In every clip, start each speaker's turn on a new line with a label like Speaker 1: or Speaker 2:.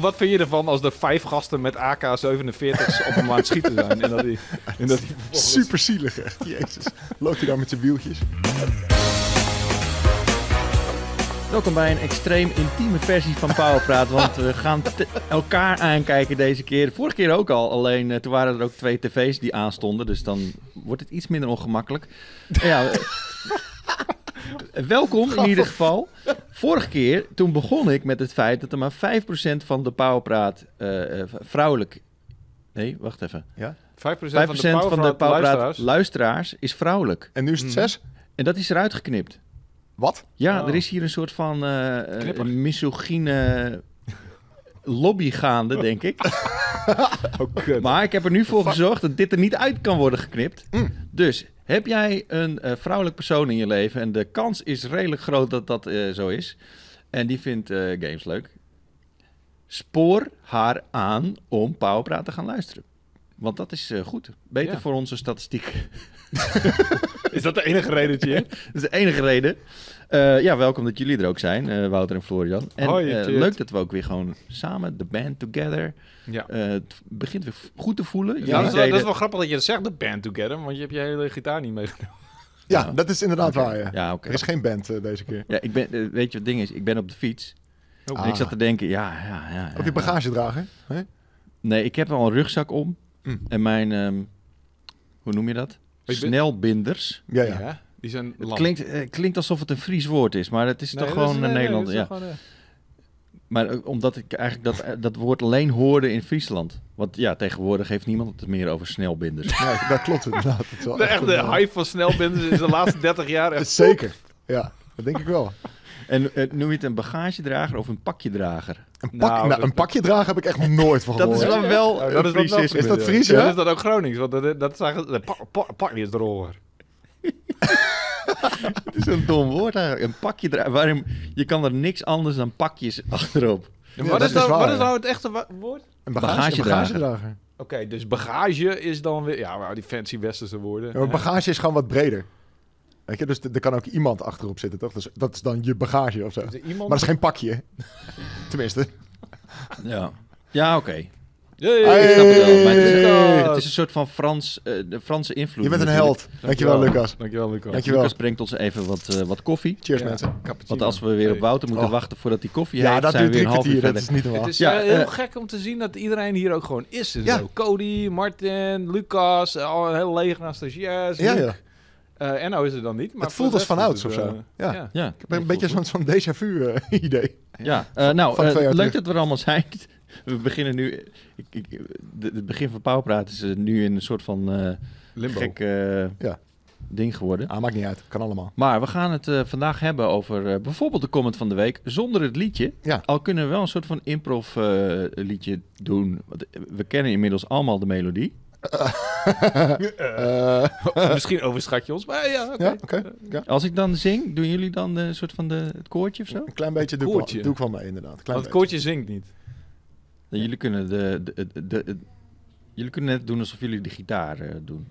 Speaker 1: wat vind je ervan als er vijf gasten met AK-47's op hem aan het schieten zijn? En dat die, en dat die
Speaker 2: Super zielig, echt. Jezus. Loopt hij daar met zijn wieltjes?
Speaker 3: Welkom bij een extreem intieme versie van Powerpraat, want we gaan te- elkaar aankijken deze keer. Vorige keer ook al, alleen eh, toen waren er ook twee tv's die aanstonden, dus dan wordt het iets minder ongemakkelijk. Maar Ja, eh, welkom in ieder geval. Vorige keer, toen begon ik met het feit dat er maar 5% van de Powerpraat eh, eh, vrouwelijk... Nee, wacht even.
Speaker 1: 5%,
Speaker 3: 5%
Speaker 1: van de power
Speaker 3: van de Powerpraat
Speaker 1: luisteraars.
Speaker 3: luisteraars is vrouwelijk.
Speaker 2: En nu is het zes?
Speaker 3: En dat is eruit geknipt.
Speaker 2: Wat?
Speaker 3: Ja,
Speaker 1: Oh.
Speaker 3: er is hier een soort van eh, eh,
Speaker 1: Knipper.
Speaker 3: misogyne lobby gaande, denk ik.
Speaker 1: Oh, kut.
Speaker 3: Maar ik heb er nu voor gezorgd dat dit er niet uit kan worden geknipt.
Speaker 1: Mm.
Speaker 3: Dus heb jij een eh, vrouwelijk persoon in je leven en de kans is redelijk groot dat dat eh, zo is. En die vindt eh, games leuk. Spoor haar aan om Powerpraat te gaan luisteren. Want dat is eh, goed. Beter
Speaker 1: Ja.
Speaker 3: voor onze statistiek.
Speaker 1: Is dat de enige reden dat je hebt?
Speaker 3: Dat is de enige reden. Eh, ja, welkom dat jullie er ook zijn, eh, Wouter en Florian. En
Speaker 1: Hoi,
Speaker 3: eh,
Speaker 1: Tjeerd.
Speaker 3: leuk dat we ook weer gewoon samen, de band together.
Speaker 1: Ja.
Speaker 3: Eh, het begint weer f- goed te voelen. Jullie
Speaker 1: Ja, dat, is wel, dat
Speaker 3: deden-
Speaker 1: is wel grappig dat je dat zegt, de band together, want je hebt je hele gitaar niet meegenomen.
Speaker 2: Ja,
Speaker 3: Ja.
Speaker 2: dat is inderdaad waar. ja.
Speaker 3: Ja, oké.
Speaker 2: Er is geen band eh, deze keer.
Speaker 3: Ja, ik ben, eh, weet je wat het ding is? Ik ben op de fiets.
Speaker 1: Oh.
Speaker 3: En ik zat te denken, ja, ja, ja. ja,
Speaker 2: Ah. Op je
Speaker 3: ja.
Speaker 2: bagagedrager? Hè?
Speaker 3: Nee, ik heb al een rugzak om.
Speaker 2: Mm.
Speaker 3: En mijn, ehm, hoe noem je dat?
Speaker 1: ben-
Speaker 3: Snelbinders.
Speaker 2: Ja, ja.
Speaker 1: Die zijn
Speaker 3: Het
Speaker 1: lam.
Speaker 3: klinkt, eh, klinkt alsof het een Fries woord is, maar het is
Speaker 1: Nee,
Speaker 3: toch
Speaker 1: dat
Speaker 3: gewoon
Speaker 1: nee,
Speaker 3: een
Speaker 1: nee,
Speaker 3: Nederlander.
Speaker 1: dat
Speaker 3: ja.
Speaker 1: is toch gewoon, eh,
Speaker 3: Maar eh, omdat ik eigenlijk dat, eh, dat woord alleen hoorde in Friesland. Want ja, tegenwoordig heeft niemand het meer over snelbinders.
Speaker 2: Nee, dat klopt inderdaad. Het is wel
Speaker 1: eh, de
Speaker 2: echt een, eh,
Speaker 1: echte hype van snelbinders is de laatste 30 jaar echt...
Speaker 2: Zeker. Ja, dat denk ik wel.
Speaker 3: En eh, noem je het een bagagedrager of een pakjedrager?
Speaker 2: Een, pak,
Speaker 1: Nou,
Speaker 2: nou,
Speaker 1: dat-
Speaker 2: een pakje dragen heb ik echt nog nooit van
Speaker 3: Dat
Speaker 2: gehoord.
Speaker 3: is wel wel
Speaker 1: Oh,
Speaker 3: een
Speaker 1: dat is wel
Speaker 3: Friesisme.
Speaker 2: Is dat
Speaker 3: ja.
Speaker 2: Fries,
Speaker 1: Ja, dat
Speaker 2: ja?
Speaker 1: is dan ook Gronings, want dat, dat is eigenlijk... Pak, pak, pak niet het erover.
Speaker 3: Het is een dom woord eigenlijk. Een pakjedrager. Waarom, je kan er niks anders dan pakjes achterop.
Speaker 2: Ja,
Speaker 1: wat,
Speaker 2: dat
Speaker 1: is
Speaker 2: is
Speaker 1: dan,
Speaker 2: waar,
Speaker 1: wat
Speaker 2: ja.
Speaker 1: is nou het echte wa- woord?
Speaker 2: Een bagage, een
Speaker 3: Bagagedrager.
Speaker 2: bagagedrager.
Speaker 1: Oké, dus bagage is dan weer... Ja, wauw, die fancy westerse woorden.
Speaker 2: Ja, maar bagage is gewoon wat breder. Weet je, dus er er kan ook iemand achterop zitten, toch? Dus dat is dan je bagage of zo.
Speaker 1: Is
Speaker 2: Maar
Speaker 1: er iemand...
Speaker 2: dat is geen pakje. hè? Tenminste.
Speaker 3: Ja, ja oké.
Speaker 1: Hey,
Speaker 2: Hey.
Speaker 3: Ik snap het wel. Maar het, is,
Speaker 2: Hey.
Speaker 1: Oh,
Speaker 3: het is een soort van Frans, eh, de Franse invloed.
Speaker 2: Je bent een
Speaker 3: natuurlijk.
Speaker 2: held. Dankjewel, Lucas.
Speaker 1: Dankjewel, Lucas.
Speaker 3: Ja,
Speaker 2: Dankjewel.
Speaker 3: Lucas brengt ons even wat, eh, wat koffie.
Speaker 2: Cheers,
Speaker 1: Ja,
Speaker 2: mensen.
Speaker 1: cappuccino.
Speaker 3: Want als we weer op Wouter moeten
Speaker 2: Oh.
Speaker 3: wachten voordat hij koffie
Speaker 2: Ja,
Speaker 3: heeft,
Speaker 2: dat
Speaker 3: zijn
Speaker 2: duurt
Speaker 3: we weer
Speaker 2: drie
Speaker 3: een half uur
Speaker 2: kwartier. Dat is
Speaker 3: verder.
Speaker 2: niet normaal.
Speaker 1: Het is
Speaker 3: Ja,
Speaker 1: eh, heel
Speaker 3: eh,
Speaker 1: gek om te zien dat iedereen hier ook gewoon is. en
Speaker 2: Ja.
Speaker 1: zo. Cody, Martin, Lucas, eh, al een hele leger aan stagiairs.
Speaker 2: Ja,
Speaker 1: Luc.
Speaker 2: ja.
Speaker 1: Eh, Enno is er dan niet. Maar
Speaker 2: Het voelt
Speaker 1: voor de
Speaker 2: als
Speaker 1: rest is
Speaker 2: vanouds
Speaker 1: het,
Speaker 2: of zo.
Speaker 1: eh,
Speaker 2: Ja.
Speaker 3: Ja,
Speaker 2: Ik heb een beetje zo'n zo'n déjà vu eh, idee.
Speaker 3: Ja, eh, nou,
Speaker 2: van
Speaker 3: eh,
Speaker 2: twee jaar
Speaker 3: leuk
Speaker 2: terug.
Speaker 3: dat we er allemaal zijn. We beginnen nu... Ik, ik, de- het begin van Pauwpraat is eh, nu in een soort van eh
Speaker 1: Limbo.
Speaker 3: gek eh,
Speaker 2: Ja.
Speaker 3: ding geworden.
Speaker 2: Ah, maakt niet uit. Kan allemaal.
Speaker 3: Maar we gaan het eh, vandaag hebben over eh, bijvoorbeeld de comment van de week zonder het liedje.
Speaker 2: Ja.
Speaker 3: Al kunnen we wel een soort van improv eh, liedje doen. Want eh, we kennen inmiddels allemaal de melodie.
Speaker 2: Eh,
Speaker 1: Misschien overschat je ons, maar ja, oké.
Speaker 2: ja, oké. Ja.
Speaker 3: Als ik dan zing, doen jullie dan eh, een soort van de, het koortje of zo?
Speaker 2: Een klein beetje doe ik, wel,
Speaker 1: Koortje.
Speaker 2: doe ik wel mee, inderdaad. Klein
Speaker 1: Want het koortje zingt niet.
Speaker 3: Nou, jullie kunnen de... de, de, de- de- jullie kunnen net doen alsof jullie de gitaar eh, doen.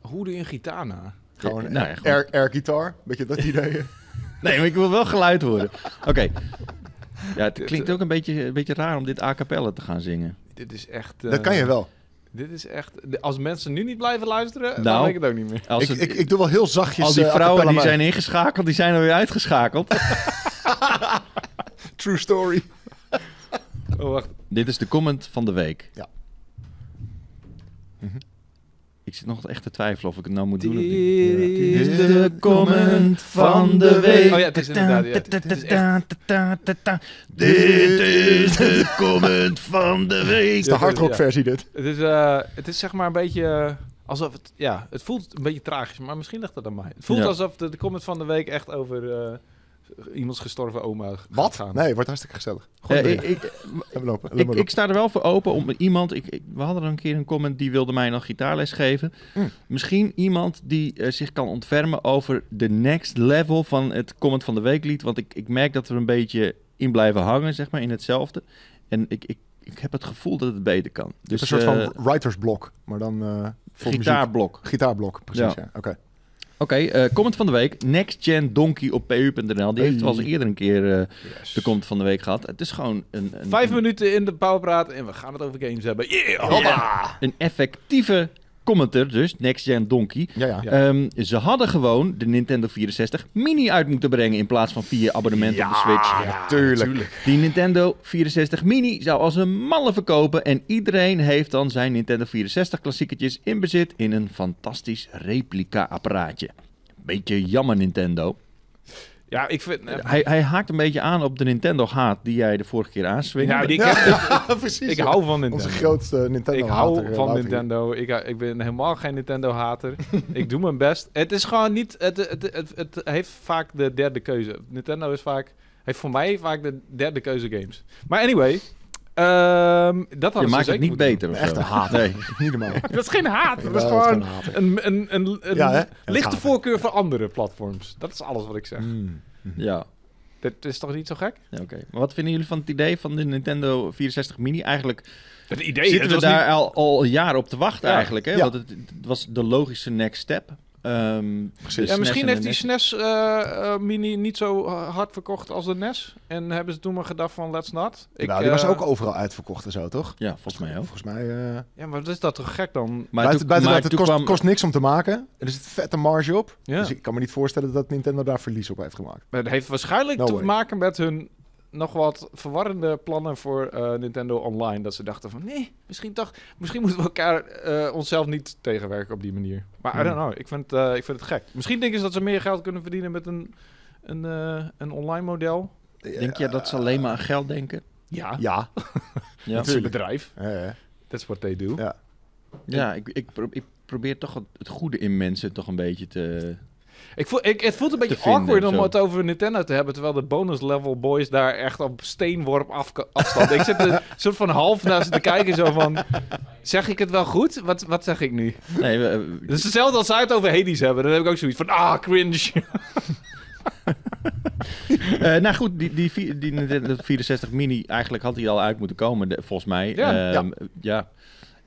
Speaker 1: Hoe doe je een gitaar na?
Speaker 2: beetje. Gewoon
Speaker 3: Nou ja,
Speaker 2: air,
Speaker 3: gewoon-
Speaker 2: air, guitar. Beetje dat idee.
Speaker 3: Nee, maar ik wil wel geluid horen. Oké. Ja, het
Speaker 1: eh,
Speaker 3: klinkt ook een beetje, een beetje raar om dit a cappella te gaan zingen.
Speaker 1: Dit is echt... eh,
Speaker 2: dat kan je wel.
Speaker 1: Dit is echt... de- Als mensen nu niet blijven luisteren, dan
Speaker 3: Nou.
Speaker 1: weet ik het ook niet meer.
Speaker 3: Als
Speaker 2: Ik,
Speaker 3: het-
Speaker 2: ik, ik doe wel heel zachtjes.
Speaker 3: al die
Speaker 2: eh, a
Speaker 3: vrouwen die
Speaker 2: cappella
Speaker 3: zijn ingeschakeld, die zijn alweer uitgeschakeld.
Speaker 2: mee. True story.
Speaker 1: Oh, wacht.
Speaker 3: dit is de comment van de week. Mhm.
Speaker 2: Ja.
Speaker 3: Ik zit nog echt te twijfelen of ik het nou moet doen of niet.
Speaker 1: Dit
Speaker 2: is de comment van de week.
Speaker 1: Oh ja, het is inderdaad, ja, het- het is
Speaker 3: Dit is de comment van de week.
Speaker 2: is de
Speaker 1: Ja,
Speaker 2: hardrock
Speaker 1: ja.
Speaker 2: versie dit.
Speaker 1: Het is, eh, het is zeg maar een beetje eh, alsof het, ja, het voelt een beetje tragisch, maar misschien ligt dat aan mij. Het voelt
Speaker 3: Ja.
Speaker 1: alsof de, de comment van de week echt over eh, iemands gestorven oma gaat
Speaker 2: Wat?
Speaker 1: gaan.
Speaker 2: Nee, het wordt hartstikke gezellig.
Speaker 3: Eh,
Speaker 2: Goed
Speaker 3: ik, ik,
Speaker 2: Laat me lopen. Laat
Speaker 3: ik,
Speaker 2: me
Speaker 3: ik sta er wel voor open om iemand. Ik, ik- we hadden er een keer een comment die wilde mij nog gitaarles geven.
Speaker 2: Mm.
Speaker 3: Misschien iemand die eh, zich kan ontfermen over de next level van het comment van de weeklied. Want ik, ik merk dat we een beetje in blijven hangen, zeg maar, in hetzelfde. En ik, ik, ik heb het gevoel dat het beter kan.
Speaker 2: dus
Speaker 3: Dus
Speaker 2: een soort
Speaker 3: eh,
Speaker 2: van writersblok, maar dan eh voor muziek.
Speaker 3: gitaarblok.
Speaker 2: Gitaarblok, precies. Ja.
Speaker 3: Ja.
Speaker 2: Oké.
Speaker 3: eh, comment van de week. Next Gen Donkey op pu.nl. Die heeft wel eens eerder een keer eh, de comment van de week gehad. Het is gewoon een, een,
Speaker 1: Vijf
Speaker 3: een,
Speaker 1: minuten in de powerpraat en we gaan het over games hebben. Yeah, hoppa!
Speaker 3: een effectieve commenter, dus Next Gen Donkey.
Speaker 2: Ja, ja.
Speaker 1: Ja.
Speaker 3: Ehm, ze hadden gewoon de Nintendo 64 Mini uit moeten brengen in plaats van vier abonnementen op de Switch.
Speaker 2: tuurlijk.
Speaker 3: Die Nintendo 64 Mini zou als een malle verkopen en iedereen heeft dan zijn Nintendo 64 klassieketjes in bezit in een fantastisch replica apparaatje. Beetje jammer Nintendo.
Speaker 1: Ja, ik vind... eh,
Speaker 3: Hij, hij haakt een beetje aan op de Nintendo haat die jij de vorige keer aanswingde.
Speaker 1: ja, die, ik,
Speaker 2: precies.
Speaker 1: ik
Speaker 2: ja.
Speaker 1: hou van Nintendo.
Speaker 2: Onze grootste Nintendo.
Speaker 1: ik hou
Speaker 2: hater, eh,
Speaker 1: van
Speaker 2: later.
Speaker 1: Nintendo. Ik, ik ben helemaal geen Nintendo-hater. ik doe mijn best. Het is gewoon niet... Het, het, het, het heeft vaak de derde keuze. Nintendo is vaak... Heeft voor mij vaak de derde keuze games. Maar anyway... ehm, dat hadden ze
Speaker 3: je maakt
Speaker 1: zeker
Speaker 3: het niet
Speaker 1: moeten doen.
Speaker 3: beter of zo.
Speaker 2: Echt een haat.
Speaker 3: Nee.
Speaker 2: Niet normaal.
Speaker 1: Dat is geen haat.
Speaker 2: Ja,
Speaker 1: Dat is gewoon
Speaker 2: een hater.
Speaker 1: een, een, een, een
Speaker 2: Ja, hè?
Speaker 1: lichte
Speaker 2: Haat.
Speaker 1: voorkeur voor andere platforms. Dat is alles wat ik zeg.
Speaker 2: Mm.
Speaker 3: Ja.
Speaker 1: Dat is toch niet zo gek?
Speaker 3: Ja, Oké. Maar wat vinden jullie van het idee van de Nintendo 64 Mini? Eigenlijk
Speaker 1: Het idee
Speaker 3: zitten we daar al, al een jaar op te wachten
Speaker 1: Ja.
Speaker 3: eigenlijk. Hè?
Speaker 2: Ja.
Speaker 3: Want het, het was de logische next step. Ehm, de
Speaker 2: Precies.
Speaker 1: Ja,
Speaker 3: SNES
Speaker 1: misschien
Speaker 3: en
Speaker 1: heeft
Speaker 3: de E
Speaker 1: die
Speaker 3: NES.
Speaker 1: SNES eh, eh, Mini niet zo eh, hard verkocht als de NES. En hebben ze toen maar gedacht van, let's not. Ik,
Speaker 2: nou, die was
Speaker 1: eh,
Speaker 2: ook overal uitverkocht en zo, toch?
Speaker 3: Ja, volgens mij ook.
Speaker 2: Volgens mij... eh
Speaker 1: Ja, maar dat is dat toch gek dan?
Speaker 3: Maar
Speaker 2: buiten
Speaker 3: toen-
Speaker 2: buiten
Speaker 3: maar
Speaker 2: dat het
Speaker 3: toen
Speaker 2: kost,
Speaker 3: kwam-
Speaker 2: kost niks om te maken. Er zit vette marge op.
Speaker 1: Ja.
Speaker 2: Dus ik kan me niet voorstellen dat Nintendo daar verlies op heeft gemaakt.
Speaker 1: Maar Het heeft waarschijnlijk
Speaker 2: No
Speaker 1: te
Speaker 2: way.
Speaker 1: maken met hun nog wat verwarrende plannen voor eh, Nintendo Online. Dat ze dachten van, nee, misschien toch... Misschien moeten we elkaar eh, onszelf niet tegenwerken op die manier. Maar I
Speaker 2: Hmm.
Speaker 1: don't know, ik vind, eh, ik vind het gek. Misschien denken ze dat ze meer geld kunnen verdienen met een, een, eh, een online model.
Speaker 3: Denk je
Speaker 2: eh,
Speaker 3: dat ze alleen maar aan geld denken?
Speaker 1: Ja,
Speaker 2: Ja.
Speaker 3: Ja,
Speaker 1: het is een bedrijf.
Speaker 2: Eh,
Speaker 1: That's what they do.
Speaker 2: Ja.
Speaker 3: ja ik, ik, pro- ik probeer toch het, het goede in mensen toch een beetje te...
Speaker 1: Ik voel, ik, het voelt een beetje
Speaker 3: vinden
Speaker 1: awkward
Speaker 3: en
Speaker 1: om
Speaker 3: zo.
Speaker 1: het over Nintendo te hebben, terwijl de bonus level boys daar echt op steenworp af, afstand. ik zit een soort van half naar ze te kijken, zo van, zeg ik het wel goed? Wat, wat zeg ik nu?
Speaker 3: Nee, we-
Speaker 1: Het is hetzelfde als zij het over Hades hebben, dan heb ik ook zoiets van, ah, cringe.
Speaker 3: eh, nou goed, die, die, vi- die Nintendo 64 Mini, eigenlijk had hij al uit moeten komen, de- volgens mij.
Speaker 1: Ja,
Speaker 3: Ehm, ja.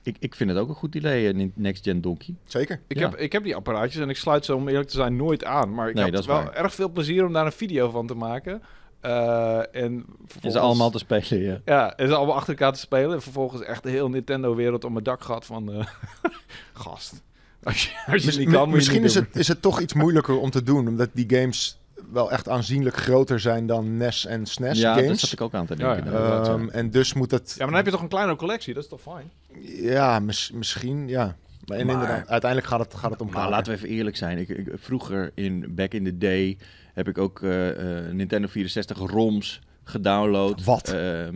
Speaker 3: Ik, ik vind het ook een goed idee, eh, Nin- Next Gen Donkey.
Speaker 2: zeker.
Speaker 1: Ik,
Speaker 3: Ja.
Speaker 1: heb, ik heb die apparaatjes en ik sluit ze om eerlijk te zijn nooit aan, maar ik
Speaker 3: Nee,
Speaker 1: heb
Speaker 3: dat is
Speaker 1: wel
Speaker 3: waar.
Speaker 1: erg veel plezier om daar een video van te maken. Eh, en
Speaker 3: Is
Speaker 1: vervolgens-
Speaker 3: allemaal te spelen, ja.
Speaker 1: Ja, en ze allemaal achter elkaar te spelen. En vervolgens echt de hele Nintendo-wereld om mijn dak gehad van... eh, gast, als je, als je het niet kan, moet je het
Speaker 2: misschien
Speaker 1: niet
Speaker 2: is
Speaker 1: doen.
Speaker 2: het, is het toch iets moeilijker om te doen. Omdat die games wel echt aanzienlijk groter zijn dan NES en SNES
Speaker 3: Ja, daar
Speaker 2: games.
Speaker 3: zat ik ook aan te denken.
Speaker 1: dus
Speaker 3: Nou,
Speaker 1: Ja,
Speaker 3: inderdaad, ja.
Speaker 2: Ehm, en dus moet dat...
Speaker 1: Ja, maar dan heb je toch een kleinere collectie, dat is toch fijn?
Speaker 2: Ja, mis- misschien, ja. Maar, en
Speaker 3: Maar-
Speaker 2: inderdaad, uiteindelijk gaat het, gaat het om
Speaker 3: Maar
Speaker 2: kaarten.
Speaker 3: laten we even eerlijk zijn. Ik, ik, vroeger, in, back in the day, heb ik ook eh, eh, Nintendo 64 ROMs gedownload.
Speaker 2: Wat?
Speaker 3: Ehm,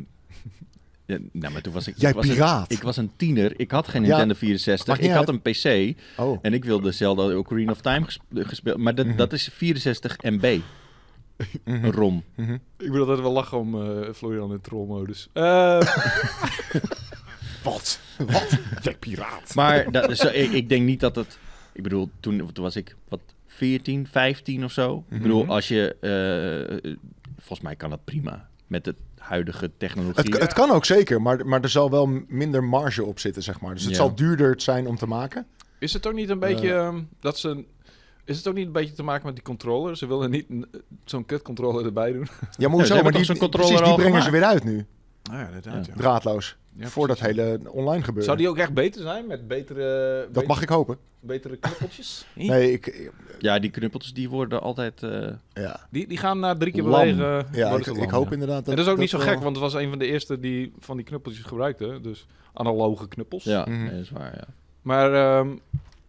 Speaker 3: ja, nou, maar toen was ik...
Speaker 2: Jij
Speaker 3: ik was een-
Speaker 2: piraat.
Speaker 3: ik was een tiener. Ik had geen
Speaker 2: Ja,
Speaker 3: Nintendo
Speaker 2: maakt
Speaker 3: 64.
Speaker 2: niet
Speaker 3: Ik had een PC.
Speaker 2: Oh,
Speaker 3: En ik wilde Zelda Ocarina of Time gesp- gespeeld. Maar dat, dat is 64 MB
Speaker 2: mhm,
Speaker 3: ROM.
Speaker 2: mhm.
Speaker 1: Ik wil altijd wel lachen om eh, Florian in trollmodus. Eh,
Speaker 2: Wat? Wat? Jij piraat.
Speaker 3: Maar dat, is- ik, ik denk niet dat het... Ik bedoel, toen, toen was ik, wat, 14, 15 of zo? Ik bedoel,
Speaker 1: Mhm.
Speaker 3: als je... eh, eh, volgens mij kan dat prima. Met de huidige
Speaker 2: Het,
Speaker 3: technologie.
Speaker 2: het kan ook zeker, maar, maar er zal wel minder marge op zitten, zeg maar. Dus het
Speaker 3: Ja.
Speaker 2: zal duurder zijn om te maken.
Speaker 1: is het ook niet een beetje ehm, dat ze... Is het ook niet een beetje te maken met die controller? Ze willen niet n- zo'n kutcontroller erbij doen.
Speaker 2: Ja, maar
Speaker 3: Ja, ze
Speaker 2: hoezo? maar
Speaker 3: hebben toch
Speaker 2: die,
Speaker 3: zo'n
Speaker 2: die-
Speaker 3: controller
Speaker 2: precies, die
Speaker 3: al
Speaker 2: brengen ze
Speaker 3: gemaakt?
Speaker 2: weer uit nu.
Speaker 1: Ah ja,
Speaker 3: inderdaad, ja.
Speaker 2: Draadloos. voor dat hele online gebeuren.
Speaker 1: Zou die ook echt beter zijn met betere,
Speaker 2: Dat mag ik hopen.
Speaker 1: betere knuppeltjes?
Speaker 2: Nee, ik... ik-
Speaker 3: Ja, die knuppeltjes die worden altijd... eh,
Speaker 2: Ja,
Speaker 1: Die, die gaan na drie keer
Speaker 3: Lam.
Speaker 1: bewegen.
Speaker 2: ja
Speaker 1: worden
Speaker 2: ik,
Speaker 1: ze
Speaker 2: ik
Speaker 1: lam,
Speaker 2: hoop
Speaker 1: ja.
Speaker 2: inderdaad dat... eh,
Speaker 1: En dat is ook niet zo
Speaker 2: wel-
Speaker 1: gek, want het was een van de eerste die van die knuppeltjes gebruikte. Dus analoge knuppels.
Speaker 3: ja,
Speaker 2: Mhm.
Speaker 3: nee, dat is waar, ja.
Speaker 1: Maar ehm,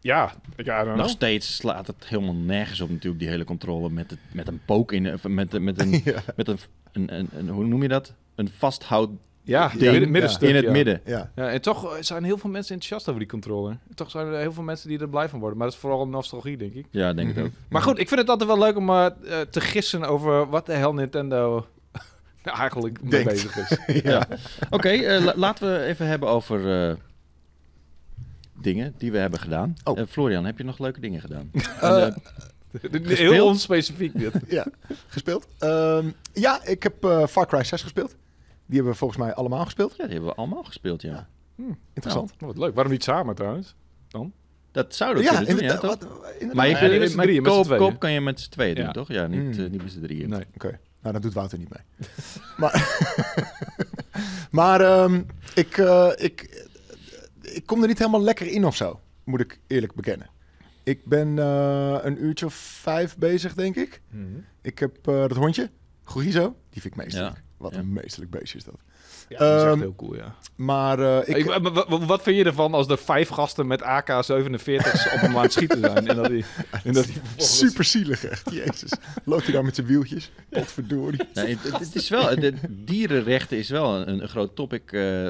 Speaker 1: ja, ik ja, I don't
Speaker 3: Nog
Speaker 1: know.
Speaker 3: steeds slaat het helemaal nergens op natuurlijk, die hele controle met, het, met een pook in, of met, met, een,
Speaker 2: Ja.
Speaker 3: met een, een, een, een- hoe noem je dat? Een vasthoud
Speaker 1: Ja,
Speaker 2: Ja,
Speaker 1: midden-
Speaker 2: ja.
Speaker 1: middenstuk.
Speaker 3: in het
Speaker 1: ja.
Speaker 3: midden.
Speaker 2: Ja.
Speaker 1: Ja, en toch eh, zijn heel veel mensen enthousiast over die controller. Toch zijn er heel veel mensen die er blij van worden. Maar dat is vooral een nostalgie, denk ik.
Speaker 3: Ja, denk ik
Speaker 2: Mhm.
Speaker 3: ook.
Speaker 1: Maar goed, ik vind het altijd wel leuk om eh, eh, te gissen over wat de hel Nintendo nou eigenlijk mee
Speaker 2: Denkt.
Speaker 1: bezig is.
Speaker 3: Ja. Oké, eh, la- laten we even hebben over eh, dingen die we hebben gedaan.
Speaker 2: Oh.
Speaker 3: Eh, Florian, heb je nog leuke dingen gedaan?
Speaker 2: Eh,
Speaker 3: En, eh,
Speaker 1: heel onspecifiek dit.
Speaker 2: ja, gespeeld. Ehm, ja, ik heb eh, Far Cry 6 gespeeld. Die hebben we volgens mij allemaal gespeeld.
Speaker 3: ja, die hebben we allemaal gespeeld, ja.
Speaker 2: Interessant.
Speaker 1: Wat leuk. Waarom niet samen trouwens?
Speaker 3: Dat zou Oh, dat
Speaker 2: Ja,
Speaker 3: kunnen doen, ja,
Speaker 2: inderdaad,
Speaker 3: toch?
Speaker 2: wat- inderdaad.
Speaker 3: Maar je
Speaker 1: Ja,
Speaker 3: kunt,
Speaker 1: je met z'n
Speaker 3: maar
Speaker 1: drieën, met z'n
Speaker 3: koop,
Speaker 1: tweeën.
Speaker 3: koop kan je met z'n tweeën doen,
Speaker 1: Ja.
Speaker 3: toch? Ja, niet,
Speaker 2: Mm.
Speaker 3: eh, niet met z'n drieën.
Speaker 1: Nee.
Speaker 2: Oké, nou dat doet Wouter niet mee. maar maar ehm, ik, eh, ik, eh, ik kom er niet helemaal lekker in of zo, moet ik eerlijk bekennen. Ik ben eh, een uurtje of vijf bezig, denk ik. Ik heb eh, dat hondje, Gorizo, die vind ik meesterlijk.
Speaker 3: Ja,
Speaker 2: Wat
Speaker 3: ja.
Speaker 2: een meesterlijk beestje is dat.
Speaker 1: Ja, dat is echt
Speaker 2: Ehm,
Speaker 1: heel cool, ja.
Speaker 2: Maar eh, ik,
Speaker 1: Ik- wa- wa- wa- wat vind je ervan als er vijf gasten met AK-47's op hem aan het schieten zijn? En dat die, en dat die vervolgens-
Speaker 2: super zielig echt, jezus. Loopt hij daar met zijn wieltjes? Potverdorie.
Speaker 3: Nee, het, het- het is wel, de dierenrechten is wel een, een groot topic eh,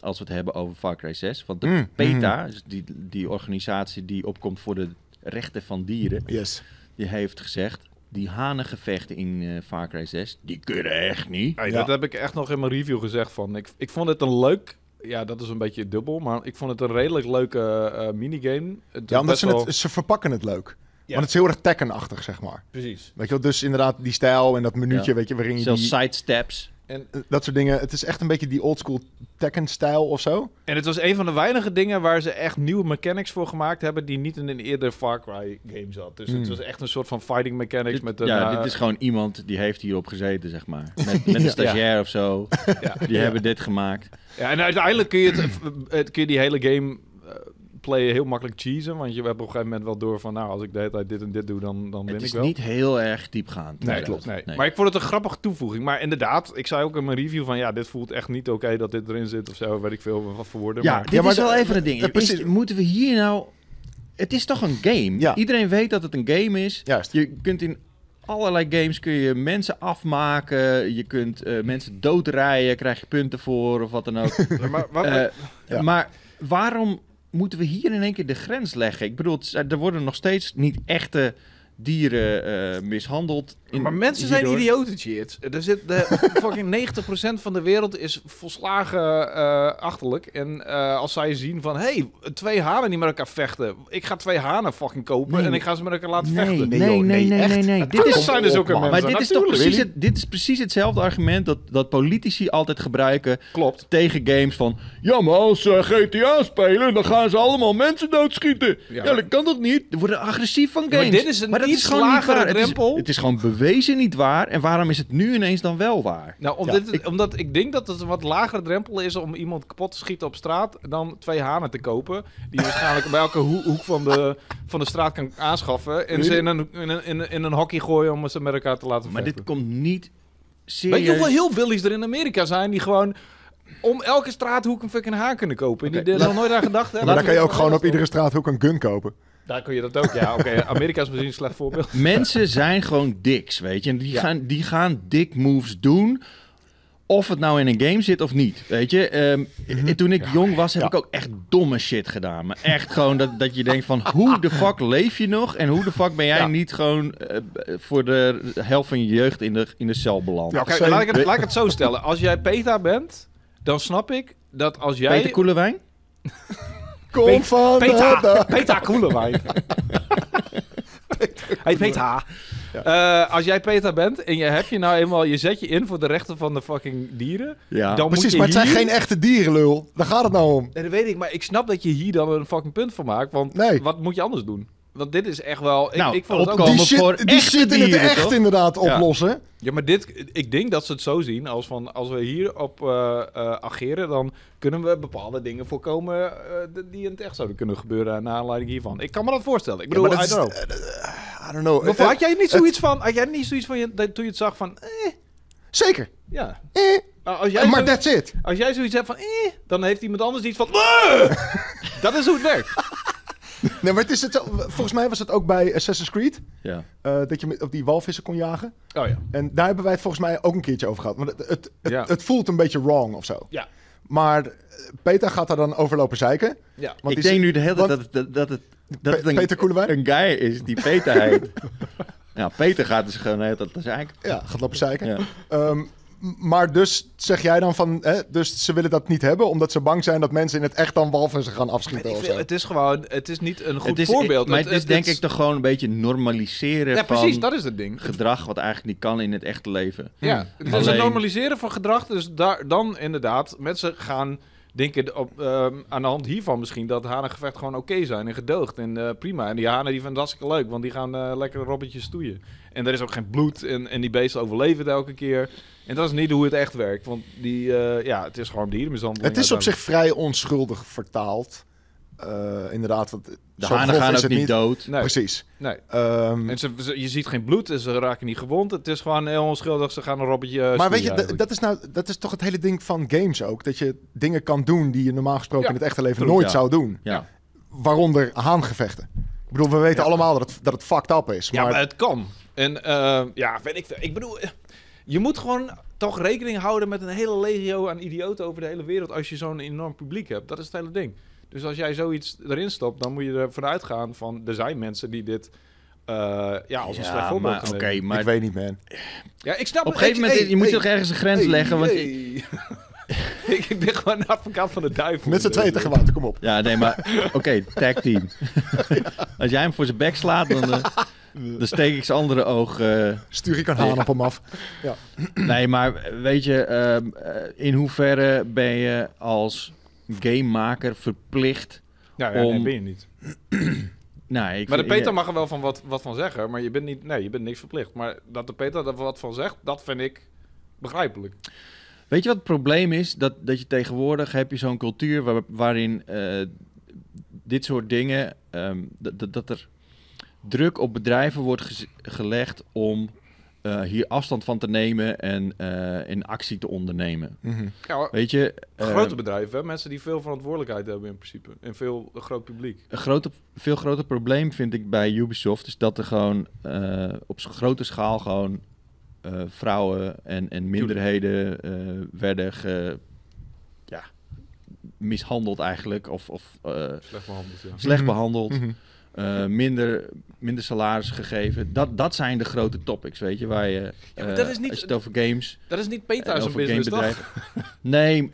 Speaker 3: als we het hebben over Far Cry 6. Want de
Speaker 2: Mm,
Speaker 3: PETA, dus die, die organisatie die opkomt voor de rechten van dieren,
Speaker 2: Yes.
Speaker 3: die heeft gezegd... Die hanengevechten in eh Far Cry 6, die kunnen echt niet.
Speaker 1: Hey,
Speaker 2: Ja.
Speaker 1: Dat heb ik echt nog in mijn review gezegd van. Ik, ik vond het een leuk... Ja, dat is een beetje dubbel, maar ik vond het een redelijk leuke eh, minigame. Het
Speaker 2: Ja, omdat
Speaker 1: best
Speaker 2: ze,
Speaker 1: wel-
Speaker 2: het, ze verpakken het leuk.
Speaker 1: Ja.
Speaker 2: Want het is heel erg tekkenachtig, zeg maar.
Speaker 1: Precies.
Speaker 2: Weet je wel, dus inderdaad die stijl en dat minuutje,
Speaker 3: Ja.
Speaker 2: weet je, waarin je
Speaker 3: Zelfs
Speaker 2: die- eh,
Speaker 3: sidesteps.
Speaker 1: En,
Speaker 2: dat soort dingen. Het is echt een beetje die oldschool Tekken-stijl of zo.
Speaker 1: en het was een van de weinige dingen waar ze echt nieuwe mechanics voor gemaakt hebben... die niet in een eerder Far Cry game zat. Dus het
Speaker 2: Hmm.
Speaker 1: was echt een soort van fighting mechanics
Speaker 3: Dit,
Speaker 1: met een...
Speaker 3: ja,
Speaker 1: eh,
Speaker 3: dit is gewoon iemand die heeft hierop gezeten, zeg maar. Met, met
Speaker 2: Ja.
Speaker 3: een stagiair of zo.
Speaker 1: ja.
Speaker 3: Die hebben dit gemaakt.
Speaker 1: Ja, en uiteindelijk kun je, het, eh, het- kun je die hele game eh, playen heel makkelijk cheesen. Want je hebt op een gegeven moment wel door van... nou, als ik de hele tijd dit en dit doe, dan, dan win
Speaker 3: Het
Speaker 1: ik
Speaker 3: is
Speaker 1: wel.
Speaker 3: niet heel erg diepgaand.
Speaker 1: Nee,
Speaker 3: inderdaad.
Speaker 1: klopt. Nee.
Speaker 3: Nee.
Speaker 1: Maar ik vond het een grappige toevoeging. Maar inderdaad, ik zei ook in mijn review van... ja, dit voelt echt niet oké dat dit erin zit of zo. Weet ik veel wat voor woorden.
Speaker 3: Ja,
Speaker 1: maar,
Speaker 3: dit
Speaker 2: Ja, maar
Speaker 3: is wel
Speaker 2: de-
Speaker 3: even een
Speaker 2: ja,
Speaker 3: ding.
Speaker 2: precies.
Speaker 3: Is- moeten we hier nou... Het is toch een game?
Speaker 2: Ja.
Speaker 3: Iedereen weet dat het een game is.
Speaker 2: Juist.
Speaker 3: Je kunt in allerlei games kun je mensen afmaken. Je kunt eh, mensen doodrijden. Krijg je punten voor of wat dan ook.
Speaker 1: maar wat,
Speaker 3: Eh,
Speaker 2: Ja.
Speaker 3: Maar waarom moeten we hier in één keer de grens leggen? Ik bedoel, het is- er worden nog steeds niet echte dieren eh, mishandeld. in-
Speaker 1: maar mensen zijn
Speaker 3: hierdoor.
Speaker 1: idioten, Cheers. Er zit de fucking 90% van de wereld is volslagen eh, achterlijk. En eh, als zij zien van... hé, hey, twee hanen die met elkaar vechten. Ik ga twee hanen fucking kopen
Speaker 3: Nee.
Speaker 1: en ik ga ze met elkaar laten
Speaker 3: Nee,
Speaker 1: vechten.
Speaker 3: nee, nee, nee, nee,
Speaker 2: echt.
Speaker 3: nee, Dit
Speaker 1: Dit
Speaker 3: is
Speaker 1: zijn dus ook
Speaker 2: man.
Speaker 1: een mensen.
Speaker 3: Maar dit is, toch
Speaker 1: natuurlijk.
Speaker 3: precies het, dit is precies hetzelfde argument dat, dat politici altijd gebruiken
Speaker 1: Klopt.
Speaker 3: tegen games van... Ja, maar als eh, ze GTA spelen, dan gaan ze allemaal mensen doodschieten. Ja,
Speaker 1: maar-
Speaker 3: dat kan toch niet? Ze worden agressief van
Speaker 1: Ja, maar
Speaker 3: games.
Speaker 1: dit is een
Speaker 3: dat
Speaker 1: iets lagere
Speaker 3: Het is,
Speaker 1: drempel.
Speaker 3: het is gewoon bewezen niet waar. En waarom is het nu ineens dan wel waar?
Speaker 1: Nou, om
Speaker 2: Ja,
Speaker 1: dit- omdat ik denk dat het een wat lagere drempel is om iemand kapot te schieten op straat dan twee hanen te kopen. Die je waarschijnlijk bij elke hoe- hoek van de, van de straat kan aanschaffen. En ze in een, in een, in een, in een hockey gooien om ze met elkaar te laten
Speaker 3: Maar dit
Speaker 1: vechten.
Speaker 3: komt niet serieus...
Speaker 1: Weet je hoeveel heel billies er in Amerika zijn die gewoon om elke straathoek een fucking haan kunnen kopen? En
Speaker 3: Oké,
Speaker 1: die er nog nooit aan gedacht
Speaker 2: Ja,
Speaker 1: hebben.
Speaker 2: maar dan kan je ook
Speaker 1: Dat
Speaker 2: gewoon op
Speaker 1: is
Speaker 2: iedere straathoek een gun kopen.
Speaker 1: toch- Daar kun je dat ook, ja. Oké, Amerika is misschien een slecht voorbeeld.
Speaker 3: Mensen zijn gewoon diks, weet je. En die,
Speaker 1: Ja.
Speaker 3: gaan, die gaan dik moves doen. Of het nou in een game zit of niet, weet je. Ehm, en Toen ik jong was, heb
Speaker 2: Ja.
Speaker 3: ik ook echt domme shit gedaan. Maar echt gewoon dat, dat je denkt van... Hoe de fuck leef je nog? En hoe de fuck ben jij
Speaker 1: Ja.
Speaker 3: niet gewoon eh, voor de helft van je jeugd in de, in de cel beland?
Speaker 2: Ja,
Speaker 1: Kijk,
Speaker 2: Zeker.
Speaker 1: laat ik, het, laat ik het zo stellen. Als jij PETA bent, dan snap ik dat als jij...
Speaker 3: Peter Koelewijn?
Speaker 2: Kom
Speaker 1: Peet-
Speaker 2: van de-
Speaker 1: Peter,
Speaker 2: de-
Speaker 1: Peter Koelewijn. hey Peter. Eh, als jij Peter bent en je hebt je nou eenmaal, je zet je in voor de rechten van de fucking dieren,
Speaker 3: Ja.
Speaker 1: dan
Speaker 2: Ah, Precies, maar
Speaker 1: moet
Speaker 2: het
Speaker 1: je
Speaker 2: zijn
Speaker 1: hier...
Speaker 2: geen echte dieren, lul. Daar gaat het nou om.
Speaker 1: Nee, dat weet ik, maar ik snap dat je hier dan een fucking punt van maakt, want
Speaker 2: Nee.
Speaker 1: wat moet je anders doen? Want dit is echt wel... Ik,
Speaker 3: Nou,
Speaker 1: ik vond het ook...
Speaker 3: opkomen.
Speaker 2: Die
Speaker 3: Komen voor
Speaker 2: shit, die
Speaker 3: echte
Speaker 2: shit in het
Speaker 3: dieren,
Speaker 2: echt
Speaker 3: toch?
Speaker 2: inderdaad oplossen.
Speaker 1: Ja, maar dit... Ik denk dat ze het zo zien als van... Als we hierop eh, eh, ageren, dan kunnen we bepaalde dingen voorkomen... eh, die in het echt zouden kunnen gebeuren naar aanleiding hiervan. Ik kan me dat voorstellen. Ik
Speaker 2: Ja,
Speaker 1: bedoel,
Speaker 2: maar dat
Speaker 1: I
Speaker 2: is-
Speaker 1: don't know.
Speaker 2: eh, I don't know.
Speaker 1: Maar
Speaker 2: Eh,
Speaker 1: had jij niet
Speaker 2: het-
Speaker 1: zoiets van, had jij niet zoiets van je, dat, toen je het zag van, eh,
Speaker 2: Zeker.
Speaker 1: ja.
Speaker 2: Eh,
Speaker 1: Nou, Als jij,
Speaker 2: maar
Speaker 1: zo-
Speaker 2: that's it.
Speaker 1: als jij zoiets hebt van, eh, dan heeft iemand anders iets van, "Eh." dat is hoe het werkt.
Speaker 2: Nee, maar het is het, volgens mij was het ook bij Assassin's Creed.
Speaker 3: Ja.
Speaker 2: eh, dat je met, op die walvissen kon jagen.
Speaker 1: Oh ja.
Speaker 2: En daar hebben wij het volgens mij ook een keertje over gehad. Maar het, het, het,
Speaker 1: Ja.
Speaker 2: het voelt een beetje wrong of zo.
Speaker 1: Ja.
Speaker 2: Maar eh, Peter gaat daar dan over lopen zeiken.
Speaker 1: Ja.
Speaker 2: Want
Speaker 3: ik
Speaker 2: die-
Speaker 3: denk nu de hele tijd dat
Speaker 2: want-
Speaker 3: het, dat, dat het, dat
Speaker 2: Pe-
Speaker 3: het een,
Speaker 2: Peter Koelewijn?
Speaker 3: een guy is die Peter heet. ja, Peter gaat dus gewoon de hele tijd... Dat is eigenlijk...
Speaker 2: Ja, gaat lopen zeiken.
Speaker 3: Ja.
Speaker 2: Ehm, m- maar dus zeg jij dan van... Hè, dus ze willen dat niet hebben... omdat ze bang zijn dat mensen in het echt dan walvissen gaan
Speaker 1: Weet
Speaker 2: afschieten
Speaker 1: ik
Speaker 2: of
Speaker 1: veel,
Speaker 2: zo.
Speaker 1: het is gewoon, het is niet een goed
Speaker 3: het is,
Speaker 1: voorbeeld. eh,
Speaker 3: Maar het, is denk ik toch gewoon een beetje normaliseren
Speaker 1: Ja,
Speaker 3: van
Speaker 1: precies, dat is het ding.
Speaker 3: gedrag wat eigenlijk niet kan in het echte leven.
Speaker 2: Hmm.
Speaker 1: Ja, het is
Speaker 3: Alleen-
Speaker 1: dus een normaliseren van gedrag, dus daar, dan inderdaad, mensen gaan denken op, ehm, aan de hand hiervan misschien dat hanengevecht gewoon oké zijn en gedoogd en eh, prima. En die hanen die vinden het hartstikke leuk, want die gaan eh, lekker robbertjes stoeien. En er is ook geen bloed en, en die beesten overleven het elke keer. En dat is niet hoe het echt werkt, want die, eh, ja, het is gewoon dierenmishandeling.
Speaker 2: Het is op zich vrij onschuldig vertaald. Eh, inderdaad, want
Speaker 3: De
Speaker 2: zo
Speaker 3: hanen
Speaker 2: grof
Speaker 3: gaan
Speaker 2: is
Speaker 3: ook
Speaker 2: het
Speaker 3: niet dood.
Speaker 1: Nee,
Speaker 2: Precies.
Speaker 1: nee.
Speaker 2: Ehm,
Speaker 1: En ze, ze- je ziet geen bloed en ze raken niet gewond. Het is gewoon heel onschuldig. Ze gaan een robbertje. eh,
Speaker 2: maar
Speaker 1: stoeien
Speaker 2: weet je, dat-
Speaker 1: eigenlijk.
Speaker 2: dat is, nou, dat is toch het hele ding van games ook. Dat je dingen kan doen die je normaal gesproken
Speaker 1: Ja,
Speaker 2: in het echte leven
Speaker 3: true,
Speaker 2: nooit
Speaker 3: ja.
Speaker 2: zou doen.
Speaker 3: Ja.
Speaker 2: Waaronder haangevechten. Ik bedoel, we weten
Speaker 1: Ja.
Speaker 2: allemaal dat het, dat het fucked up is.
Speaker 1: Ja,
Speaker 2: Maar,
Speaker 1: maar het kan. En eh, ja, weet ik. veel. Ik bedoel, eh, je moet gewoon toch rekening houden met een hele legio aan idioten over de hele wereld als je zo'n enorm publiek hebt. Dat is het hele ding. Dus als jij zoiets erin stopt, dan moet je ervan uitgaan van er zijn mensen die dit eh, ja, als een slecht
Speaker 3: Ja,
Speaker 1: voorbeeld
Speaker 3: maar
Speaker 1: gaan
Speaker 3: oké,
Speaker 1: nemen.
Speaker 3: maar
Speaker 2: ik weet niet, man.
Speaker 1: Ja, ik snap
Speaker 3: op een gegeven moment je moet toch ergens een grens leggen. Want
Speaker 1: ik, ik ben gewoon een advocaat van de duivel.
Speaker 2: Met z'n tweeën tegelijk, kom op.
Speaker 3: Ja, nee, maar oké, tag team. Als jij hem voor zijn bek slaat, dan, eh, dan steek ik zijn andere oog. eh.
Speaker 2: Stuur ik een haan op hem af.
Speaker 3: Nee, maar weet je, ehm, eh, in hoeverre ben je als gamemaker verplicht...
Speaker 1: Ja, ja, nee,
Speaker 3: Om-
Speaker 1: ben je niet.
Speaker 3: Nou, ik
Speaker 1: Maar de
Speaker 3: vind-
Speaker 1: Peter mag er wel van wat, wat van zeggen, maar je bent, niet, nee, je bent niks verplicht. Maar dat de Peter er wat van zegt, dat vind ik begrijpelijk.
Speaker 3: Weet je wat het probleem is? Dat, dat je tegenwoordig heb je zo'n cultuur waar- waarin eh, dit soort dingen, ehm, dat, dat, dat er druk op bedrijven wordt gez- gelegd om eh, hier afstand van te nemen en eh, in actie te ondernemen.
Speaker 1: Ja,
Speaker 3: Weet je, eh,
Speaker 1: grote bedrijven, hè? mensen die veel verantwoordelijkheid hebben in principe. En veel een groot publiek.
Speaker 3: een grote, veel groter probleem vind ik bij Ubisoft is dat er gewoon eh, op zo'n grote schaal gewoon eh, vrouwen en, en minderheden eh, werden ge- ja, mishandeld eigenlijk of, of eh,
Speaker 1: Slecht behandeld, ja.
Speaker 3: slecht
Speaker 2: Mhm.
Speaker 3: behandeld, eh, minder, minder salaris gegeven. Dat, dat zijn de grote topics, weet je, waar je,
Speaker 1: Ja, maar
Speaker 3: eh,
Speaker 1: dat is niet-
Speaker 3: als je het over games
Speaker 1: Dat is niet Peter
Speaker 3: en
Speaker 1: als een
Speaker 3: over
Speaker 1: business, toch?
Speaker 3: gamebedrijven... Nee,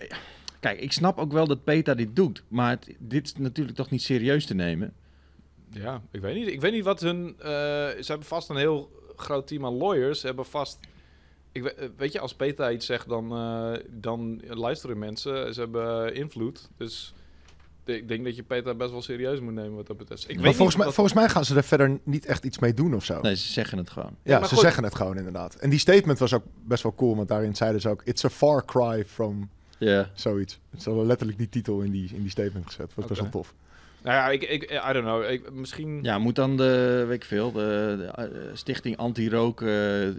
Speaker 3: kijk, ik snap ook wel dat PETA dit doet, maar het- dit is natuurlijk toch niet serieus te nemen.
Speaker 1: Ja, ik weet niet. Ik weet niet wat hun... eh, ze hebben vast een heel groot team aan lawyers. Ze hebben vast... Ik weet, eh, weet je, als Peter iets zegt, dan, eh, dan luisteren mensen. Ze hebben invloed. Dus ik denk dat je Peter best wel serieus moet nemen wat dat betreft. Ik weet
Speaker 2: Maar volgens,
Speaker 1: niet
Speaker 2: mij,
Speaker 1: wat-
Speaker 2: volgens mij gaan ze er verder niet echt iets mee doen of zo.
Speaker 3: Nee, ze zeggen het gewoon.
Speaker 2: Ja,
Speaker 1: maar
Speaker 2: ze
Speaker 1: goed.
Speaker 2: zeggen het gewoon inderdaad. En die statement was ook best wel cool, want daarin zeiden ze ook... It's a far cry from
Speaker 3: Ja.
Speaker 2: zoiets. Ze hadden letterlijk die titel in die, in die statement gezet. Was best wel
Speaker 1: Oké.
Speaker 2: tof.
Speaker 1: Nou ja, ik, ik, I don't know. Ik, misschien...
Speaker 3: Ja, moet dan de, weet ik veel, de, de, eh, stichting anti-rook eh,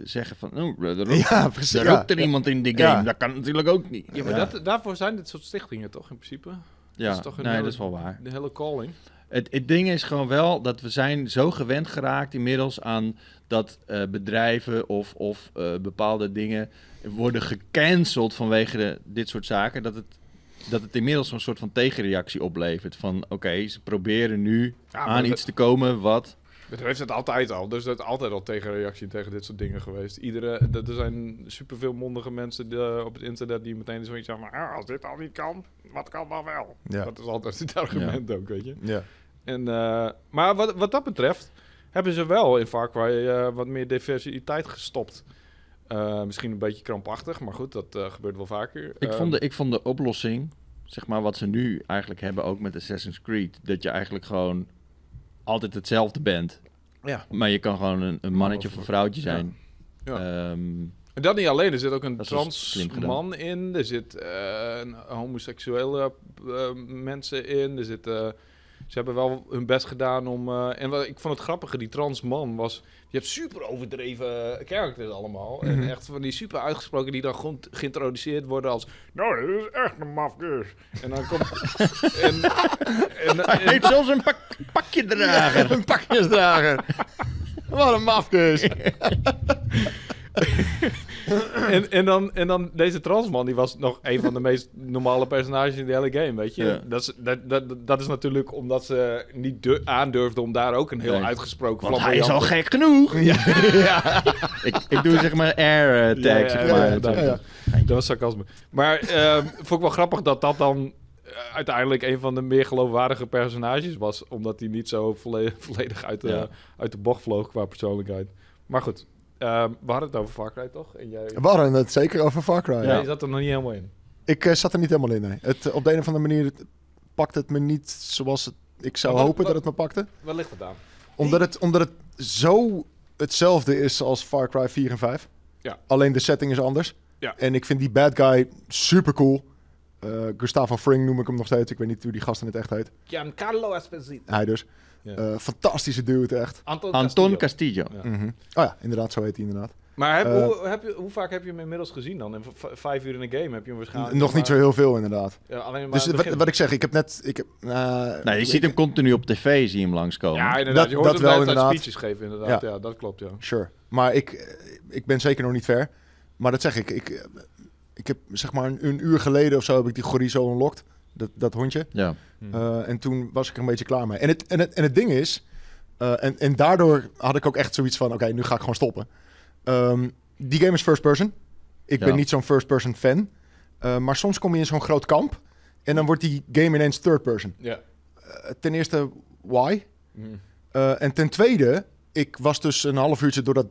Speaker 3: zeggen van, oh, er rookt,
Speaker 2: Ja, precies.
Speaker 3: er
Speaker 2: Ja.
Speaker 3: rookt er iemand in die
Speaker 2: Ja.
Speaker 3: game. Dat kan natuurlijk ook niet.
Speaker 1: Ja, maar
Speaker 2: Ja.
Speaker 1: Dat, daarvoor zijn dit soort stichtingen toch, in principe?
Speaker 3: Ja,
Speaker 1: dat is toch een
Speaker 3: nee,
Speaker 1: hele-
Speaker 3: dat is wel waar.
Speaker 1: De hele calling.
Speaker 3: Het, het ding is gewoon wel dat we zijn zo gewend geraakt inmiddels aan dat eh, bedrijven of, of eh, bepaalde dingen worden gecanceld vanwege de- dit soort zaken. Dat het, dat het inmiddels een soort van tegenreactie oplevert. Van oké, ze proberen nu
Speaker 1: Ja, maar
Speaker 3: aan
Speaker 1: dat-
Speaker 3: iets te komen wat...
Speaker 1: Dat heeft het altijd al. Dus dat is altijd al tegenreactie tegen dit soort dingen geweest. Iedere, dat- er zijn superveel mondige mensen die, eh, op het internet die meteen zoiets zeggen van... "Ah, als dit al niet kan, wat kan dan wel?
Speaker 2: Ja.
Speaker 1: Dat is altijd het argument ook, weet je.
Speaker 2: Ja.
Speaker 1: En, eh, maar wat, wat dat betreft hebben ze wel in Far Cry eh, wat meer diversiteit gestopt. Eh, misschien een beetje krampachtig, maar goed, dat eh, gebeurt wel vaker.
Speaker 3: Ik,
Speaker 1: Eh,
Speaker 3: vond de, ik vond de oplossing, zeg maar wat ze nu eigenlijk hebben ook met Assassin's Creed, dat je eigenlijk gewoon altijd hetzelfde bent.
Speaker 1: Ja.
Speaker 3: Maar je kan gewoon een, een mannetje of een vrouwtje zijn.
Speaker 1: Ja.
Speaker 3: Ehm,
Speaker 1: En dat niet alleen, er zit ook een
Speaker 3: Dat is dus
Speaker 1: trans
Speaker 3: slim gedaan.
Speaker 1: man in, er zit eh, een homoseksuele eh, mensen in, er zit, eh, ze hebben wel hun best gedaan om... eh, en wat, ik vond het grappige, die trans man was... Je hebt super overdreven characters allemaal. En echt van die super uitgesproken die dan gewoon geïntroduceerd worden als... Nou, dit is echt een mafkeus. En dan komt... en, en,
Speaker 3: Hij
Speaker 1: en-
Speaker 3: heeft zelfs een pak, pakje dragen.
Speaker 2: Een pakjesdrager. Wat een
Speaker 1: dus.
Speaker 2: mafkeus.
Speaker 1: en, en, dan, en dan deze transman, die was nog een van de meest normale personages in de hele game, weet je.
Speaker 3: Ja.
Speaker 1: Dat, is, dat, dat, dat is natuurlijk omdat ze niet du- aandurfde om daar ook een heel
Speaker 3: Nee.
Speaker 1: uitgesproken
Speaker 3: Want hij is al
Speaker 1: flamboyante-
Speaker 3: gek genoeg.
Speaker 2: Ja.
Speaker 3: Ik, ik doe zeg maar air
Speaker 1: Ja,
Speaker 3: eh, tag,
Speaker 1: ja,
Speaker 3: zeg
Speaker 1: ja,
Speaker 3: maar.
Speaker 1: ja, ja,
Speaker 2: ja.
Speaker 1: Dat was sarcasme. Maar ehm vond ik wel grappig dat dat dan eh, uiteindelijk een van de meer geloofwaardige personages was. Omdat hij niet zo volle- volledig uit de,
Speaker 3: Ja.
Speaker 1: uit de bocht vloog qua persoonlijkheid. Maar goed, ehm, we hadden het over Far Cry, toch? En jij,
Speaker 2: We hadden het zeker over Far Cry.
Speaker 1: jij zat er nog niet helemaal in.
Speaker 2: Ik eh, zat er niet helemaal in. Nee. Het, eh, op de een of andere manier het- pakt het me niet zoals het, ik zou
Speaker 1: Maar wat-
Speaker 2: hopen
Speaker 1: wat-
Speaker 2: dat het me pakte.
Speaker 1: Waar ligt het aan?
Speaker 2: Omdat het, omdat het zo hetzelfde is als Far Cry 4 en 5.
Speaker 1: Ja.
Speaker 2: Alleen de setting is anders.
Speaker 1: Ja.
Speaker 2: En ik vind die bad guy super cool. Gustavo Fring noem ik hem nog steeds. Ik weet niet hoe die gast in het echt heet.
Speaker 1: Giancarlo Esposito.
Speaker 2: Hij dus.
Speaker 1: Ja.
Speaker 2: Eh, fantastische dude, echt.
Speaker 1: Anton,
Speaker 3: Anton
Speaker 1: Castillo.
Speaker 3: Castillo.
Speaker 1: Ja.
Speaker 2: Mhm. Oh ja, inderdaad, zo heet hij inderdaad.
Speaker 1: Maar heb,
Speaker 2: Eh,
Speaker 1: hoe, heb je, hoe vaak heb je hem inmiddels gezien dan? In v- v- vijf uur in de game heb je hem waarschijnlijk...
Speaker 2: Nog niet zo heel veel, inderdaad.
Speaker 1: Ja, alleen maar
Speaker 2: Dus
Speaker 1: aan het
Speaker 2: wat,
Speaker 1: begin.
Speaker 2: wat ik zeg, ik heb net... Ik heb, eh,
Speaker 3: Nou, je
Speaker 2: ik-
Speaker 3: ziet hem continu op tv, zie je hem langskomen.
Speaker 1: Ja, inderdaad.
Speaker 2: Dat-
Speaker 1: je hoort
Speaker 2: dat
Speaker 1: hem
Speaker 2: wel,
Speaker 1: de hele tijd
Speaker 2: inderdaad.
Speaker 1: speeches geven, inderdaad. Ja, dat klopt, ja.
Speaker 2: Sure. Maar ik, eh, ik ben zeker nog niet ver. Maar dat zeg ik. Ik, eh, ik heb zeg maar een, een uur geleden of zo heb ik die Gorizo unlocked. Dat, dat hondje.
Speaker 3: ja.
Speaker 1: Hm.
Speaker 2: Eh, en toen was ik er een beetje klaar mee. En het, en het, en het ding is, eh, en, en daardoor had ik ook echt zoiets van: oké, nu ga ik gewoon stoppen. Ehm, die game is first person. Ik
Speaker 3: Ja.
Speaker 2: ben niet zo'n first person fan. Eh, maar soms kom je in zo'n groot kamp en dan wordt die game ineens third person.
Speaker 1: ja.
Speaker 2: Eh, ten eerste, why?
Speaker 1: Hm.
Speaker 2: Eh, en ten tweede, ik was dus een half uurtje door dat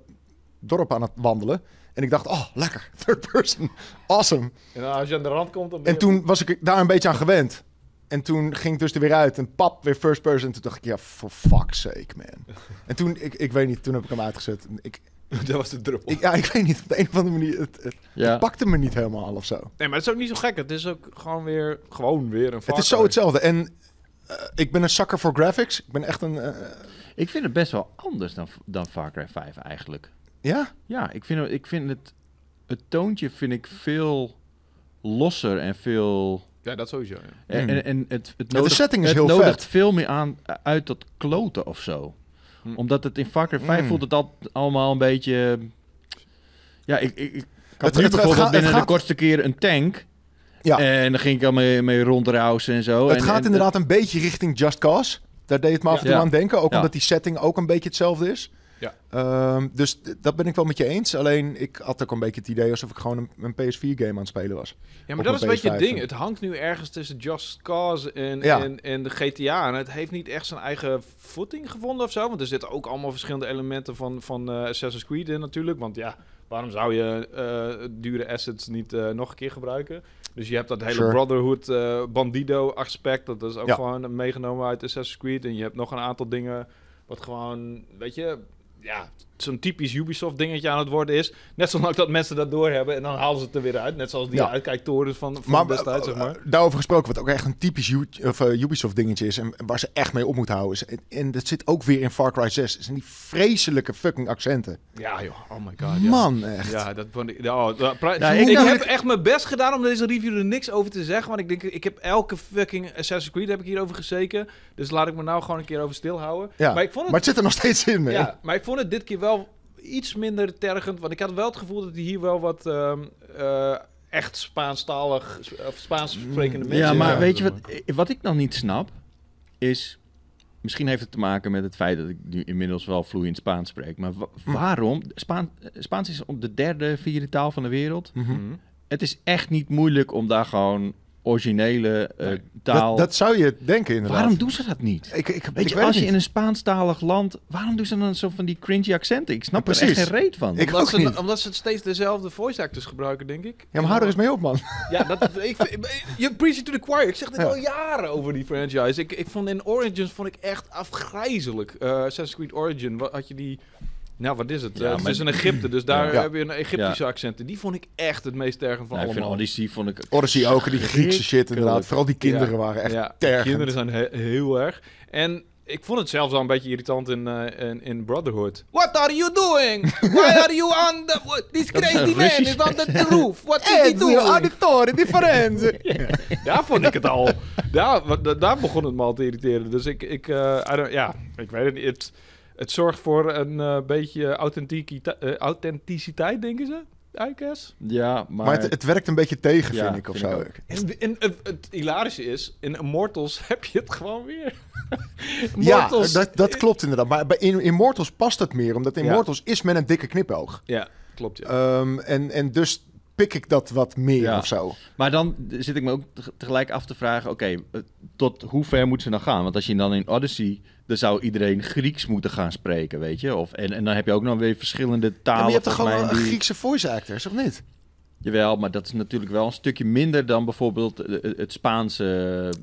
Speaker 2: dorp aan het wandelen. En ik dacht, oh, lekker, third person, awesome.
Speaker 1: En dan als je aan de rand komt, dan ben
Speaker 2: En
Speaker 1: je-
Speaker 2: toen was ik daar een beetje aan gewend. En toen ging ik dus er weer uit en pap, weer first person. Toen dacht ik, ja, for fuck's sake, man. En toen, ik, ik weet niet, toen heb ik hem uitgezet. En Ik,
Speaker 1: dat was de druppel.
Speaker 2: ik, ja, ik weet niet, op de een of andere manier, het, het, het
Speaker 3: ja.
Speaker 2: pakte me niet helemaal of zo.
Speaker 1: Nee, maar het is ook niet zo gek. Het is ook gewoon weer, gewoon weer een
Speaker 2: Het is zo
Speaker 1: Far Cry.
Speaker 2: hetzelfde. En eh, ik ben een sucker voor graphics. Ik ben echt een, eh,
Speaker 3: Ik vind het best wel anders dan, dan Far Cry 5 eigenlijk.
Speaker 2: ja,
Speaker 3: Ja, ik vind, het- ik vind het... Het toontje vind ik veel losser en veel...
Speaker 1: Ja, dat sowieso. ja.
Speaker 3: En,
Speaker 2: Hmm.
Speaker 3: en, en het, het
Speaker 2: de setting is
Speaker 3: het
Speaker 2: heel
Speaker 3: nodigt
Speaker 2: vet.
Speaker 3: veel meer aan eh, uit dat kloten of zo.
Speaker 1: Hmm.
Speaker 3: Omdat het in Far Cry 5
Speaker 2: Hmm.
Speaker 3: voelt het al, allemaal een beetje... Ja, ik, ik, ik
Speaker 2: Het-
Speaker 3: had nu
Speaker 2: het- het
Speaker 3: bijvoorbeeld
Speaker 2: gaat- het
Speaker 3: binnen de
Speaker 2: gaat-
Speaker 3: kortste keer een tank.
Speaker 2: Ja.
Speaker 3: En dan ging ik al mee, mee rondrousen en zo.
Speaker 2: Het
Speaker 3: En-
Speaker 2: gaat
Speaker 3: en
Speaker 2: inderdaad een beetje richting Just Cause. Daar deed het me af en
Speaker 1: Ja.
Speaker 2: toe
Speaker 3: Ja.
Speaker 2: aan denken. Ook
Speaker 3: Ja.
Speaker 2: omdat die setting ook een beetje hetzelfde is.
Speaker 1: Ja.
Speaker 2: Ehm, dus d- dat ben ik wel met je eens. Alleen ik had ook een beetje het idee alsof ik gewoon een, een PS4-game aan het spelen was.
Speaker 1: Ja, maar
Speaker 2: Op
Speaker 1: dat
Speaker 2: een
Speaker 1: is een beetje het
Speaker 2: PS5
Speaker 1: ding.
Speaker 2: en-
Speaker 1: Het hangt nu ergens tussen Just Cause en,
Speaker 2: Ja.
Speaker 1: en, en de GTA. En het heeft niet echt zijn eigen footing gevonden of zo. Want er zitten ook allemaal verschillende elementen van, van eh, Assassin's Creed in natuurlijk. Want ja, waarom zou je eh, dure assets niet eh, nog een keer gebruiken? Dus je hebt dat hele
Speaker 2: Sure.
Speaker 1: Brotherhood eh, Bandido aspect. Dat is ook
Speaker 2: Ja.
Speaker 1: gewoon meegenomen uit Assassin's Creed. En je hebt nog een aantal dingen wat gewoon, weet je... Ja, zo'n typisch Ubisoft dingetje aan het worden is. Net zolang dat mensen dat doorhebben en dan halen ze het er weer uit. Net zoals die
Speaker 2: Ja.
Speaker 1: uitkijktorens van, van
Speaker 2: Maar,
Speaker 1: destijds, zeg maar.
Speaker 2: eh, daarover gesproken, wat ook echt een typisch U- of, eh, Ubisoft dingetje is. En waar ze echt mee op moeten houden. Is, en, en dat zit ook weer in Far Cry 6. Zijn die vreselijke fucking accenten.
Speaker 1: Ja joh, oh my god. Ja.
Speaker 2: Man, echt.
Speaker 1: Ja, dat vond ik... ja, oh, dat- pra-
Speaker 3: Nou,
Speaker 1: ik
Speaker 3: ik- nou,
Speaker 1: heb echt mijn best gedaan om deze review er niks over te zeggen. Want ik denk, ik heb elke fucking Assassin's Creed heb ik hierover gezeken. Dus laat ik me nou gewoon een keer over stilhouden.
Speaker 2: Ja.
Speaker 1: Maar ik vond het
Speaker 2: Maar het zit er nog steeds in, man.
Speaker 1: Ja, maar ik vond het dit keer wel iets minder tergend. Want ik had wel het gevoel dat hij hier wel wat ehm, eh, echt Spaanstalig of Spaans sprekende
Speaker 2: Mm,
Speaker 1: mensen...
Speaker 3: Ja, maar
Speaker 2: Ja.
Speaker 3: weet je wat, wat ik nog niet snap? Is, misschien heeft het te maken met het feit dat ik nu inmiddels wel vloeiend Spaans spreek. Maar wa-
Speaker 2: Hm.
Speaker 3: waarom? Spaan, Spaans is op de derde, vierde taal van de wereld.
Speaker 2: Mhm.
Speaker 1: Mhm.
Speaker 3: Het is echt niet moeilijk om daar gewoon originele eh,
Speaker 1: Nee,
Speaker 3: taal...
Speaker 2: Dat, dat zou je denken, inderdaad.
Speaker 3: waarom doen ze dat niet?
Speaker 2: Ik, ik,
Speaker 3: Weet
Speaker 2: ik
Speaker 3: je,
Speaker 2: weet
Speaker 3: als
Speaker 2: het
Speaker 3: je in
Speaker 2: niet.
Speaker 3: een Spaanstalig land... Waarom doen ze dan zo van die cringy accenten? Ik snap
Speaker 2: Ja,
Speaker 3: er echt
Speaker 2: precies.
Speaker 3: geen reet van.
Speaker 2: Ik
Speaker 1: Omdat
Speaker 2: ook
Speaker 1: ze,
Speaker 2: niet.
Speaker 1: omdat ze steeds dezelfde voice actors gebruiken, denk ik.
Speaker 2: Ja, maar hou er eens mee op, man.
Speaker 1: Ja, dat, ik, ik- je preach it to the choir. Ik zeg dit
Speaker 2: Ja.
Speaker 1: al jaren over die franchise. Ik, ik vond in Origins vond ik echt afgrijzelijk. Eh Assassin's Creed Origin, wat, had je die... Nou, wat is het?
Speaker 3: Ja,
Speaker 1: Eh, het
Speaker 3: maar-
Speaker 1: is in Egypte, dus daar
Speaker 2: Ja.
Speaker 1: heb je een Egyptische accent. En Die vond ik echt het meest tergend van
Speaker 3: Nou, ik vind
Speaker 1: allemaal.
Speaker 3: Odyssey vond ik...
Speaker 2: Odyssey ook, die Griekse shit inderdaad.
Speaker 3: Schrikkelijk.
Speaker 2: Vooral die kinderen waren echt...
Speaker 1: ja,
Speaker 2: tergend.
Speaker 1: kinderen zijn he- heel erg. En ik vond het zelfs al een beetje irritant in, eh, in, in Brotherhood. What are you doing? Why are you on the... what- This
Speaker 3: Dat is een
Speaker 1: crazy man is
Speaker 3: Russisch
Speaker 1: on the roof. What is he
Speaker 2: Ezio,
Speaker 1: doing?
Speaker 2: auditore, differenze.
Speaker 1: Daar vond ik het al. Daar, wa- da- daar begon het me al te irriteren. Dus ik, ik, eh, I don't- ja, ik weet het niet. Het, het zorgt voor een eh, beetje authentiekita- eh, authenticiteit, denken ze. I guess.
Speaker 3: Ja, maar...
Speaker 2: Maar het, het werkt een beetje tegen,
Speaker 3: Ja,
Speaker 2: vind ik, of
Speaker 3: vind ik
Speaker 2: zo.
Speaker 3: ook.
Speaker 1: En, en het, het hilarische is, in Immortals heb je het gewoon weer.
Speaker 2: Ja,
Speaker 1: Immortals-
Speaker 2: dat, dat klopt inderdaad. Maar bij in Immortals past het meer, omdat in
Speaker 1: Ja.
Speaker 2: Immortals is men een dikke knipoog.
Speaker 1: Ja, klopt. Ja.
Speaker 2: Ehm, en, en dus pik ik dat wat meer
Speaker 3: Ja.
Speaker 2: of zo.
Speaker 3: Maar dan zit ik me ook teg- tegelijk af te vragen: oké, eh, tot hoe ver moet ze dan gaan? Want als je dan in Odyssey, dan zou iedereen Grieks moeten gaan spreken, weet je? Of, en, en dan heb je ook nog weer verschillende
Speaker 2: Ja,
Speaker 3: talen.
Speaker 2: maar je hebt toch
Speaker 3: volgens
Speaker 2: gewoon
Speaker 3: mij,
Speaker 2: een
Speaker 3: die-
Speaker 2: Griekse voice actors, of niet?
Speaker 3: Jawel, maar dat is natuurlijk wel een stukje minder dan bijvoorbeeld eh, eh, het Spaanse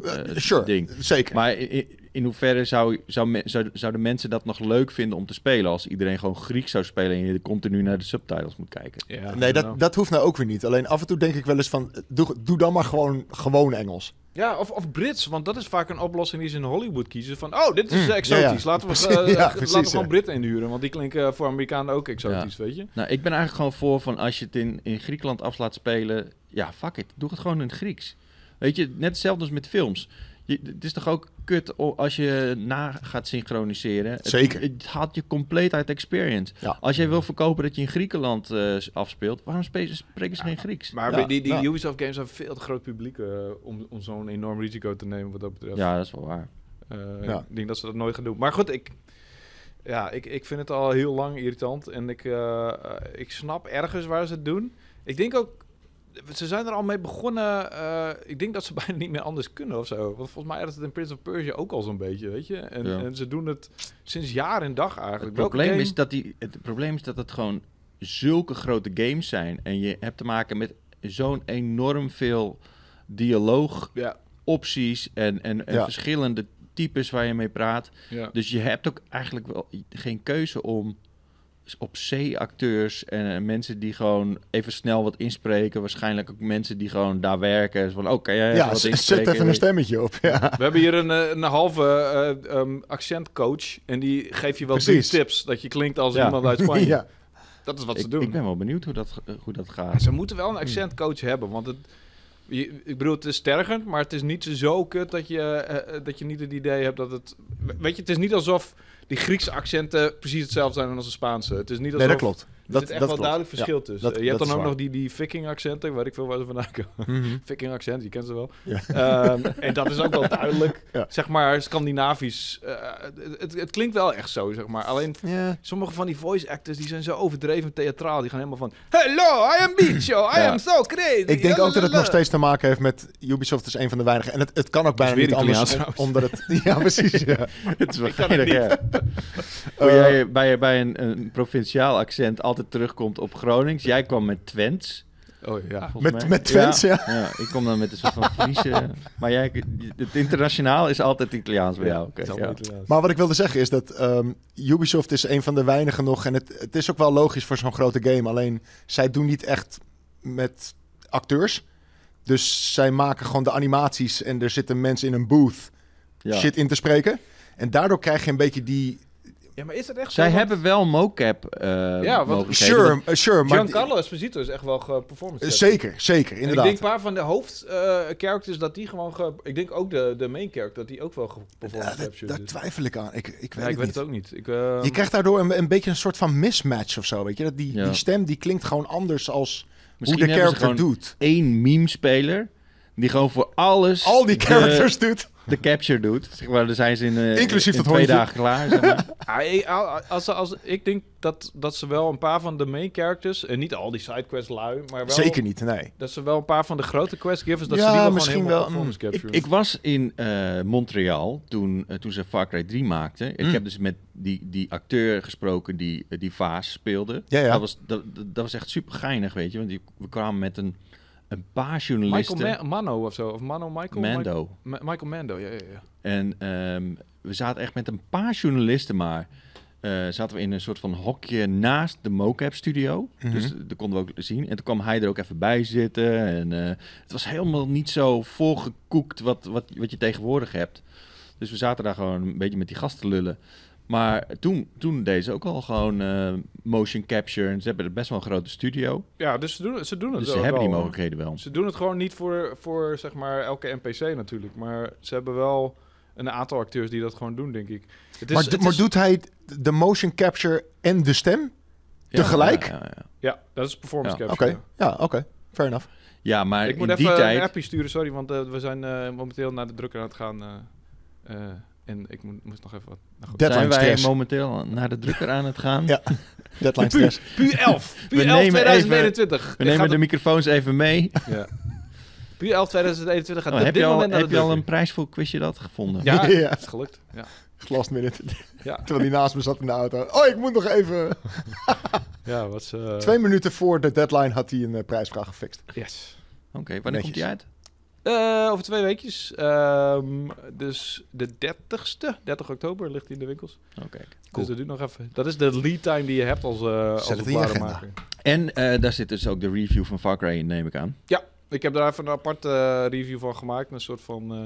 Speaker 3: eh,
Speaker 2: Eh, sure,
Speaker 3: ding.
Speaker 2: zeker.
Speaker 3: Maar i- i- in hoeverre zou, zou, me- zou, zouden mensen dat nog leuk vinden om te spelen als iedereen gewoon Grieks zou spelen en je continu naar de subtitles moet kijken?
Speaker 1: Ja,
Speaker 2: nee,
Speaker 1: nou.
Speaker 2: dat, dat hoeft nou ook weer niet. Alleen af en toe denk ik wel eens van, eh, doe, doe dan maar gewoon, gewoon Engels.
Speaker 1: ja of, of Brits, want dat is vaak een oplossing die ze in Hollywood kiezen. Van, oh, dit is eh,
Speaker 2: Mm,
Speaker 1: exotisch.
Speaker 2: ja, ja.
Speaker 1: Laten, we,
Speaker 2: Precies,
Speaker 1: eh,
Speaker 2: ja,
Speaker 1: laten
Speaker 2: precies,
Speaker 1: we
Speaker 2: ja.
Speaker 1: gewoon Britten inhuren, want die klinken eh, voor Amerikanen ook exotisch, weet je?
Speaker 3: Nou, ik ben eigenlijk gewoon voor van als je het in, in Griekenland af laat spelen, ja, fuck it, doe het gewoon in het Grieks. Weet je, net hetzelfde als met films. Je, het is toch ook kut o- als je na gaat synchroniseren. Het-
Speaker 2: Zeker.
Speaker 3: Het, haalt je compleet uit experience.
Speaker 2: Ja.
Speaker 3: Als jij wil verkopen dat je in Griekenland eh, afspeelt, waarom spe- spreken ze geen Grieks?
Speaker 1: Maar
Speaker 2: Ja,
Speaker 1: bij die, die
Speaker 2: ja.
Speaker 1: Ubisoft games hebben veel te groot publiek eh, om, om zo'n enorm risico te nemen wat dat betreft.
Speaker 3: Ja, dat is wel waar.
Speaker 1: Eh,
Speaker 2: Ja.
Speaker 1: Ik denk dat ze dat nooit gaan doen. Maar goed, ik, ja, ik, ik vind het al heel lang irritant. En ik, eh, eh, ik snap ergens waar ze het doen. Ik denk ook, ze zijn er al mee begonnen. eh, ik denk dat ze bijna niet meer anders kunnen of zo. Want volgens mij hadden ze het in Prince of Persia ook al zo'n beetje, weet je. En,
Speaker 3: Ja.
Speaker 1: en ze doen het sinds jaar en dag eigenlijk.
Speaker 3: Het
Speaker 1: Welke
Speaker 3: probleem,
Speaker 1: game-
Speaker 3: is dat die, het probleem is dat het gewoon zulke grote games zijn. En je hebt te maken met zo'n enorm veel dialoog
Speaker 1: Ja,
Speaker 3: opties en, en, en
Speaker 2: Ja.
Speaker 3: verschillende types waar je mee praat.
Speaker 1: ja.
Speaker 3: Dus je hebt ook eigenlijk wel geen keuze om op C-acteurs en eh, mensen die gewoon even snel wat inspreken. Waarschijnlijk ook mensen die gewoon daar werken. Van, oh, kan jij even
Speaker 2: Ja,
Speaker 3: wat
Speaker 2: z-
Speaker 3: inspreken?
Speaker 2: zet even een stemmetje op. Ja.
Speaker 1: We hebben hier een, eh, een halve eh, ehm, accentcoach. En die geeft je wel drie
Speaker 2: Precies.
Speaker 1: tips. Dat je klinkt als
Speaker 3: Ja.
Speaker 1: iemand uit Spanje.
Speaker 2: ja.
Speaker 1: Dat is wat ze
Speaker 3: Ik-
Speaker 1: doen.
Speaker 3: Ik ben wel benieuwd hoe dat, hoe dat
Speaker 1: Ja,
Speaker 3: gaat.
Speaker 1: Ze moeten
Speaker 2: Hmm.
Speaker 1: wel een accentcoach hebben, want het, je- ik bedoel, het is tergend, maar het is niet zo kut dat je, eh, eh, dat je niet het idee hebt dat het... Weet je, het is niet alsof die Griekse accenten precies hetzelfde zijn als de Spaanse. Het is niet alsof...
Speaker 2: Nee, dat klopt.
Speaker 1: Er
Speaker 2: Dat,
Speaker 1: zit echt
Speaker 2: dat
Speaker 1: wel
Speaker 2: klopt.
Speaker 1: duidelijk verschil tussen.
Speaker 2: dat-
Speaker 1: Eh, je hebt
Speaker 2: dat
Speaker 1: dan
Speaker 2: is
Speaker 1: ook
Speaker 2: waar.
Speaker 1: nog die, die viking accenten, waar ik veel waar ze vandaan komen.
Speaker 2: Ja. Mhm.
Speaker 1: Viking accent, je kent ze wel.
Speaker 2: Ja.
Speaker 1: Ehm, en dat is ook wel duidelijk,
Speaker 2: Ja.
Speaker 1: zeg maar, Scandinavisch. Eh, het, het, het klinkt wel echt zo, zeg maar. Alleen
Speaker 2: Ja.
Speaker 1: Sommige van die voice actors die zijn zo overdreven theatraal. Die gaan helemaal van... Hello, I am Bicho. I
Speaker 3: Ja.
Speaker 1: am so crazy.
Speaker 2: Ik denk ook dat het
Speaker 1: Lalalala."
Speaker 2: nog steeds te maken heeft met Ubisoft is een van de weinigen. En het, het kan ook bijna
Speaker 1: weer
Speaker 2: niet anders.
Speaker 1: Italiaans
Speaker 2: Omdat het, ja, precies. Ja.
Speaker 3: het is wel
Speaker 1: Ik kan het
Speaker 3: geinig,
Speaker 1: niet.
Speaker 3: ja. Hoe
Speaker 2: Eh,
Speaker 3: jij bij, bij een, een provinciaal accent altijd terugkomt op Gronings. Jij kwam met Twents.
Speaker 1: Oh ja.
Speaker 2: Met,
Speaker 3: volgens mij.
Speaker 2: met Twents, ja.
Speaker 3: Ja, ik kom dan met een soort van Friese. maar jij, het internationaal is altijd Italiaans bij jou. oké,
Speaker 1: Dat is
Speaker 3: ja.
Speaker 1: wel Italiaans.
Speaker 2: Maar wat ik wilde zeggen is dat ehm, Ubisoft is een van de weinigen nog. En het, het is ook wel logisch voor zo'n grote game. Alleen zij doen niet echt met acteurs. Dus zij maken gewoon de animaties en er zitten mensen in een booth
Speaker 3: Ja.
Speaker 2: shit in te spreken. En daardoor krijg je een beetje die...
Speaker 1: Ja, maar is dat echt
Speaker 3: Zij
Speaker 1: zo? Want
Speaker 3: hebben wel mocap eh
Speaker 1: Ja, want-
Speaker 3: mogelijkheden.
Speaker 2: Sure, eh, sure. Maar
Speaker 1: Giancarlo Esposito is echt wel geperformance.
Speaker 2: eh, zeker, zeker,
Speaker 1: En
Speaker 2: inderdaad.
Speaker 1: Ik denk een paar van de hoofdcharacters dat die gewoon... ge- ik denk ook de, de main character dat die ook wel
Speaker 2: Ja,
Speaker 1: geperformance
Speaker 2: dat-
Speaker 1: capture
Speaker 2: daar
Speaker 1: is.
Speaker 2: twijfel ik aan. Ik, ik weet
Speaker 1: Ja,
Speaker 2: het
Speaker 1: ik weet
Speaker 2: niet.
Speaker 1: het ook niet. Ik, ehm,
Speaker 2: Je krijgt daardoor een, een beetje een soort van mismatch of zo, weet je? Dat die,
Speaker 3: Ja.
Speaker 2: die stem die klinkt gewoon anders als
Speaker 3: Misschien
Speaker 2: hoe de
Speaker 3: hebben ze
Speaker 2: character
Speaker 3: gewoon
Speaker 2: doet.
Speaker 3: één meme-speler die gewoon voor alles
Speaker 2: Al die
Speaker 3: de-
Speaker 2: characters doet.
Speaker 3: de, capture doet. Zeg maar, daar zijn ze in, eh,
Speaker 2: Inclusief
Speaker 3: in
Speaker 2: het
Speaker 3: twee
Speaker 2: hondje.
Speaker 3: dagen klaar. Zeg maar.
Speaker 1: Ah, ik- al- als, als, ik denk dat, dat ze wel een paar van de main characters... En niet al die sidequests lui, maar wel...
Speaker 2: Zeker niet, nee.
Speaker 1: Dat ze wel een paar van de grote questgivers, dat
Speaker 2: Ja,
Speaker 1: ze die wel mm,
Speaker 2: misschien
Speaker 1: gewoon helemaal
Speaker 2: wel,
Speaker 1: performance
Speaker 3: ik,
Speaker 1: capturen.
Speaker 3: ik was in eh, Montreal toen, eh, toen ze Far Cry 3 maakten. Ik
Speaker 2: Mm.
Speaker 3: heb dus met die, die acteur gesproken die, eh, die Vaas speelde.
Speaker 2: Ja, ja.
Speaker 3: Dat, was, dat, dat, dat was echt super geinig, weet je. Want die, we kwamen met een, een paar journalisten.
Speaker 1: Michael Ma- Mano of zo, of Mano Michael? Michael-
Speaker 3: Mando.
Speaker 1: Ma- Michael Mando, ja, ja, ja.
Speaker 3: En ehm, we zaten echt met een paar journalisten maar. eh, zaten we in een soort van hokje naast de mocap studio.
Speaker 2: Mhm.
Speaker 3: Dus dat konden we ook zien. En toen kwam hij er ook even bij zitten. En eh, het was helemaal niet zo volgekoekt wat, wat, wat je tegenwoordig hebt. Dus we zaten daar gewoon een beetje met die gasten lullen. Maar toen, toen deden ze ook al gewoon eh, motion capture. En ze hebben best wel een grote studio.
Speaker 1: Ja, dus ze doen, ze doen het
Speaker 3: Dus ze
Speaker 1: wel
Speaker 3: hebben die
Speaker 1: wel.
Speaker 3: mogelijkheden wel.
Speaker 1: Ze doen het gewoon niet voor, voor zeg maar, elke NPC natuurlijk. Maar ze hebben wel een aantal acteurs die dat gewoon doen, denk ik. Het is,
Speaker 2: maar,
Speaker 1: Dus het
Speaker 2: do- maar
Speaker 1: is-
Speaker 2: doet hij de motion capture en de stem?
Speaker 3: Ja,
Speaker 2: tegelijk?
Speaker 3: Ja, ja, ja.
Speaker 1: Ja, dat is performance
Speaker 3: Ja,
Speaker 2: Oké,
Speaker 1: capture.
Speaker 2: ja, oké. Fair enough.
Speaker 3: Ja, maar
Speaker 1: Ik
Speaker 3: in
Speaker 1: moet
Speaker 3: die
Speaker 1: even
Speaker 3: tijd...
Speaker 1: een appje sturen, sorry, want eh, we zijn eh, momenteel naar de drukker aan het gaan. eh, eh, en ik moet, moest nog even wat... Nou goed.
Speaker 2: Deadline
Speaker 3: zijn wij
Speaker 2: stress.
Speaker 3: momenteel naar de drukker aan het gaan.
Speaker 2: Ja. Deadline stress.
Speaker 1: Pu 11! Pu
Speaker 3: We
Speaker 1: 11
Speaker 3: nemen
Speaker 1: 2021!
Speaker 3: We
Speaker 1: Ik ga
Speaker 3: nemen de
Speaker 1: dat-
Speaker 3: microfoons even mee.
Speaker 1: Ja. Pu 11 2021 gaat
Speaker 3: Oh,
Speaker 1: op
Speaker 3: heb
Speaker 1: dit
Speaker 3: je al,
Speaker 1: moment naar
Speaker 3: heb
Speaker 1: de
Speaker 3: je al
Speaker 1: drukker.
Speaker 3: een prijs voor quizje dat gevonden?
Speaker 1: Ja,
Speaker 2: Ja.
Speaker 1: het is gelukt. Ja.
Speaker 2: Last minute.
Speaker 1: Ja. Eh.
Speaker 2: Terwijl die naast me zat in de auto. Oh, ik moet nog even...
Speaker 1: Ja, was... eh,
Speaker 2: Twee minuten voor de deadline had hij een eh, prijsvraag gefixt.
Speaker 1: Yes.
Speaker 3: Oké, wanneer komt die uit?
Speaker 1: Eh, over twee weekjes. Ehm, dus de 30ste, 30 oktober, ligt hij in de winkels.
Speaker 3: Oké.
Speaker 1: Dus dat duurt nog even. Dat is de lead time die je hebt als, eh als
Speaker 2: het in je agenda.
Speaker 1: maker.
Speaker 3: En eh, daar zit dus ook de review van Far Cry in, neem ik aan.
Speaker 1: Ik heb daar even een aparte eh, review van gemaakt. Een soort van... eh,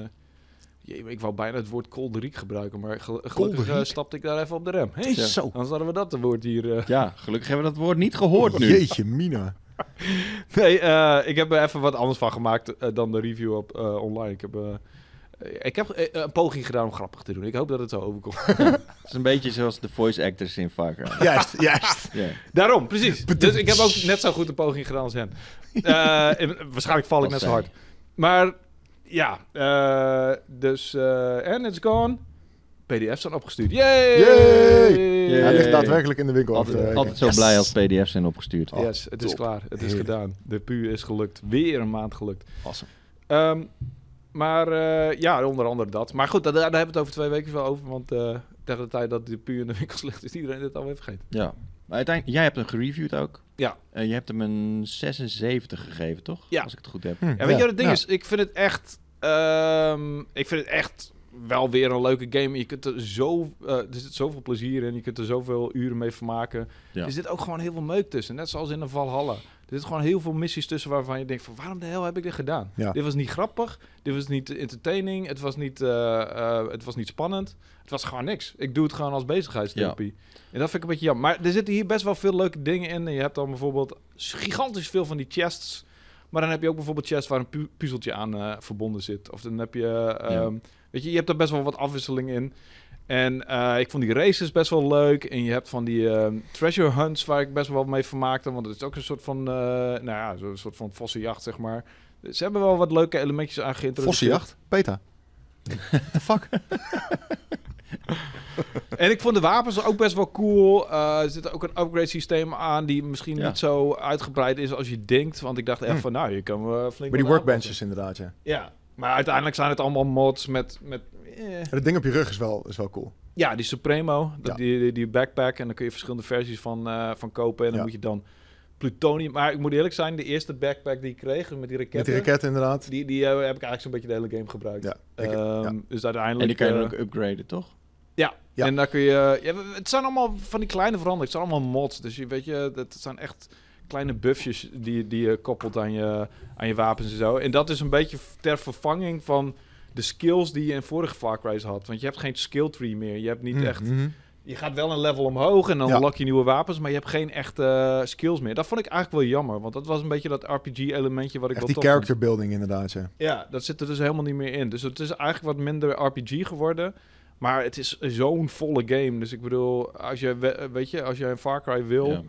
Speaker 1: jee, maar ik wou bijna het woord kolderiek gebruiken, maar gel- gelukkig eh,
Speaker 2: Kolderiek?
Speaker 1: stapte ik daar even op de rem. Hey,
Speaker 3: Ja.
Speaker 2: Zo.
Speaker 1: Anders hadden we dat de woord hier... eh.
Speaker 3: Ja, gelukkig hebben we dat woord niet gehoord nu.
Speaker 2: Jeetje, Mina.
Speaker 1: Nee, eh, ik heb er even wat anders van gemaakt eh, dan de review op eh, online. Ik heb, eh, ik heb eh, een poging gedaan om grappig te doen. Ik hoop dat het zo overkomt.
Speaker 3: Het is een beetje zoals de voice actors in Far Cry.
Speaker 2: Juist, juist.
Speaker 3: Ja.
Speaker 1: Daarom, precies. Dus ik heb ook net zo goed een poging gedaan als hen. Eh, en waarschijnlijk val ik
Speaker 3: Als
Speaker 1: net zo
Speaker 3: zij.
Speaker 1: hard. Maar ja, eh, dus... eh and it's gone. PDF's zijn opgestuurd. Yay!
Speaker 2: Yay! Hij
Speaker 3: Yay.
Speaker 2: ligt daadwerkelijk in de winkel. eh, af te
Speaker 1: eh,
Speaker 3: Altijd,
Speaker 2: werken.
Speaker 3: altijd zo
Speaker 2: Yes.
Speaker 3: blij als PDF's zijn opgestuurd.
Speaker 2: Oh,
Speaker 1: yes, het is
Speaker 2: top.
Speaker 1: klaar. Het is
Speaker 2: Heerlijk.
Speaker 1: gedaan. De PU is gelukt. Weer een maand gelukt.
Speaker 2: Awesome.
Speaker 1: Ehm, maar eh, ja, onder andere dat. Maar goed, daar, daar hebben we het over twee weken wel over. Want eh, tegen de tijd dat de puur in de winkels ligt, is iedereen dit alweer vergeten.
Speaker 3: Ja. Maar uiteindelijk, jij hebt hem gereviewd ook.
Speaker 1: Ja.
Speaker 3: En je hebt hem een 76 gegeven, toch?
Speaker 1: Ja.
Speaker 3: Als ik het goed heb.
Speaker 2: Hm,
Speaker 1: Ja, weet je
Speaker 2: ja.
Speaker 1: wat het ding
Speaker 2: Ja.
Speaker 1: is? Ik vind het echt... ehm, ik vind het echt wel weer een leuke game. Je kunt er, zo, eh, er zit zoveel plezier in. Je kunt er zoveel uren mee vermaken.
Speaker 3: Ja.
Speaker 1: Er zit ook gewoon heel veel meuk tussen. Net zoals in een Valhalla. Er zitten gewoon heel veel missies tussen waarvan je denkt van... waarom de hel heb ik dit gedaan?
Speaker 2: Ja.
Speaker 1: Dit was niet grappig. Dit was niet entertaining. Het was niet, eh, eh, het was niet spannend. Het was gewoon niks. Ik doe het gewoon als bezigheidstherapie. En dat vind ik een beetje jammer. Maar er zitten hier best wel veel leuke dingen in. En je hebt dan bijvoorbeeld gigantisch veel van die chests... Maar dan heb je ook bijvoorbeeld chests waar een pu- puzzeltje aan eh, verbonden zit. Of dan heb je, eh,
Speaker 3: Ja.
Speaker 1: ehm, weet je, je hebt daar best wel wat afwisseling in. En eh, ik vond die races best wel leuk. En je hebt van die ehm, treasure hunts waar ik best wel wat mee vermaakte. Want het is ook een soort van, eh nou ja, zo'n soort van vossenjacht, zeg maar. Ze hebben wel wat leuke elementjes aan geïntroduceerd.
Speaker 2: Vossenjacht, beta. What the fuck?
Speaker 1: En ik vond de wapens ook best wel cool. Eh, er zit ook een upgrade systeem aan die misschien
Speaker 3: Ja.
Speaker 1: niet zo uitgebreid is als je denkt. Want ik dacht echt
Speaker 2: Hm.
Speaker 1: van, nou, je kan eh, flink
Speaker 2: Maar die
Speaker 1: wat aanpassen.
Speaker 2: workbenches inderdaad, ja.
Speaker 1: Ja, maar uiteindelijk zijn het allemaal mods met... met eh,
Speaker 2: Het ding op je rug is wel, is wel cool.
Speaker 1: Ja, die Supremo, dat-
Speaker 2: Ja.
Speaker 1: Die, die, die backpack. En dan kun je verschillende versies van, eh, van kopen. En dan
Speaker 2: Ja.
Speaker 1: moet je dan plutonium... Maar ik moet eerlijk zijn, de eerste backpack die ik kreeg met die
Speaker 2: Met die
Speaker 1: raketten...
Speaker 2: raket inderdaad.
Speaker 1: die, die eh, heb ik eigenlijk zo'n beetje de hele game gebruikt.
Speaker 2: Ja, ik-
Speaker 1: Ehm,
Speaker 2: ja.
Speaker 1: Dus uiteindelijk...
Speaker 3: En die kan je dan
Speaker 1: eh,
Speaker 3: ook upgraden, toch?
Speaker 1: ja.
Speaker 2: Ja.
Speaker 1: en daar kun je... Ja, het zijn allemaal van die kleine veranderingen. Het zijn allemaal mods. Dus je, weet je, dat zijn echt kleine buffjes die, die je koppelt aan je, aan je wapens en zo. En dat is een beetje ter vervanging van de skills die je in vorige Far Cry's had. Want je hebt geen skill tree meer. Je hebt niet
Speaker 2: Mhm.
Speaker 1: echt... Je gaat wel een level omhoog en dan
Speaker 2: Ja.
Speaker 1: unlock je nieuwe wapens, maar je hebt geen echte eh, skills meer. Dat vond ik eigenlijk wel jammer, want dat was een beetje dat RPG-elementje wat ik
Speaker 2: Echt
Speaker 1: wel
Speaker 2: die
Speaker 1: tof
Speaker 2: character building inderdaad, ja.
Speaker 1: vond. Ja, dat zit er dus helemaal niet meer in. Dus het is eigenlijk wat minder RPG geworden, maar het is zo'n volle game. Dus ik bedoel, als je, we- eh, weet je, als je een Far Cry wil
Speaker 3: Ja.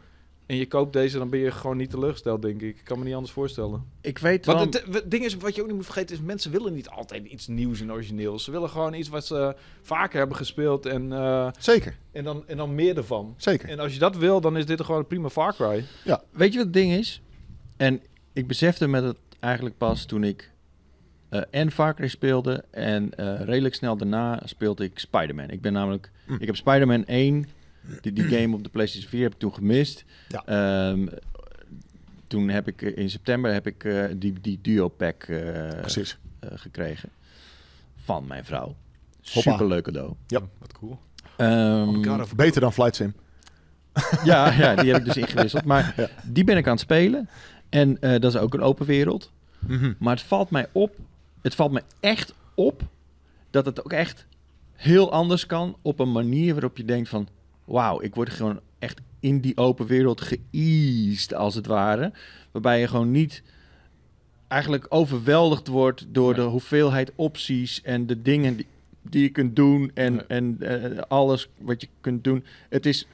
Speaker 1: en je koopt deze, dan ben je gewoon niet teleurgesteld, denk ik. Ik kan me niet anders voorstellen.
Speaker 3: Ik weet wel...
Speaker 1: Want het eh, het ding is, wat je ook niet moet vergeten, is mensen willen niet altijd iets nieuws en origineels. Ze willen gewoon iets wat ze vaker hebben gespeeld en, eh,
Speaker 2: Zeker,
Speaker 1: en, dan, en dan meer ervan.
Speaker 2: zeker.
Speaker 1: En als je dat wil, dan is dit gewoon een prima Far Cry.
Speaker 3: Weet je wat het ding is? En ik besefte me dat eigenlijk pas toen ik eh en Far Cry speelde en eh, redelijk snel daarna speelde ik Spider-Man. Ik ben namelijk,
Speaker 2: Hm.
Speaker 3: ik heb Spider-Man 1, die, die game op de PlayStation 4 heb ik toen gemist.
Speaker 2: Ja.
Speaker 3: Ehm, toen heb ik eh, in september heb ik eh, die, die duo pack eh,
Speaker 2: Precies.
Speaker 3: eh, gekregen van mijn vrouw.
Speaker 2: Hoppa.
Speaker 3: Superleuk cadeau.
Speaker 2: Ja. Mm,
Speaker 1: Wat cool.
Speaker 3: Ehm,
Speaker 2: Beter dan Flight Sim.
Speaker 3: ja, ja, die heb ik dus ingewisseld. Maar
Speaker 2: Ja.
Speaker 3: die ben ik aan het spelen. En eh, dat is ook een open wereld.
Speaker 2: Mhm.
Speaker 3: Maar het valt mij op, het valt me echt op dat het ook echt heel anders kan op een manier waarop je denkt van, wauw, ik word gewoon echt in die open wereld geëased als het ware, waarbij je gewoon niet eigenlijk overweldigd wordt door de hoeveelheid opties en de dingen die, die je kunt doen en,
Speaker 1: Nee.
Speaker 3: en eh, alles wat je kunt doen. Het is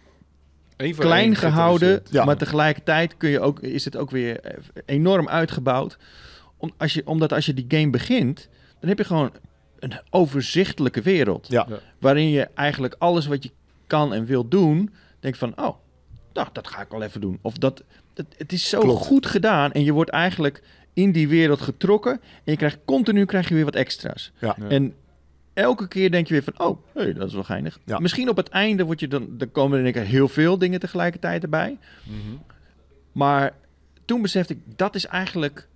Speaker 1: Eén voor één
Speaker 3: klein gehouden,
Speaker 1: geïntroduceerd.
Speaker 2: Ja.
Speaker 3: maar tegelijkertijd kun je ook, is het ook weer eh, enorm uitgebouwd. Om, als je, omdat als je die game begint, dan heb je gewoon een overzichtelijke wereld.
Speaker 2: Ja.
Speaker 1: Ja.
Speaker 3: Waarin je eigenlijk alles wat je kan en wil doen, denkt van, oh, nou, dat ga ik wel even doen. Of dat, het, het is zo
Speaker 2: Klopt.
Speaker 3: goed gedaan en je wordt eigenlijk in die wereld getrokken. En je krijgt continu krijg je weer wat extra's.
Speaker 2: Ja.
Speaker 1: Ja.
Speaker 3: En elke keer denk je weer van, oh, hey, dat is wel geinig.
Speaker 2: Ja.
Speaker 3: Misschien op het einde word je dan, dan komen er in één keer heel veel dingen tegelijkertijd erbij.
Speaker 1: Mhm.
Speaker 3: Maar toen besefte ik, dat is eigenlijk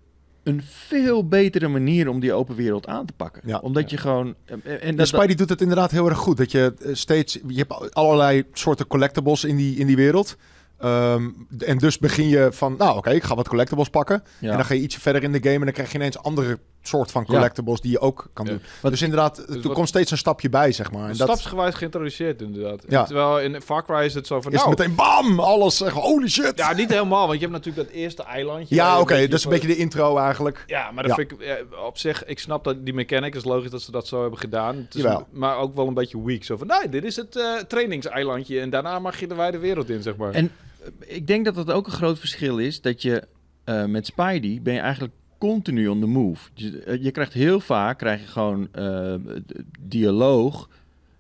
Speaker 3: een veel betere manier om die open wereld aan te pakken.
Speaker 2: Ja. Dus
Speaker 3: Omdat je gewoon... En, en
Speaker 2: En
Speaker 3: dat,
Speaker 2: Spidey doet het inderdaad heel erg goed. Dat je eh, steeds, je hebt allerlei soorten collectibles in die, in die wereld. Ehm, d- en dus begin je van, nou oké, ik ga wat collectibles pakken.
Speaker 3: ja.
Speaker 2: En dan ga je ietsje verder in de game en dan krijg je ineens andere soort van
Speaker 3: Ja.
Speaker 2: collectibles die je ook kan
Speaker 1: Ja.
Speaker 2: doen.
Speaker 3: Wat-
Speaker 2: dus inderdaad, er
Speaker 1: wat- Dus
Speaker 2: komt steeds een stapje bij, zeg maar. En dat
Speaker 1: Stapsgewijs geïntroduceerd inderdaad.
Speaker 2: Ja.
Speaker 1: Terwijl in Far Cry is het zo van...
Speaker 2: is
Speaker 1: nou,
Speaker 2: meteen bam, alles. zeg, holy shit. Ja,
Speaker 1: Ja, niet helemaal, want je hebt natuurlijk dat eerste eilandje. waar je
Speaker 2: oké, dat is een
Speaker 1: van-
Speaker 2: beetje de intro eigenlijk.
Speaker 1: Ja, maar dat
Speaker 2: Ja.
Speaker 1: vind ik eh, op zich... Ik snap dat die mechanic is logisch dat ze dat zo hebben gedaan. Het is
Speaker 2: Jawel.
Speaker 1: maar ook wel een beetje weak. Zo van, nee, dit is het eh trainingseilandje. En daarna mag je de wijde wereld in, zeg maar.
Speaker 3: En- Ik denk dat dat ook een groot verschil is. Dat je eh, met Spidey ben je eigenlijk continu on the move. Je, eh, je krijgt heel vaak krijg je gewoon eh, d- dialoog.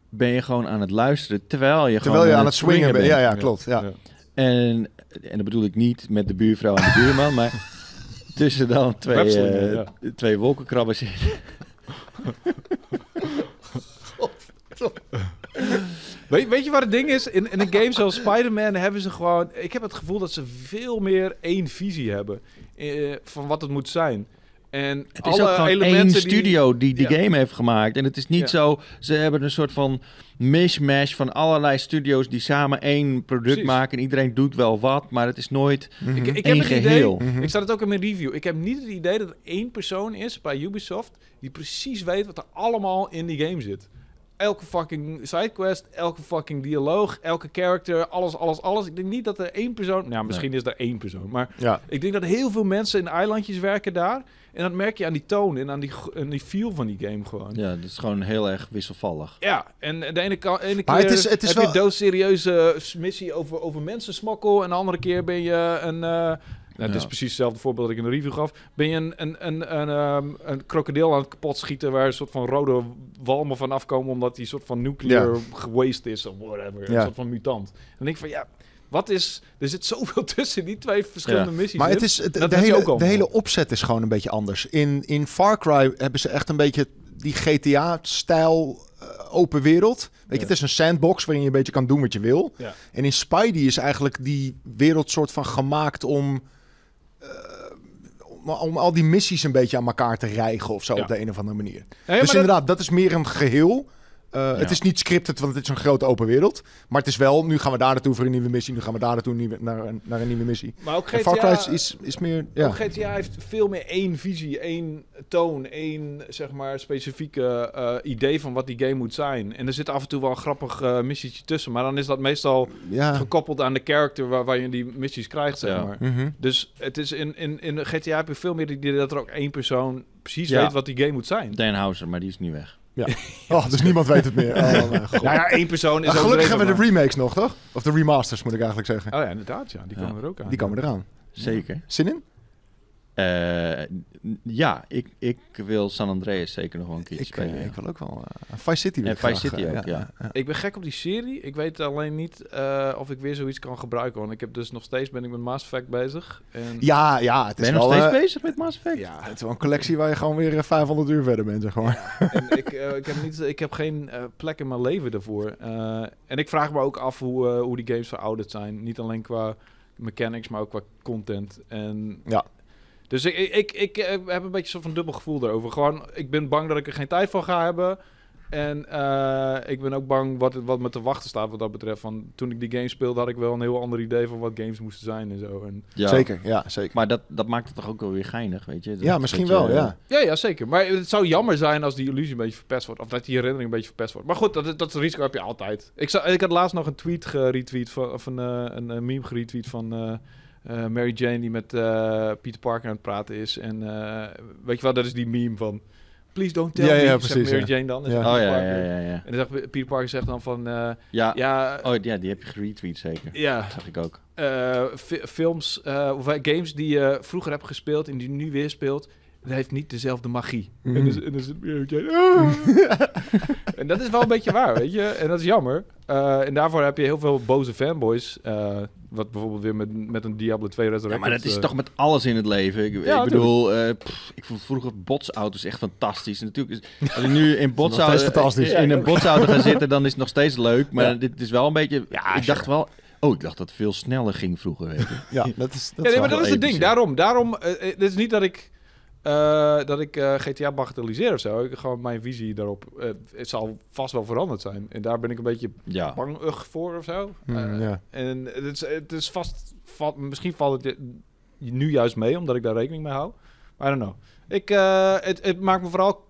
Speaker 3: Ben je gewoon aan het luisteren terwijl je
Speaker 2: Terwijl
Speaker 3: gewoon
Speaker 2: je aan het swingen bent. Ja, ja, klopt. Ja.
Speaker 1: Ja.
Speaker 3: En, en dat bedoel ik niet met de buurvrouw en de buurman, maar tussen dan twee,
Speaker 1: Webslingen,
Speaker 3: eh twee wolkenkrabbers in.
Speaker 1: Weet, weet je wat het ding is? In, in een game zoals Spider-Man hebben ze gewoon... Ik heb het gevoel dat ze veel meer één visie hebben eh, van wat het moet zijn. En
Speaker 3: Het
Speaker 1: alle
Speaker 3: is ook gewoon
Speaker 1: elementen
Speaker 3: één
Speaker 1: die-
Speaker 3: studio die die
Speaker 1: Ja.
Speaker 3: game heeft gemaakt. En het is niet
Speaker 1: Ja.
Speaker 3: zo... Ze hebben een soort van mishmash van allerlei studio's... die samen één product
Speaker 1: Precies.
Speaker 3: maken. En iedereen doet wel wat, maar het is nooit...
Speaker 2: Mhm.
Speaker 1: Ik, ik heb
Speaker 3: Eén
Speaker 1: het idee,
Speaker 3: geheel.
Speaker 2: Mhm.
Speaker 1: ik zat het ook in mijn review. Ik heb niet het idee dat er één persoon is bij Ubisoft die precies weet wat er allemaal in die game zit. Elke fucking sidequest, elke fucking dialoog, elke character, alles, alles, alles. Ik denk niet dat er één persoon. Nou, misschien is er één persoon, maar
Speaker 2: Ja.
Speaker 1: ik denk dat heel veel mensen in eilandjes werken daar. En dat merk je aan die toon en aan die, g- en die feel van die game gewoon. Ja.
Speaker 3: Ja, dat is gewoon heel erg wisselvallig.
Speaker 1: en de ene, ka- ene keer
Speaker 2: Maar het is- het is
Speaker 1: heb
Speaker 2: wel-
Speaker 1: je doodserieuze eh, missie over, over mensensmokkel. En de andere keer ben je een... eh, nou, het is
Speaker 3: Ja.
Speaker 1: precies hetzelfde voorbeeld dat ik in de review gaf. Ben je een, een, een, een, ehm, een krokodil aan het kapot schieten... waar een soort van rode walmen van afkomen... omdat die soort van nuclear gewaste is of whatever.
Speaker 2: Ja.
Speaker 1: Een soort van mutant. En dan denk ik van, ja, wat is... Er zit zoveel tussen die twee verschillende missies
Speaker 2: Maar
Speaker 1: in.
Speaker 2: het is, het-
Speaker 1: Dat
Speaker 2: de,
Speaker 1: had je
Speaker 2: hele,
Speaker 1: ook al.
Speaker 2: de hele opzet is gewoon een beetje anders. In, in Far Cry hebben ze echt een beetje die GTA-stijl eh, open wereld. Weet je,
Speaker 1: Ja.
Speaker 2: het is een sandbox waarin je een beetje kan doen wat je wil.
Speaker 1: Ja.
Speaker 2: En in Spidey is eigenlijk die wereld soort van gemaakt om, eh, om, om al die missies een beetje aan elkaar te rijgen of zo
Speaker 1: Ja.
Speaker 2: op de een of andere manier.
Speaker 1: Nee,
Speaker 2: dus
Speaker 1: maar dat-
Speaker 2: inderdaad, dat... is meer een geheel. Uh, Het is niet scripted, want het is een grote open wereld. Maar het is wel, nu gaan we daar naartoe voor een nieuwe missie. Nu gaan we daar naartoe nieuwe- naar, een- naar een nieuwe missie.
Speaker 1: Maar ook
Speaker 2: En Far Cry is,
Speaker 1: GTA,
Speaker 2: is, is meer... Ja.
Speaker 1: ook GTA heeft veel meer één visie, één toon, één zeg maar specifieke eh, idee van wat die game moet zijn. En er zit af en toe wel een grappig eh, missietje tussen, maar dan is dat meestal
Speaker 2: ja.
Speaker 1: gekoppeld aan de character waar, waar je die missies krijgt, zeg
Speaker 3: Ja.
Speaker 1: maar.
Speaker 2: Mhm.
Speaker 1: Dus het is in, in, in GTA heb je veel meer het idee dat er ook één persoon precies
Speaker 3: Ja.
Speaker 1: weet wat die game moet zijn.
Speaker 3: Dan Houser, maar die is nu weg.
Speaker 2: Oh, dus niemand weet het meer. Oh, mijn god.
Speaker 1: Nou ja, één persoon is
Speaker 2: Maar Ah, gelukkig
Speaker 1: overdreven,
Speaker 2: hebben we de
Speaker 1: maar-
Speaker 2: remakes nog, toch? Of de remasters, moet ik eigenlijk zeggen.
Speaker 1: Oh ja, inderdaad, ja. Die
Speaker 3: Ja.
Speaker 1: komen er ook aan.
Speaker 2: Die komen eraan.
Speaker 3: Zeker.
Speaker 2: Zin in?
Speaker 3: Eh, n- ja, ik, ik wil San Andreas zeker nog wel een keertje
Speaker 2: Ik, eh,
Speaker 3: spelen. ja.
Speaker 2: ik wil ook wel... eh, Vice City wil
Speaker 3: En
Speaker 2: ik
Speaker 3: Vice
Speaker 2: graag,
Speaker 3: City
Speaker 2: eh,
Speaker 3: ook, ja.
Speaker 1: Ik ben gek op die serie. Ik weet alleen niet eh, of ik weer zoiets kan gebruiken. Want ik heb dus nog steeds ben ik met Mass Effect bezig. En
Speaker 2: Ja, ja, het
Speaker 3: Ben
Speaker 2: is
Speaker 3: je
Speaker 2: wel...
Speaker 3: nog steeds
Speaker 2: eh,
Speaker 3: bezig met Mass Effect?
Speaker 1: Ja,
Speaker 2: het is wel een collectie waar je gewoon weer eh, 500 uur verder bent, zeg maar.
Speaker 1: en ik, eh, ik, heb niet, ik heb geen eh, plek in mijn leven daarvoor. Eh, en ik vraag me ook af hoe, eh, hoe die games verouderd zijn. Niet alleen qua mechanics, maar ook qua content. En,
Speaker 2: Ja.
Speaker 1: Dus ik, ik, ik, ik, eh, heb een beetje zo van dubbel gevoel daarover. Gewoon, ik ben bang dat ik er geen tijd voor ga hebben. En eh, ik ben ook bang wat, wat me te wachten staat wat dat betreft. Van, toen ik die game speelde had ik wel een heel ander idee van wat games moesten zijn en zo. En,
Speaker 3: Ja.
Speaker 2: Zeker, ja, zeker.
Speaker 3: Maar dat, dat maakt het toch ook wel weer geinig, weet je? Dat
Speaker 2: Ja,
Speaker 3: is
Speaker 2: misschien
Speaker 3: dat eh, je-
Speaker 2: wel, ja.
Speaker 1: Ja, ja, zeker. Maar het zou jammer zijn als die illusie een beetje verpest wordt. Of dat die herinnering een beetje verpest wordt. Maar goed, dat, dat risico heb je altijd. Ik, zou, ik had laatst nog een tweet geretweet, van, of een, eh, een eh, meme geretweet van eh, eh, Mary Jane die met eh, Peter Parker aan het praten is. En eh, weet je wel, dat is die meme van... Please don't tell
Speaker 2: Ja,
Speaker 1: me,
Speaker 2: ja,
Speaker 1: zegt
Speaker 2: precies,
Speaker 1: Mary
Speaker 2: ja.
Speaker 1: Jane dan. En
Speaker 2: Ja.
Speaker 1: zegt
Speaker 3: Oh
Speaker 1: Peter
Speaker 3: ja,
Speaker 1: Parker-
Speaker 3: ja, ja, Ah. ja.
Speaker 1: En dan zegt Peter Parker zegt dan van... eh,
Speaker 3: Ja,
Speaker 1: ja, eh,
Speaker 3: Oh ja, die heb je geretweet zeker.
Speaker 1: ja,
Speaker 3: Dat zag ik ook.
Speaker 1: eh, fi- films eh, of games die je vroeger hebt gespeeld en die je nu weer speelt, dat heeft niet dezelfde magie.
Speaker 2: Mhm.
Speaker 1: En, dus, en, dus, Ah. en dat is wel een beetje waar, weet je. En dat is jammer. Eh, en daarvoor heb je heel veel boze fanboys eh, Wat bijvoorbeeld weer met, met een Diablo 2 Resurrected...
Speaker 3: Ja, maar dat is
Speaker 1: eh,
Speaker 3: toch met alles in het leven. Ik,
Speaker 1: Ja,
Speaker 3: ik bedoel, eh, pff, ik vond vroeger botsauto's echt fantastisch. Natuurlijk, is- als ik nu in, botsauto,
Speaker 2: steeds fantastisch.
Speaker 3: in een botsauto ga zitten, dan is het nog steeds leuk. Maar
Speaker 2: Ja.
Speaker 3: dit is wel een beetje... ik dacht wel... Oh, ik dacht dat het veel sneller ging vroeger. Weet je.
Speaker 2: Ja, dat is, dat
Speaker 1: ja,
Speaker 2: is
Speaker 1: nee, maar
Speaker 2: wel-
Speaker 1: dat is het
Speaker 3: episch,
Speaker 1: ding.
Speaker 3: ja.
Speaker 1: Daarom, daarom, eh, eh, het is niet dat ik, eh, dat ik eh, GTA bagatelliseer of zo. Ik, gewoon mijn visie daarop, eh, het zal vast wel veranderd zijn. En daar ben ik een beetje
Speaker 3: Ja.
Speaker 1: bangig voor of zo.
Speaker 2: Oh. Hmm,
Speaker 1: Eh,
Speaker 2: ja.
Speaker 1: En het is, het is vast, va- misschien valt het je- nu juist mee, omdat ik daar rekening mee hou. Maar I don't know. Ik, eh, het, het maakt me vooral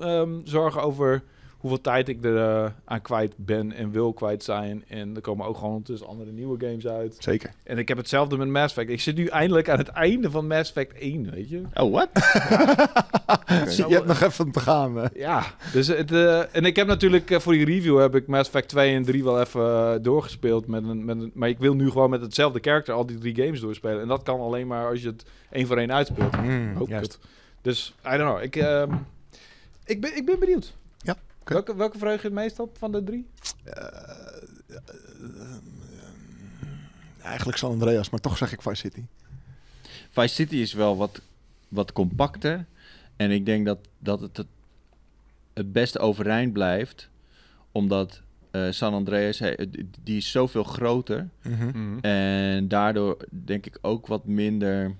Speaker 1: ehm, zorgen over hoeveel tijd ik er eh, aan kwijt ben en wil kwijt zijn. En er komen ook gewoon tussen andere nieuwe games uit.
Speaker 2: Zeker.
Speaker 1: En ik heb hetzelfde met Mass Effect. Ik zit nu eindelijk aan het einde van Mass Effect 1, weet je?
Speaker 3: Oh, wat?
Speaker 1: zou
Speaker 2: Je
Speaker 1: wel-
Speaker 2: hebt nog even te gaan. eh.
Speaker 1: Ja, dus het, eh, en ik heb natuurlijk eh, voor die review heb ik Mass Effect 2 en 3 wel even eh, doorgespeeld. Met een, met een, maar ik wil nu gewoon met hetzelfde karakter al die drie games doorspelen. En dat kan alleen maar als je het één voor één uitspeelt.
Speaker 3: Mm,
Speaker 1: Hoop ik
Speaker 2: juist.
Speaker 1: het. Dus, I don't know. Ik, ehm, ik, ben, ik ben benieuwd.
Speaker 2: Ja, oké.
Speaker 1: Welke, welke vreug je het meest op van de drie?
Speaker 2: Eh, Eigenlijk San Andreas, maar toch zeg ik Vice City.
Speaker 3: Vice City is wel wat, wat compacter. En ik denk dat, dat het het, het beste overeind blijft. Omdat eh, San Andreas, hij- die is zoveel groter.
Speaker 1: Mhm.
Speaker 3: Mhm. En daardoor denk ik ook wat minder.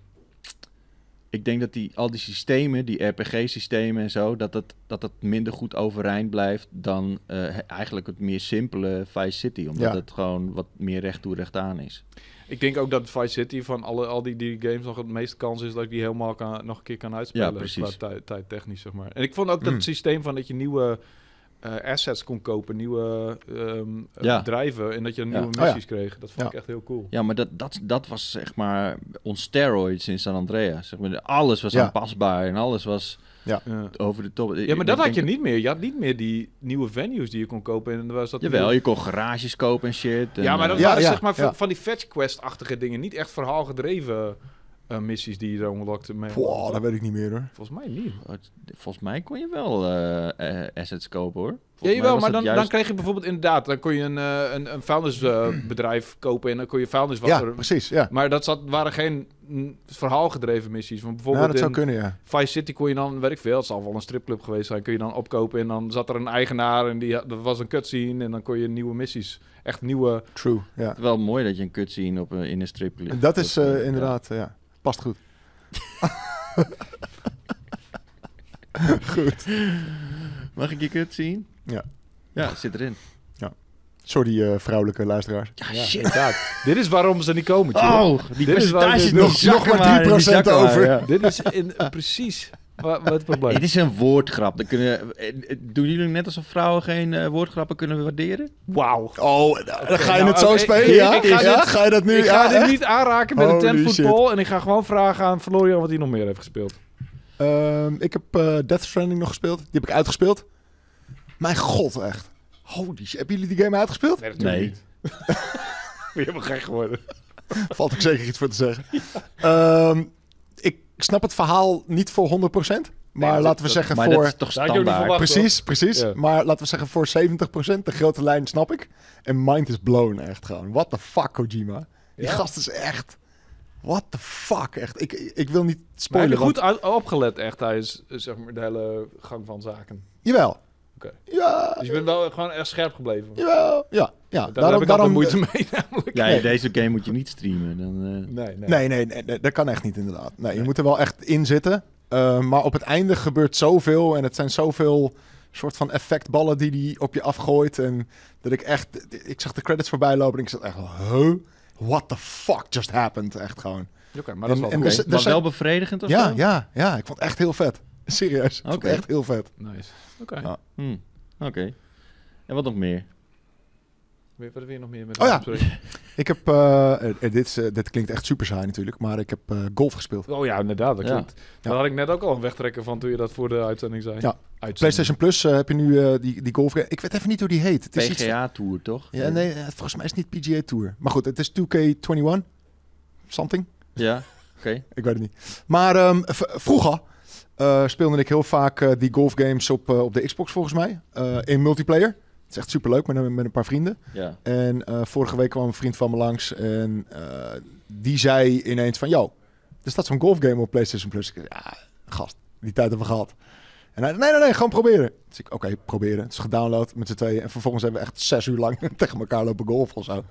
Speaker 3: Ik denk dat die, al die systemen, die RPG-systemen en zo, dat het, dat het minder goed overeind blijft dan eh, he- eigenlijk het meer simpele Vice City. Omdat
Speaker 2: Ja.
Speaker 3: het gewoon wat meer recht toe recht aan is.
Speaker 1: Ik denk ook dat Vice City van alle, al die, die games nog het meeste kans is dat ik die helemaal kan, nog een keer kan uitspelen.
Speaker 3: Ja, precies.
Speaker 1: Qua tijd tijdtechnisch, zeg maar. En ik vond ook dat
Speaker 2: Mm.
Speaker 1: systeem van dat je nieuwe eh, assets kon kopen, nieuwe ehm, eh,
Speaker 3: Ja.
Speaker 1: bedrijven en dat je nieuwe
Speaker 2: Oh ja.
Speaker 1: missies kreeg. Dat vond
Speaker 2: Ja.
Speaker 1: ik echt heel cool.
Speaker 3: Ja, maar dat, dat, dat was zeg maar ons steroids in San Andreas. Zeg maar, alles was
Speaker 2: Ja.
Speaker 3: aanpasbaar en alles was
Speaker 1: Ja.
Speaker 3: over de top.
Speaker 1: Ja, maar dat had je
Speaker 3: denk-
Speaker 1: niet meer. Je had niet meer die nieuwe venues die je kon kopen. En dan was dat
Speaker 3: Jawel, je kon garages kopen en shit. En,
Speaker 1: Ja, maar dat
Speaker 3: eh,
Speaker 2: Ja,
Speaker 1: waren
Speaker 2: ja,
Speaker 1: zeg maar van-
Speaker 2: ja.
Speaker 1: van die fetch quest-achtige dingen. Niet echt verhaalgedreven eh, missies die je dan unlockte. mee-
Speaker 2: Wow, dat weet ik niet meer hoor.
Speaker 1: Volgens mij niet.
Speaker 3: Volgens mij kon je wel eh, eh, assets kopen hoor. Volgens
Speaker 1: Ja,
Speaker 3: mij
Speaker 1: jawel,
Speaker 3: was
Speaker 1: maar
Speaker 3: dat
Speaker 1: dan, dan kreeg je bijvoorbeeld inderdaad, dan kon je een, eh, een, een vuilnisbedrijf kopen en dan kon je
Speaker 2: Ja,
Speaker 1: vuilniswasser.
Speaker 2: precies. Ja. Nou,
Speaker 1: maar dat zat, waren geen mm, verhaalgedreven missies. Want
Speaker 2: Nou,
Speaker 1: bijvoorbeeld
Speaker 2: dat zou
Speaker 1: in
Speaker 2: kunnen, ja.
Speaker 1: Vice City kon je dan, weet ik veel, het zal wel een stripclub geweest zijn, kun je dan opkopen en dan zat er een eigenaar en die, had- dat was een cutscene en dan kon je nieuwe missies, echt nieuwe...
Speaker 2: True. Ja.
Speaker 3: Wel mooi dat je een kut zien op een, in een stripclub.
Speaker 2: Dat is eh,
Speaker 3: ja.
Speaker 2: inderdaad, eh, ja. Past goed.
Speaker 3: Mag ik je kut zien?
Speaker 2: Ja.
Speaker 3: Ja, zit erin.
Speaker 2: Sorry, eh, vrouwelijke luisteraars.
Speaker 3: Ja, shit.
Speaker 1: Inderdaad. Dit is waarom ze niet komen, tjoh.
Speaker 3: Oh, die
Speaker 1: Dit is waar
Speaker 3: percentages
Speaker 1: dit
Speaker 3: die
Speaker 2: nog-
Speaker 3: zakken
Speaker 2: nog maar
Speaker 3: waren, die
Speaker 2: 3%
Speaker 3: zakken
Speaker 2: over.
Speaker 3: waren, ja.
Speaker 1: Dit is in, eh, precies wat, wat het probleem
Speaker 3: Dit is een woordgrap. Dan kunnen, eh, eh, doen jullie net alsof vrouwen geen eh, woordgrappen kunnen waarderen?
Speaker 1: Wauw.
Speaker 2: Oh, nou, dan ga je
Speaker 1: nou,
Speaker 2: het zo
Speaker 1: oké,
Speaker 2: spelen,
Speaker 1: ik-
Speaker 2: ja?
Speaker 1: ik ga
Speaker 2: ja?
Speaker 1: dit-
Speaker 2: Ga je dat nu?
Speaker 1: ik ga
Speaker 2: ja,
Speaker 1: dit
Speaker 2: echt?
Speaker 1: niet aanraken met een
Speaker 2: Holy
Speaker 1: tentvoetbal en ik ga gewoon vragen aan Florian wat hij nog meer heeft gespeeld.
Speaker 2: Ehm, ik heb eh, Death Stranding nog gespeeld. Die heb ik uitgespeeld. Mijn god, echt. Holy shit. Hebben jullie die game uitgespeeld?
Speaker 1: Nee,
Speaker 3: natuurlijk Nee. niet.
Speaker 1: Je hebt gek geworden.
Speaker 2: Valt ik zeker iets voor te zeggen. Ehm, ik snap het verhaal niet voor 100%. Maar
Speaker 1: dat-
Speaker 2: laten we
Speaker 1: dat-
Speaker 2: zeggen
Speaker 3: Maar dat
Speaker 2: voor...
Speaker 3: is toch
Speaker 1: Daar had ik jullie
Speaker 3: standaard?
Speaker 1: verwacht.
Speaker 2: Precies, precies.
Speaker 1: Ja.
Speaker 2: Maar laten we zeggen voor 70%. De grote lijn snap ik. En mind is blown echt gewoon. What the fuck, Kojima? Die
Speaker 1: Ja.
Speaker 2: gast is echt... What the fuck, echt. Ik, ik wil niet
Speaker 1: Maar heb je
Speaker 2: spoilen. want-
Speaker 1: goed uit- opgelet echt tijdens eh, zeg maar, de hele gang van zaken.
Speaker 2: Jawel.
Speaker 1: Oké.
Speaker 2: Ja,
Speaker 1: Dus je bent wel gewoon echt scherp gebleven. Daar
Speaker 2: jawel. Ja, ja.
Speaker 1: heb ik altijd moeite mee namelijk.
Speaker 3: Ja,
Speaker 2: Nee.
Speaker 3: deze game moet je niet streamen. Dan, eh,
Speaker 1: Nee, nee.
Speaker 2: Nee, nee, nee, nee, dat kan echt niet inderdaad. Nee, je moet er wel echt in zitten. Eh, maar op het einde gebeurt zoveel en het zijn zoveel soort van effectballen die hij op je afgooit. En dat ik echt, ik zag de credits voorbij lopen en ik zat echt, huh? What the fuck just happened? Echt gewoon.
Speaker 1: Oké, maar dat is wel
Speaker 2: En- en
Speaker 1: oké.
Speaker 2: dus-
Speaker 3: maar
Speaker 2: zijn-
Speaker 3: wel bevredigend of
Speaker 2: Ja,
Speaker 3: zo?
Speaker 2: ja, ja, ik vond het echt heel vet. Serieus, ik vond
Speaker 3: Oké.
Speaker 2: het echt heel vet.
Speaker 1: Nice. Oké.
Speaker 2: Ja.
Speaker 3: Hm, Oké. En wat nog meer?
Speaker 1: Wat heb je nog meer met
Speaker 2: Oh ja.
Speaker 1: Sorry.
Speaker 2: Ik heb, eh, eh, dit, is, eh, dit klinkt echt super saai natuurlijk, maar ik heb eh, golf gespeeld.
Speaker 1: Oh ja, inderdaad. Dat
Speaker 3: Ja.
Speaker 1: klopt. Daar had ik net ook al een wegtrekker van toen je dat voor de uitzending zei.
Speaker 2: Ja.
Speaker 1: Uitzending.
Speaker 2: PlayStation Plus eh, heb je nu eh, die, die golf... Ik weet even niet hoe die heet. Het is iets
Speaker 3: PGA-tour, toch?
Speaker 2: Ja, nee, eh, volgens mij is het niet PGA Tour. Maar goed, het is 2K21. Something.
Speaker 3: Ja, oké.
Speaker 2: Ik weet het niet. Maar ehm, v- vroeger eh, speelde ik heel vaak eh, die golfgames op, eh, op de Xbox volgens mij. eh, in multiplayer. Het is echt superleuk met een, met een paar vrienden.
Speaker 3: Ja.
Speaker 2: En eh, vorige week kwam een vriend van me langs en eh, die zei ineens van... Yo, er staat zo'n golfgame op PlayStation Plus. Ik zei, ja, gast, die tijd hebben we gehad. En hij, nee, nee, nee, gewoon proberen. Dus ik, oké, proberen. Het is gedownload met z'n tweeën. En vervolgens hebben we echt zes uur lang tegen elkaar lopen golf of zo.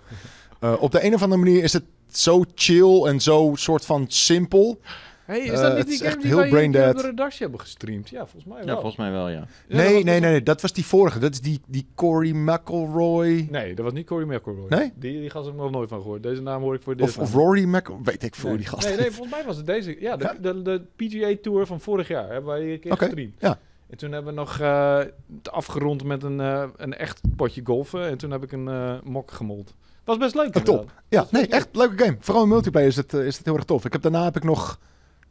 Speaker 2: Eh, op de een of andere manier is het zo chill en zo soort van simpel.
Speaker 1: Hey, is
Speaker 2: Eh,
Speaker 1: dat
Speaker 2: het
Speaker 1: niet
Speaker 2: is
Speaker 1: die
Speaker 2: echt
Speaker 1: game die
Speaker 2: heel
Speaker 1: wij hier
Speaker 2: braindead.
Speaker 1: op de redactie hebben gestreamd? Ja, volgens mij wel.
Speaker 3: ja, volgens mij wel, ja.
Speaker 1: Ja, dat
Speaker 2: nee,
Speaker 1: was-
Speaker 2: nee, nee, nee, dat was die vorige. Dat is die, die Cory McElroy.
Speaker 1: Nee, dat was niet Cory McElroy.
Speaker 2: Nee?
Speaker 1: Die, die gast heb ik nog nooit van gehoord. Deze naam hoor ik voor dit.
Speaker 2: Of, of Rory McElroy. Weet ik veel
Speaker 1: nee.
Speaker 2: hoe die gast
Speaker 1: Nee, nee,
Speaker 2: heet.
Speaker 1: volgens mij was het deze. Ja, de,
Speaker 2: Ja?
Speaker 1: De, de PGA Tour van vorig jaar hebben wij hier een keer
Speaker 2: Oké,
Speaker 1: gestreamd.
Speaker 2: ja.
Speaker 1: En toen hebben we nog eh, het afgerond met een, eh, een echt potje golfen. En toen heb ik een eh, mok gemold. Was best leuk.
Speaker 2: Ja, top.
Speaker 1: inderdaad.
Speaker 2: Ja,
Speaker 1: Dat is
Speaker 2: nee,
Speaker 1: best leuk.
Speaker 2: echt leuke game. Vooral in multiplayer is het, eh, is het heel erg tof. Ik heb, daarna heb ik nog,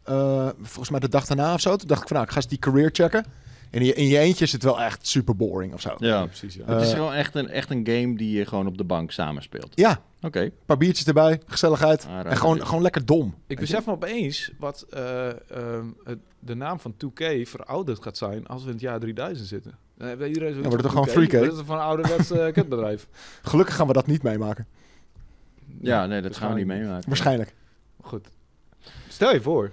Speaker 2: eh, volgens mij de dag daarna of zo, toen dacht ik van nou, ik ga eens die career checken. En in je, in je eentje is het wel echt super boring of zo. Ja,
Speaker 1: Ja,
Speaker 3: ja.
Speaker 1: precies. Ja.
Speaker 2: Eh,
Speaker 3: het is gewoon echt een, echt een game die je gewoon op de bank samenspeelt. Oké.
Speaker 2: een paar biertjes erbij, gezelligheid.
Speaker 3: Ah, raar.
Speaker 2: en gewoon, gewoon lekker dom.
Speaker 1: ik besef me opeens wat eh, ehm, het- de naam van 2K verouderd gaat zijn als we in het jaar 3000 zitten. Dan hebben iedereen zoiets
Speaker 2: Dan wordt het
Speaker 1: van
Speaker 2: toch gewoon 3K?
Speaker 1: Dat is het van een ouderwets eh, kutbedrijf.
Speaker 2: Gelukkig gaan we dat niet meemaken.
Speaker 3: Ja, nee, dat gaan we niet meemaken.
Speaker 2: Dus Waarschijnlijk.
Speaker 1: Goed. Stel je voor.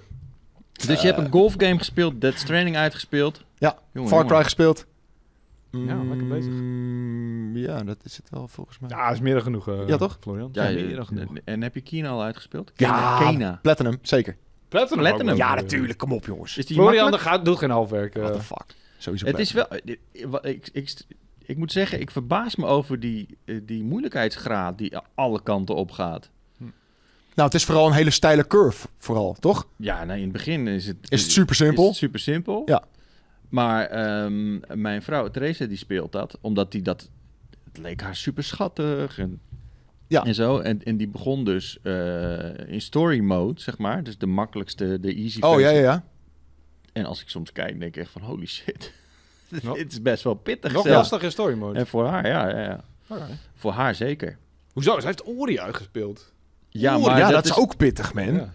Speaker 3: Dus je hebt een golfgame gespeeld, Dead Stranding uitgespeeld.
Speaker 2: Eh. Ja,
Speaker 3: Jongen,
Speaker 2: Far Cry
Speaker 3: jongen.
Speaker 2: gespeeld.
Speaker 1: Ja, lekker bezig.
Speaker 2: Mm, Ja, dat is het wel volgens mij.
Speaker 1: Ja, is meer dan genoeg. eh,
Speaker 2: Ja, toch?
Speaker 1: Florian.
Speaker 3: Ja,
Speaker 1: meer dan genoeg.
Speaker 3: je- en heb je Kena al uitgespeeld?
Speaker 2: Ja.
Speaker 3: Kena.
Speaker 2: Platinum, zeker.
Speaker 1: Platinum.
Speaker 3: Platinum.
Speaker 1: ook wel.
Speaker 2: Ja, natuurlijk. Kom op, jongens.
Speaker 3: Is die
Speaker 1: Florian
Speaker 3: makkelijk?
Speaker 1: dat gaat, doet geen halfwerk. eh.
Speaker 2: What the fuck. Sowieso
Speaker 3: Het is
Speaker 2: Platinum.
Speaker 3: wel. Ik, ik, ik moet zeggen, ik verbaas me over die, eh, die moeilijkheidsgraad die alle kanten op gaat.
Speaker 2: Nou, het is vooral een hele steile curve, vooral, toch?
Speaker 3: Ja, nou, in het begin is het.
Speaker 2: Is het super simpel?
Speaker 3: Is het super simpel.
Speaker 2: Ja.
Speaker 3: Maar ehm, mijn vrouw Theresa die speelt dat, omdat die dat. Het leek haar super schattig en,
Speaker 2: Ja.
Speaker 3: en zo. En, en die begon dus eh, in story mode, zeg maar. Dus de makkelijkste, de easy
Speaker 2: Oh,
Speaker 3: versie.
Speaker 2: ja, ja, ja.
Speaker 3: En als ik soms kijk, denk ik echt van holy shit. Dit
Speaker 1: Nog-
Speaker 3: is best wel pittig
Speaker 1: Nog
Speaker 3: zelfs.
Speaker 1: lastig in story mode.
Speaker 3: En voor haar, ja, ja, ja. Voor haar zeker.
Speaker 1: Hoezo? Ze heeft Ori uitgespeeld.
Speaker 3: Ja,
Speaker 2: Oeh,
Speaker 3: maar
Speaker 2: ja, dat,
Speaker 3: is,
Speaker 2: is ook pittig, man. Ja,
Speaker 1: Ja.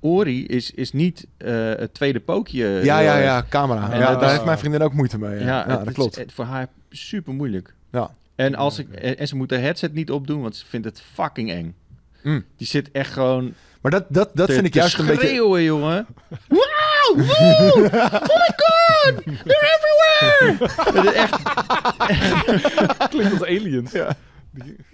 Speaker 3: Ori is, is niet eh, het tweede pookje. eh,
Speaker 2: ja, ja, camera.
Speaker 1: Ja,
Speaker 2: ja,
Speaker 1: dat
Speaker 2: daar
Speaker 1: is-
Speaker 2: heeft mijn vriendin ook moeite mee.
Speaker 3: Ja,
Speaker 2: Ja, ja,
Speaker 3: het
Speaker 2: dat
Speaker 3: is-
Speaker 2: klopt.
Speaker 3: het- voor haar super moeilijk.
Speaker 2: Ja.
Speaker 3: En, als ik, en en ze moet de headset niet opdoen, want ze vindt het fucking eng.
Speaker 2: Mm.
Speaker 3: Die zit echt gewoon.
Speaker 2: Maar dat, dat, dat
Speaker 3: te-
Speaker 2: vind ik
Speaker 3: te
Speaker 2: juist een beetje...
Speaker 3: schreeuwen, jongen. Wow! Woe! Oh my god! They're everywhere! Het is echt,
Speaker 1: Klinkt als aliens. Ja.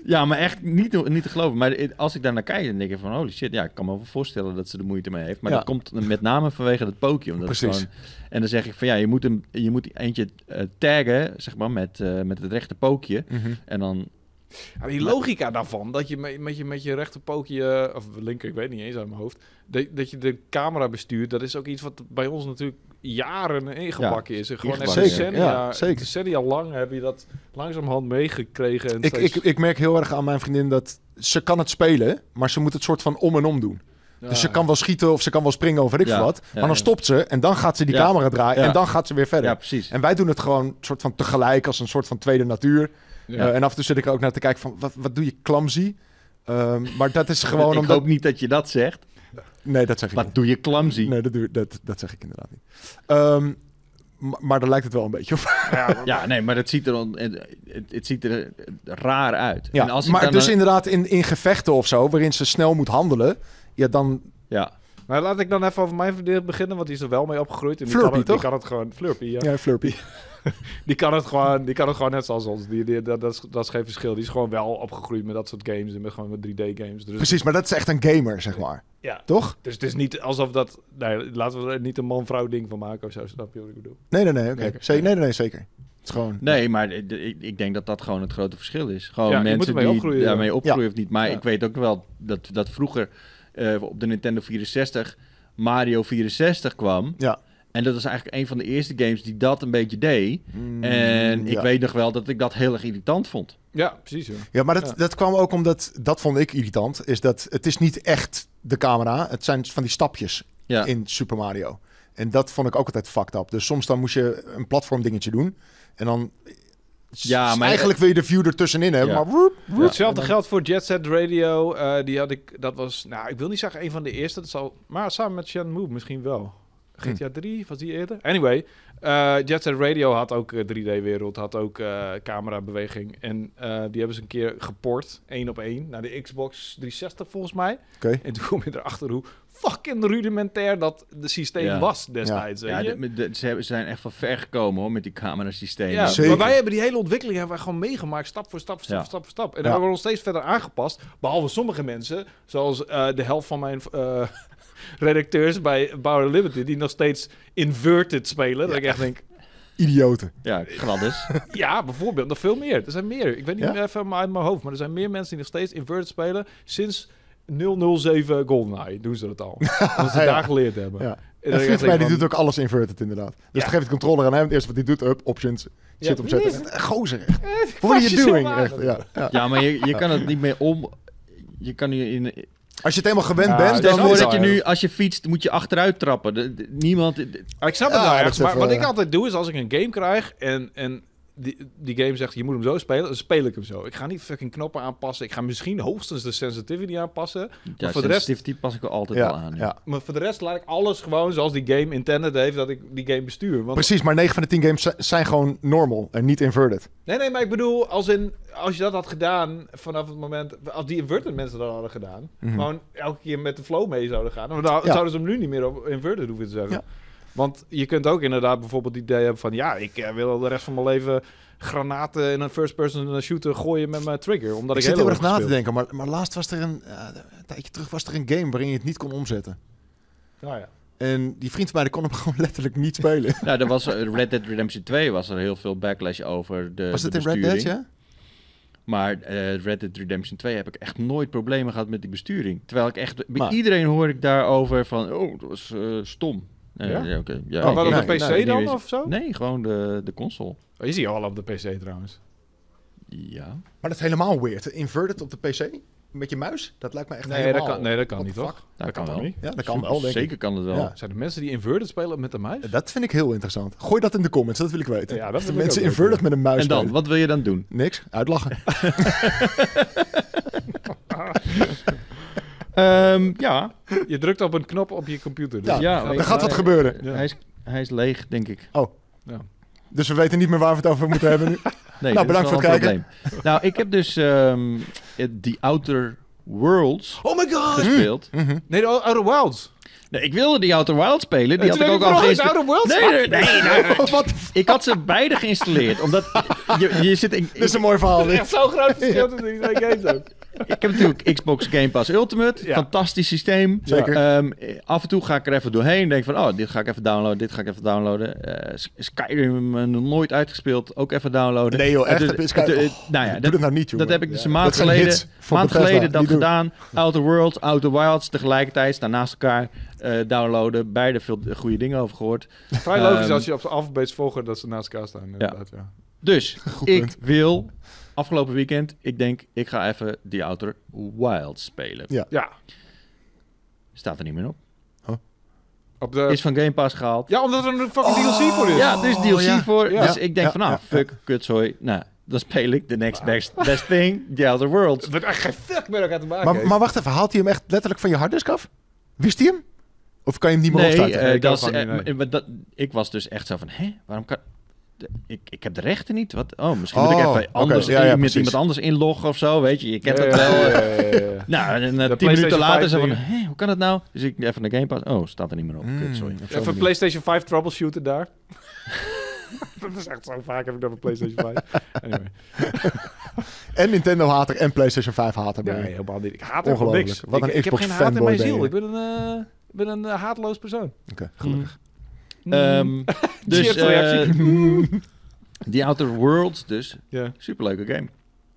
Speaker 3: ja, maar echt niet, te- niet te geloven. Maar het- als ik daar naar kijk, dan denk ik van holy shit, ja, ik kan me wel voorstellen dat ze er moeite mee heeft. Maar
Speaker 2: Ja.
Speaker 3: dat komt met name vanwege dat pookje. Omdat het
Speaker 2: Precies.
Speaker 3: gewoon- en dan zeg ik van ja, je moet, hem, je moet eentje eh, taggen, zeg maar, met, eh, met het rechte pookje.
Speaker 2: Mhm.
Speaker 3: En dan
Speaker 1: die logica daarvan, dat je me- met je, met je rechterpookje, eh, of linker, ik weet niet eens uit mijn hoofd, dat, dat je de camera bestuurt, dat is ook iets wat bij ons natuurlijk jaren ingebakken is. En gewoon echt
Speaker 3: ingebakken,
Speaker 2: ja.
Speaker 1: decennia,
Speaker 2: Ja, zeker.
Speaker 1: decennia lang heb je dat langzamerhand meegekregen. En
Speaker 2: Ik,
Speaker 1: steeds-
Speaker 2: ik, ik merk heel erg aan mijn vriendin dat ze kan het spelen, maar ze moet het soort van om en om doen.
Speaker 1: Ja.
Speaker 2: Dus ze kan wel schieten of ze kan wel springen of weet ik
Speaker 3: Ja,
Speaker 2: veel wat.
Speaker 3: ja,
Speaker 2: Maar dan
Speaker 3: ja.
Speaker 2: stopt ze en dan gaat ze die
Speaker 3: Ja.
Speaker 2: camera draaien
Speaker 3: Ja.
Speaker 2: en dan gaat ze weer verder.
Speaker 3: Ja, precies.
Speaker 2: En wij doen het gewoon soort van tegelijk als een soort van tweede natuur.
Speaker 1: Ja.
Speaker 2: Eh, en af en toe zit ik er ook naar te kijken van wat, wat doe je clumsy? Ehm, maar dat is gewoon
Speaker 3: ik
Speaker 2: omdat...
Speaker 3: hoop niet dat je dat zegt.
Speaker 2: Nee, dat zeg ik niet.
Speaker 3: Wat doe je clumsy?
Speaker 2: Nee, dat, doe- dat, dat zeg ik inderdaad niet. Ehm, ma- maar daar lijkt het wel een beetje op.
Speaker 3: Ja, nee, maar het ziet er, on- het, het- het ziet er eh, raar uit.
Speaker 2: Ja,
Speaker 3: en als ik
Speaker 2: maar
Speaker 3: dan
Speaker 2: dus
Speaker 3: een-
Speaker 2: inderdaad in, in gevechten of zo, waarin ze snel moet handelen. Ja, dan...
Speaker 3: ja,
Speaker 1: Maar laat ik dan even over mijn verdeel beginnen, want die is er wel mee opgegroeid. En die
Speaker 2: Flurpy,
Speaker 1: kan het,
Speaker 2: toch?
Speaker 1: Die kan het gewoon, Flurpy, ja.
Speaker 2: Ja, Flurpy.
Speaker 1: Die, kan het gewoon, die kan het gewoon net zoals ons. Die, die, dat, dat, is, dat is geen verschil. Die is gewoon wel opgegroeid met dat soort games en met, gewoon met 3D-games. Dus,
Speaker 2: Precies, maar dat is echt een gamer, zeg maar.
Speaker 1: Ja.
Speaker 2: Toch?
Speaker 1: dus het is niet alsof dat... Nee, laten we er niet een man-vrouw ding van maken of zo. Snap je wat ik bedoel?
Speaker 2: Nee, nee, nee. oké.
Speaker 1: Nee.
Speaker 2: Zeker. nee, nee, nee, zeker. Het is gewoon...
Speaker 3: nee, maar de- de- ik, ik denk dat dat gewoon het grote verschil is. Gewoon
Speaker 1: Ja, je moet
Speaker 3: mensen
Speaker 1: ermee
Speaker 3: die
Speaker 1: opgroeien, ja.
Speaker 3: daarmee opgroeien
Speaker 2: Ja.
Speaker 3: of niet. Maar
Speaker 1: Ja.
Speaker 3: ik weet ook wel dat, dat vroeger eh, op de Nintendo 64 Mario 64 kwam.
Speaker 2: Ja.
Speaker 3: En dat was eigenlijk een van de eerste games die dat een beetje deed.
Speaker 2: Mm,
Speaker 3: En ik
Speaker 2: ja.
Speaker 3: weet nog wel dat ik dat heel erg irritant vond.
Speaker 1: Ja, precies. hoor.
Speaker 2: Ja, maar dat,
Speaker 1: Ja.
Speaker 2: dat kwam ook omdat... Dat vond ik irritant. Is dat het is niet echt de camera. Het zijn van die stapjes
Speaker 3: Ja,
Speaker 2: in Super Mario. En dat vond ik ook altijd fucked up. Dus soms dan moest je een platform dingetje doen. En dan...
Speaker 3: Ja,
Speaker 2: s-
Speaker 3: maar-
Speaker 2: Eigenlijk wil je de view ertussenin hebben,
Speaker 3: Ja.
Speaker 2: maar... woep, woep.
Speaker 1: Hetzelfde geldt voor Jet Set Radio. eh, die had ik... Dat was... Nou, ik wil niet zeggen een van de eerste. Dat zal, maar samen met Shenmue misschien wel.
Speaker 3: Hmm.
Speaker 1: GTA 3, was die eerder? Anyway, eh Jet Set Radio had ook eh, 3D-wereld, had ook eh camerabeweging. En eh, die hebben ze een keer geport, één op één, naar de Xbox 360 volgens mij.
Speaker 2: Oké.
Speaker 1: En toen kom je erachter hoe fucking rudimentair dat de systeem
Speaker 3: Ja.
Speaker 1: was destijds. weet
Speaker 3: Ja,
Speaker 1: je?
Speaker 3: dit- met dit- ze hebben- ze zijn echt van ver gekomen hoor, met die camerasystemen.
Speaker 1: Ja,
Speaker 2: Zeker.
Speaker 1: maar wij hebben die hele ontwikkeling hebben wij gewoon meegemaakt, stap voor stap, voor stap,
Speaker 3: Ja.
Speaker 1: voor stap, voor stap. En
Speaker 2: Ja.
Speaker 1: dan hebben we ons steeds verder aangepast. Behalve sommige mensen, zoals eh, de helft van mijn eh, redacteurs bij Bauer Limited, die nog steeds inverted spelen. Dat ik echt denk,
Speaker 2: Idioten.
Speaker 3: Ja, Gladys.
Speaker 1: ja, bijvoorbeeld, nog veel meer. Er zijn meer. Ik weet niet
Speaker 2: Ja?
Speaker 1: meer even uit mijn hoofd, maar er zijn meer mensen die nog steeds inverted spelen sinds 007 GoldenEye. Doen ze dat al. Omdat ze
Speaker 2: Ja.
Speaker 1: daar geleerd hebben.
Speaker 2: Ja.
Speaker 1: En
Speaker 2: En
Speaker 1: dan
Speaker 2: Frits
Speaker 1: denk
Speaker 2: mij,
Speaker 1: ik
Speaker 2: die
Speaker 1: van-
Speaker 2: doet ook alles inverted inderdaad. Dus
Speaker 1: Ja.
Speaker 2: dan geef je de controller aan hem. Het eerste wat hij doet, up, options, shit
Speaker 1: Ja.
Speaker 2: opzetten. Eh, Gozer echt. What are you doing?
Speaker 1: aan.
Speaker 2: Echt, ja, ja.
Speaker 3: Ja, maar je, je kan het niet meer om. Je kan nu in.
Speaker 2: Als je het helemaal gewend
Speaker 1: Ja,
Speaker 2: bent,
Speaker 1: het
Speaker 3: Stel
Speaker 1: is
Speaker 2: dan
Speaker 3: je voor
Speaker 1: nooit
Speaker 2: is
Speaker 3: dat je
Speaker 1: zo,
Speaker 3: nu,
Speaker 1: joh.
Speaker 3: als je fietst, moet je achteruit trappen. De- de- niemand. de-
Speaker 1: Ah, Ik snap het
Speaker 2: Ja,
Speaker 1: wel
Speaker 2: dat
Speaker 1: ergens,
Speaker 2: is
Speaker 1: maar
Speaker 2: even,
Speaker 1: wat ik
Speaker 2: eh,
Speaker 1: altijd doe is als ik een game krijg en, en die, die game zegt je moet hem zo spelen, dan speel ik hem zo. Ik ga niet fucking knoppen aanpassen. Ik ga misschien hoogstens de sensitivity aanpassen.
Speaker 3: Ja,
Speaker 1: voor
Speaker 3: voor
Speaker 1: de
Speaker 3: de
Speaker 1: rest-
Speaker 3: pas ik wel altijd
Speaker 2: ja,
Speaker 3: al aan.
Speaker 2: ja.
Speaker 1: Maar voor de rest laat ik alles gewoon zoals die game intended heeft dat ik die game bestuur. Want,
Speaker 2: Precies, maar 9 van de 10 games zi- zijn gewoon normal en niet inverted.
Speaker 1: nee, nee, maar ik bedoel, als, in, als je dat had gedaan vanaf het moment, als die inverted mensen dat hadden gedaan,
Speaker 2: Mhm.
Speaker 1: gewoon elke keer met de flow mee zouden gaan, dan dan
Speaker 2: Ja.
Speaker 1: zouden ze hem nu niet meer op inverted hoeven te zeggen.
Speaker 2: Ja.
Speaker 1: Want je kunt ook inderdaad bijvoorbeeld het idee hebben van... ja, ik eh, wil de rest van mijn leven granaten in een first-person shooter gooien met mijn trigger. Omdat
Speaker 2: Ik
Speaker 1: ik,
Speaker 2: zit heel
Speaker 1: heel
Speaker 2: erg na te
Speaker 1: gespeeld.
Speaker 2: denken, maar, maar laatst was er een, eh, een tijdje terug was er een game waarin je het niet kon omzetten.
Speaker 1: Nou ja.
Speaker 2: En die vriend van mij die kon hem gewoon letterlijk niet spelen.
Speaker 3: Nou, er was, eh, Red Dead Redemption 2 was er heel veel backlash over. De,
Speaker 2: was
Speaker 3: de
Speaker 2: het in Red Dead,
Speaker 3: besturing.
Speaker 2: ja?
Speaker 3: Maar eh, Red Dead Redemption 2 heb ik echt nooit problemen gehad met die besturing. Terwijl ik echt... Bij
Speaker 2: Maar-
Speaker 3: iedereen hoor ik daarover van... Oh, dat was eh, stom. Nee,
Speaker 1: Ja?
Speaker 3: ja, oké. ja,
Speaker 1: Maar
Speaker 3: ik-
Speaker 1: wat
Speaker 2: nee,
Speaker 1: op
Speaker 3: ik-
Speaker 1: de PC
Speaker 3: nee,
Speaker 1: dan
Speaker 3: nee,
Speaker 1: of zo?
Speaker 3: Nee, gewoon de, de console.
Speaker 1: Oh, je ziet al op de PC trouwens.
Speaker 3: Ja.
Speaker 2: Maar dat is helemaal weird. Inverted op de PC met je muis, dat lijkt me echt
Speaker 1: Nee,
Speaker 2: helemaal...
Speaker 1: dat kan, nee, dat kan
Speaker 2: What
Speaker 1: niet,
Speaker 2: the
Speaker 1: toch?
Speaker 3: Dat, kan
Speaker 1: toch
Speaker 3: wel.
Speaker 1: niet?
Speaker 2: Ja, dat kan wel, denk ik.
Speaker 3: Zeker kan het wel.
Speaker 2: Ja.
Speaker 1: Zijn er mensen die inverted spelen met de muis?
Speaker 2: Dat vind ik heel interessant. Gooi dat in de comments, dat wil ik weten.
Speaker 1: Ja, dat
Speaker 2: Als de
Speaker 1: wil ik
Speaker 2: mensen
Speaker 1: ook
Speaker 2: inverted
Speaker 1: weten.
Speaker 2: met een muis
Speaker 3: En dan,
Speaker 2: spelen.
Speaker 3: wat wil je dan doen?
Speaker 2: Niks, uitlachen.
Speaker 3: Ehm, ja,
Speaker 1: Je drukt op een knop op je computer. Dus
Speaker 2: Ja,
Speaker 1: je
Speaker 3: ja,
Speaker 1: gaat-
Speaker 3: weet
Speaker 2: dan
Speaker 3: je,
Speaker 2: gaat wat
Speaker 3: eh,
Speaker 2: gebeuren.
Speaker 1: Ja.
Speaker 3: Hij, is, hij is leeg, denk ik.
Speaker 2: Dus we weten niet meer waar we het over moeten hebben nu.
Speaker 3: Nee,
Speaker 2: Nou,
Speaker 3: dat is
Speaker 2: bedankt
Speaker 3: wel
Speaker 2: voor het
Speaker 3: een probleem. Nou, ik heb dus ehm, het The Outer Worlds
Speaker 1: Oh my god!
Speaker 3: gespeeld.
Speaker 2: Mhm.
Speaker 1: Nee, de Outer Wilds.
Speaker 3: Nee, ik wilde die Outer Wild spelen. Die
Speaker 1: En
Speaker 3: had
Speaker 1: toen
Speaker 3: ik ook
Speaker 1: heb
Speaker 3: al
Speaker 1: nog eens
Speaker 3: geïnstalleerd.
Speaker 1: Outer Wilds?
Speaker 3: Nee, nee, nee. nou,
Speaker 2: Wat?
Speaker 3: ik had ze beide geïnstalleerd. Omdat je, je zit in,
Speaker 2: Dit is
Speaker 3: ik,
Speaker 2: een mooi verhaal.
Speaker 1: Dat is
Speaker 2: dit.
Speaker 1: echt zo'n groot verschil tussen die twee games ook.
Speaker 3: ik heb natuurlijk Xbox Game Pass Ultimate.
Speaker 1: Ja.
Speaker 3: Fantastisch systeem.
Speaker 2: Zeker.
Speaker 3: Ehm, af en toe ga ik er even doorheen en denk van, oh, dit ga ik even downloaden, dit ga ik even downloaden. Eh, S- Skyrim eh, nog nooit uitgespeeld, ook even downloaden. Eh,
Speaker 2: Nee joh, echt.
Speaker 3: Het-
Speaker 2: heb je
Speaker 3: het-
Speaker 2: Skype-
Speaker 3: het- nou ja,
Speaker 2: Doe
Speaker 3: dat-
Speaker 2: dat nou niet, jongen.
Speaker 3: Dat heb ik dus een
Speaker 2: Dat
Speaker 3: maand
Speaker 2: zijn
Speaker 3: geleden,
Speaker 2: hits voor
Speaker 3: maand
Speaker 2: Bethesda.
Speaker 3: geleden dat
Speaker 2: Niet doen.
Speaker 3: gedaan. Outer Worlds, Outer Wilds tegelijkertijd staan naast elkaar eh, downloaden. Beide veel goede dingen over gehoord.
Speaker 1: Vrij logisch
Speaker 3: Ehm,
Speaker 1: als je op de alfabets volgt dat ze naast elkaar staan. Inderdaad, ja.
Speaker 3: Dus ik
Speaker 2: punt.
Speaker 3: wil afgelopen weekend, ik denk, ik ga even die Outer Wilds spelen.
Speaker 1: Ja,
Speaker 3: Staat er niet meer op.
Speaker 1: op de...
Speaker 3: Is van Game Pass gehaald.
Speaker 1: Ja, omdat er een fucking DLC voor is.
Speaker 3: Ja, er is DLC
Speaker 2: ja.
Speaker 3: voor.
Speaker 1: Oh, Ja. Ah.
Speaker 3: Dus ik denk
Speaker 2: Ja,
Speaker 3: van, nou,
Speaker 2: ja,
Speaker 3: fuck, kutzooi. Nou, dan speel ik The Next Best, best Thing, The Outer Worlds.
Speaker 1: Het wordt echt geen fuck met elkaar te maken.
Speaker 2: Maar,
Speaker 1: heeft.
Speaker 2: maar wacht even, haalt hij hem echt letterlijk van je harddisk af? Wist hij hem? Of kan je hem niet meer opstarten?
Speaker 3: eh,
Speaker 1: Nee, kan
Speaker 3: dat is,
Speaker 1: gewoon niet,
Speaker 3: eh,
Speaker 1: nee.
Speaker 3: maar dat, ik was dus echt zo van, hè, waarom kan... de- Ik, ik heb de rechten niet. Wat? Oh, misschien moet ik
Speaker 2: Oh,
Speaker 3: even anders
Speaker 2: oké, ja, ja,
Speaker 3: in- met
Speaker 2: precies.
Speaker 3: iemand anders inloggen of zo. Weet je, je kent dat
Speaker 1: Ja,
Speaker 3: wel.
Speaker 1: ja,
Speaker 3: eh.
Speaker 1: ja, ja, ja, ja.
Speaker 3: Nou, en eh,
Speaker 1: De
Speaker 3: tien minuten
Speaker 1: PlayStation
Speaker 3: later
Speaker 1: 5
Speaker 3: zo van,
Speaker 1: dingen.
Speaker 3: hè, hoe kan dat nou? Dus ik even naar Game Pass. Oh, staat er niet meer op. Kut, sorry.
Speaker 1: Mm, Even PlayStation 5 troubleshooter daar. dat is echt zo vaak heb ik dat op PlayStation 5. Anyway.
Speaker 2: En Nintendo hater en PlayStation 5 hater. ben je.
Speaker 1: Nee, helemaal niet. Ik haat helemaal
Speaker 2: Ongelooflijk.
Speaker 1: niks.
Speaker 2: Wat
Speaker 1: ik,
Speaker 2: een
Speaker 1: ik heb
Speaker 2: Xbox
Speaker 1: geen haat in mijn
Speaker 2: fanboy ben
Speaker 1: ziel.
Speaker 2: je.
Speaker 1: Ik ben een, eh, ik ben een eh, haatloos persoon.
Speaker 2: Oké, gelukkig.
Speaker 1: Mm.
Speaker 3: Ehm, dus,
Speaker 1: Cheers-reactie. Mm.
Speaker 3: eh, die Outer Worlds dus.
Speaker 1: Ja.
Speaker 3: Superleuke game.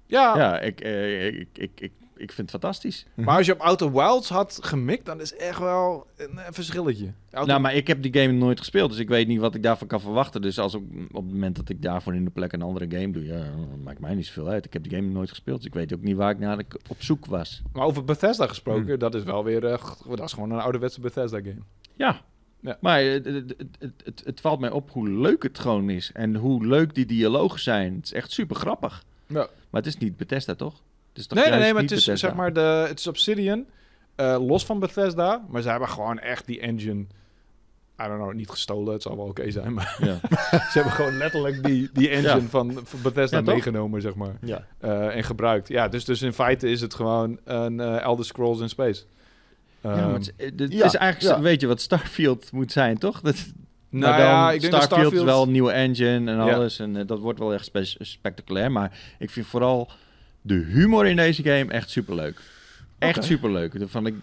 Speaker 1: Ja,
Speaker 3: Ja, ik, eh, ik, ik, ik, ik vind het fantastisch.
Speaker 2: Mm.
Speaker 1: maar als je op Outer Wilds had gemikt, dan is echt wel een, eh, verschilletje. Outer-
Speaker 3: Nou, maar ik heb die game nooit gespeeld, dus ik weet niet wat ik daarvan kan verwachten. Dus als op, op het moment dat ik daarvoor in de plek een andere game doe, ja, maakt mij niet zoveel uit. Ik heb die game nooit gespeeld, dus ik weet ook niet waar ik naar op zoek was.
Speaker 1: Maar over Bethesda
Speaker 2: Mm.
Speaker 1: gesproken, dat is wel weer... eh, g- dat is gewoon een ouderwetse Bethesda game.
Speaker 3: Ja.
Speaker 1: Ja.
Speaker 3: Maar eh, het, het, het, het, het valt mij op hoe leuk het gewoon is en hoe leuk die dialogen zijn. Het is echt super grappig.
Speaker 1: Ja.
Speaker 3: Maar het is niet Bethesda, toch? Het is toch
Speaker 1: Nee, nee,
Speaker 3: juist
Speaker 1: nee, maar
Speaker 3: niet
Speaker 1: het is
Speaker 3: Bethesda?
Speaker 1: zeg maar de, het is Obsidian, eh, los van Bethesda, maar ze hebben gewoon echt die engine I don't know, niet gestolen. Het zal wel oké zijn. Maar
Speaker 3: Ja.
Speaker 1: ze hebben gewoon letterlijk die, die engine
Speaker 3: Ja.
Speaker 1: van van Bethesda
Speaker 3: Ja, toch?
Speaker 1: meegenomen, zeg maar.
Speaker 3: ja.
Speaker 1: eh, en gebruikt. Ja, dus, dus in feite is het gewoon een eh, Elder Scrolls in Space.
Speaker 3: ja, maar
Speaker 1: Ehm,
Speaker 3: het, is- eh, dit
Speaker 2: ja,
Speaker 3: is eigenlijk,
Speaker 2: ja.
Speaker 3: weet je wat Starfield moet zijn, toch? Dat,
Speaker 1: nou
Speaker 3: maar dan
Speaker 1: ja, ik denk dat
Speaker 3: Starfield,
Speaker 1: Starfield
Speaker 3: is wel een nieuwe engine en
Speaker 1: Ja.
Speaker 3: alles. En eh, dat wordt wel echt spe- spectaculair. Maar ik vind vooral de humor in deze game echt superleuk. Echt
Speaker 1: Oké.
Speaker 3: superleuk. Daarvan ik...